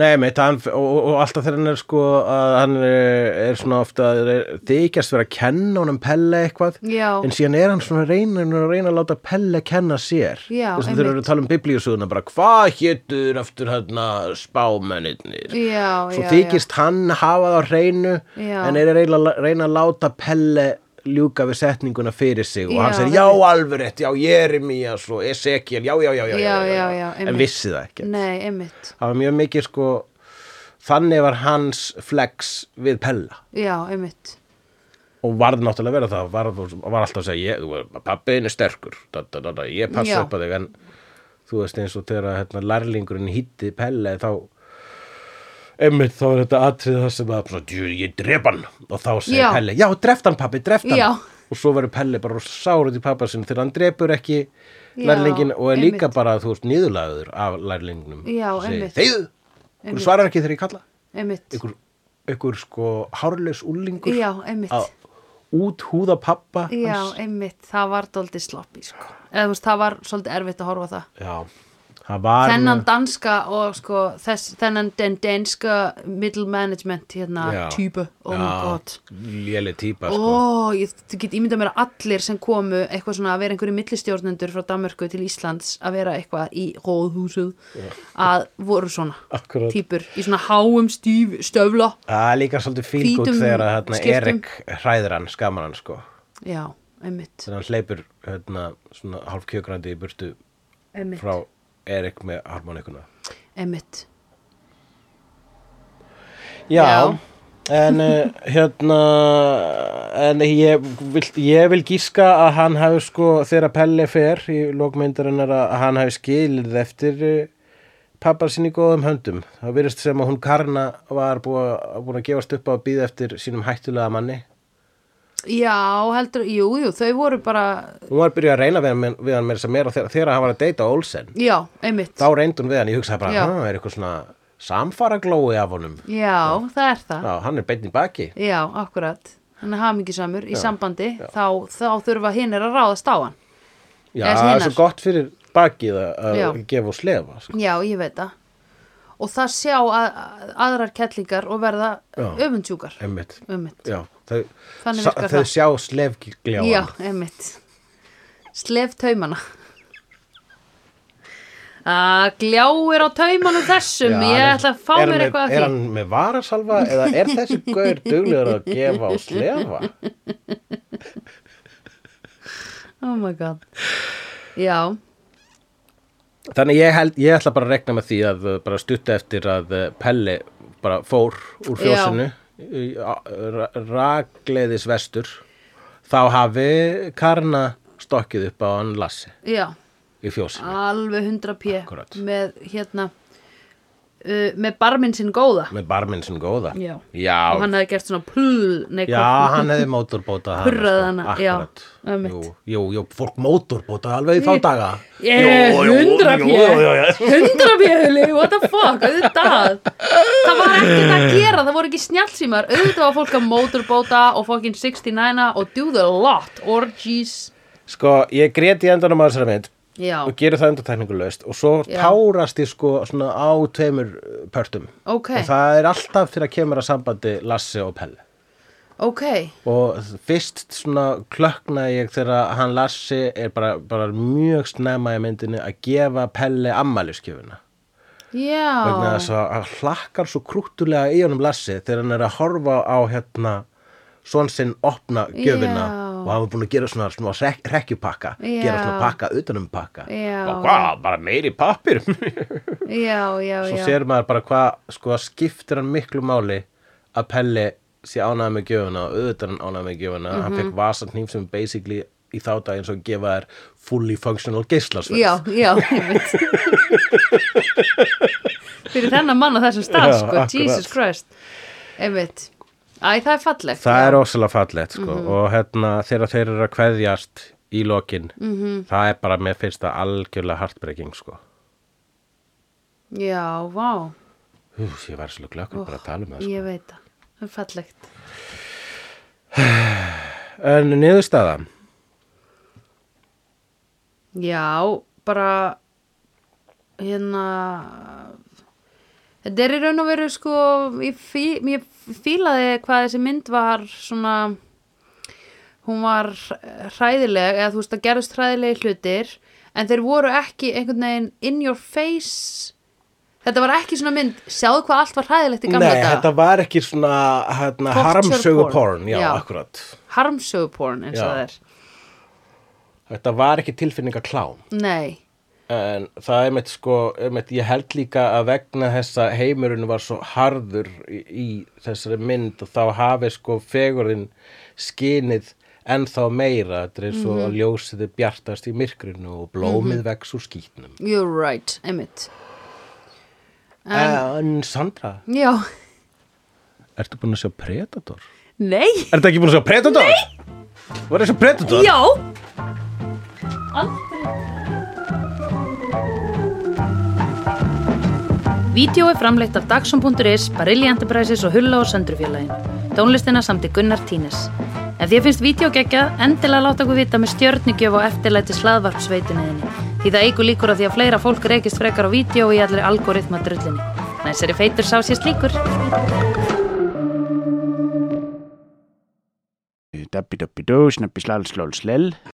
Speaker 2: Nei, meitt, hann, og, og- og alltaf þegar hann er sko að hann er, er svona ofta er- þykjast vera að kenna honum Pelle eitthvað
Speaker 1: Já.
Speaker 2: en síðan er hann svona að reyna, hann er að reyna að láta Pelle kenna sér
Speaker 1: Já,
Speaker 2: þess að þeir eru
Speaker 1: einmitt.
Speaker 2: að tala um biblíusöðuna bara hvað hétur aftur hérna spámennirnir
Speaker 1: Já,
Speaker 2: svo
Speaker 1: já,
Speaker 2: þykist hann hafa það á hreinu
Speaker 1: Já.
Speaker 2: en er að reyna, að- reyna að láta Pelle ljúka við setninguna fyrir sig og
Speaker 1: Já,
Speaker 2: hann segir
Speaker 1: einmitt.
Speaker 2: já alveg rétt, já Jeremías og Ezekiel, já já já, já,
Speaker 1: Já, já, já,
Speaker 2: en
Speaker 1: einmitt.
Speaker 2: vissi það ekki
Speaker 1: já. Nei, einmitt.
Speaker 2: það var mjög mikið sko þannig var hans flex við Pella
Speaker 1: Já, einmitt.
Speaker 2: og varð náttúrulega að vera það var, var alltaf að segja, ég, þú- pabbiðin er sterkur da, da, da, da, ég passa
Speaker 1: Já.
Speaker 2: upp að þig en þú veist eins og þegar að, hérna, lærlingurinn hýtti Pelle þá einmitt þá er þetta atrið það sem að svona, djú, ég drep hann og þá segir
Speaker 1: Já.
Speaker 2: Pelle, já dreft hann pabbi, dreft hann
Speaker 1: Já.
Speaker 2: og svo verður Pelle bara sárið í pappa sinni þegar hann drepur ekki
Speaker 1: Já,
Speaker 2: lærlingin og er líka
Speaker 1: einmitt.
Speaker 2: bara þú veist nýðulagur af lærlingnum
Speaker 1: Já, einmitt.
Speaker 2: þeir,
Speaker 1: Einmitt.
Speaker 2: svarar ekki þegar ég kalla
Speaker 1: Einmitt.
Speaker 2: einhver, einhver sko hárlaus úlingur
Speaker 1: Já, einmitt.
Speaker 2: að út húða pappa
Speaker 1: Já,
Speaker 2: hans.
Speaker 1: einmitt. Það var dóldill sloppy sko. Eða þú veist, það var svolítið erfitt að horfa á það.
Speaker 2: já, það var
Speaker 1: Þennan danska og sko þess, þennan den danska middle management hérna
Speaker 2: Já.
Speaker 1: týpu, oh my
Speaker 2: Já,
Speaker 1: god
Speaker 2: léleg típa
Speaker 1: Ó,
Speaker 2: sko.
Speaker 1: ég þú get ímyndað mér að allir sem komu eitthvað svona að vera einhverju millistjórnendur frá Danmörku til Íslands að vera eitthvað í róðhúsuð að voru svona
Speaker 2: Akkúrat.
Speaker 1: típur í svona háum stíf, stöfla
Speaker 2: það er líka svolítið fílgút
Speaker 1: Hvítum
Speaker 2: þegar að hérna,
Speaker 1: skyrtum.
Speaker 2: Erik hræðir hann, skamar hann sko
Speaker 1: Já, einmitt,
Speaker 2: þegar hann hleypur hérna, svona hálf kjökrandi í burtu
Speaker 1: einmitt,
Speaker 2: frá Erik með harmonikuna
Speaker 1: einmitt.
Speaker 2: Já,
Speaker 1: Já.
Speaker 2: en uh, hérna en ég vil, ég vil gíska að hann hafi sko þegar Pelle fer í lokmyndarinnar að hann hafi skilið eftir uh, pappa sinni í góðum höndum það virðist sem að hún Karna var búin að, búin að gefast upp á að býða eftir sínum hættulega manni
Speaker 1: Já, heldur, jú, jú, þau voru bara
Speaker 2: hún var að byrja að reyna við hann, við hann meira sem meira þegar, þegar hann var að deyta Olsen
Speaker 1: Já, einmitt
Speaker 2: þá reyndi hún við hann, ég hugsaði bara
Speaker 1: Já.
Speaker 2: hann er eitthvað svona samfara glói af honum
Speaker 1: Já, það er það
Speaker 2: Já, hann er beinn í baki
Speaker 1: Já, akkurat. Þannig að hamingisamur í sambandi, þá, þá þurfa hinn að ráðast á hann.
Speaker 2: Já,
Speaker 1: Eða sem
Speaker 2: það er
Speaker 1: hinar.
Speaker 2: svo gott fyrir bakið að- að
Speaker 1: Já.
Speaker 2: gefa og slefa sko.
Speaker 1: Já, ég veit það. Og það sjá að, að- aðrar kettlingar og verða
Speaker 2: Já.
Speaker 1: öfundsjúkar.
Speaker 2: Emmitt
Speaker 1: Öfundt.
Speaker 2: Já, þau,
Speaker 1: Þannig
Speaker 2: sa-
Speaker 1: virkar
Speaker 2: þau
Speaker 1: það.
Speaker 2: sjá slefgljáan
Speaker 1: Já, einmitt. Slef taumana. Að gljáir á taumanum þessum, ég ætla að fá
Speaker 2: er
Speaker 1: mér
Speaker 2: hann
Speaker 1: eitthvað
Speaker 2: með, Er
Speaker 1: að því.
Speaker 2: hann með varasalva eða er þessi gaur duglegur að gefa og slefa?
Speaker 1: Oh my god. Já,
Speaker 2: Þannig ég, held, ég ætla bara að regna með því að uh, bara stutta eftir að uh, Pelli bara fór úr
Speaker 1: Já.
Speaker 2: fjósinu í- á- ra- rakleiðis vestur þá hafi Karna stokkið upp á hann Lassi
Speaker 1: já. Ah.
Speaker 2: í fjósinu
Speaker 1: Alveg 100 p.
Speaker 2: Akkúrat.
Speaker 1: Með hérna, uh, með barminn sinn góða.
Speaker 2: með barminn sem góða
Speaker 1: Já.
Speaker 2: Já,
Speaker 1: og hann hefði gert svona pull neikvæmt.
Speaker 2: Já, hann hefði mótorbótað hana,
Speaker 1: Purrað
Speaker 2: sko,
Speaker 1: hana, já,
Speaker 2: akkurat.
Speaker 1: einmitt.
Speaker 2: Jú, jú, jú, fólk mótorbótað alveg í þá daga
Speaker 1: Ég,
Speaker 2: Jú, jú,
Speaker 1: hundra
Speaker 2: jú,
Speaker 1: pjö
Speaker 2: jú, jú, jú.
Speaker 1: hundra pjö, Uli, what the fuck auðvitað, það var ekkert að gera það voru ekki snjálfsýmar, auðvitað var fólk að motorbóta og fokkin 69a og do the lot, orgies
Speaker 2: Sko, ég grét í endanum á þessari mynd
Speaker 1: já,
Speaker 2: og gerir það undartekningu löst og svo
Speaker 1: Já.
Speaker 2: tárast ég sko svona á tveimur uh, pörtum
Speaker 1: Ok.
Speaker 2: og það er alltaf þegar kemur að sambandi Lasse og Pelle
Speaker 1: ok
Speaker 2: og fyrst svona klökna ég þegar hann Lassi er bara, bara mjög snemma í myndinu að gefa Pelle ammæliskjöfuna
Speaker 1: já,
Speaker 2: vegna þess að hann hlakkar svo krúttulega í honum Lassi þegar hann er að horfa á hérna svon sinn opna gjöfina
Speaker 1: Já.
Speaker 2: og hann var búin að gera svona, svona rek, rekkjupakka
Speaker 1: Já.
Speaker 2: gera svona pakka utanum pakka
Speaker 1: Já.
Speaker 2: og hvað, bara meiri pappir svo
Speaker 1: já, já, já
Speaker 2: sér maður bara hvað sko skiptir hann miklu máli
Speaker 1: Mhm.
Speaker 2: að Pelli sé ánæða með gjöfuna og auðvitað er hann ánæða með gjöfuna hann fekk vasarnýf sem er basically í þá dag eins og gefa þær fully functional geislasverð
Speaker 1: já, já, einmitt fyrir þennan mann á þessum stað
Speaker 2: Já,
Speaker 1: sko,
Speaker 2: akkurat.
Speaker 1: Jesus Christ einmitt, æ, það er fallegt já.
Speaker 2: það
Speaker 1: Mhm.
Speaker 2: er ósala fallegt sko. og hérna þegar þeir eru að kveðjast í lokin,
Speaker 1: Mhm.
Speaker 2: -hmm. það er bara mér finnst það algjörlega heartbreaking sko.
Speaker 1: já, vá,
Speaker 2: Úf, ég var svo glöggur bara að tala um það sko.
Speaker 1: ég veit það það er fallegt
Speaker 2: en niðurstaða
Speaker 1: Já, bara hérna þetta er í raun og veru sko ég, fí, ég fílaði hvað þessi mynd var svona hún var eh, hræðileg eða þú veist það gerðist hræðilegi hlutir en þeir voru ekki einhvern veginn in your face þetta var ekki svona mynd, sjáðu hvað allt var hræðilegt í gamla
Speaker 2: Nei,
Speaker 1: daga,
Speaker 2: þetta var ekki svona hérna,
Speaker 1: Torture
Speaker 2: harmsögu
Speaker 1: porn.
Speaker 2: porn, já,
Speaker 1: Já.
Speaker 2: akkurat
Speaker 1: harmsöguporn eins og
Speaker 2: Já.
Speaker 1: það er
Speaker 2: Þetta var ekki tilfinninga klám
Speaker 1: Nei,
Speaker 2: en það er mitt sko er mitt, ég held líka að vegna þessa heimurinn var svo harður í, í þessari mynd og þá hafi sko fegurinn skinið ennþá meira þetta er eins og að ljósið er bjartast í myrkrinu og blómið vex úr skítnum
Speaker 1: you're right, einmitt
Speaker 2: en, Sandra,
Speaker 1: Já,
Speaker 2: ertu búin að sjá Predator?
Speaker 1: nei
Speaker 2: Ertu ekki búin að sjá Predator? Nei! Var þessi Predator?
Speaker 1: Já Vídeó er framleitt af Dagsum.is, Barilli Enterprises og Hulla og Söndrufjörlægin. Tónlistina samt í Gunnar Tínes. Ef því að finnst vídeo geggja, endilega láta okkur vita með stjörnigjöf og eftirlæti slaðvarpsveitunniðinni. Því það eigur líkur að því að fleira fólk reykist frekar á vídeo í allri algoritma drullinni. Næsari feitur sá sést líkur.
Speaker 3: Dabbi dabbi dó, snabbi slal slól slell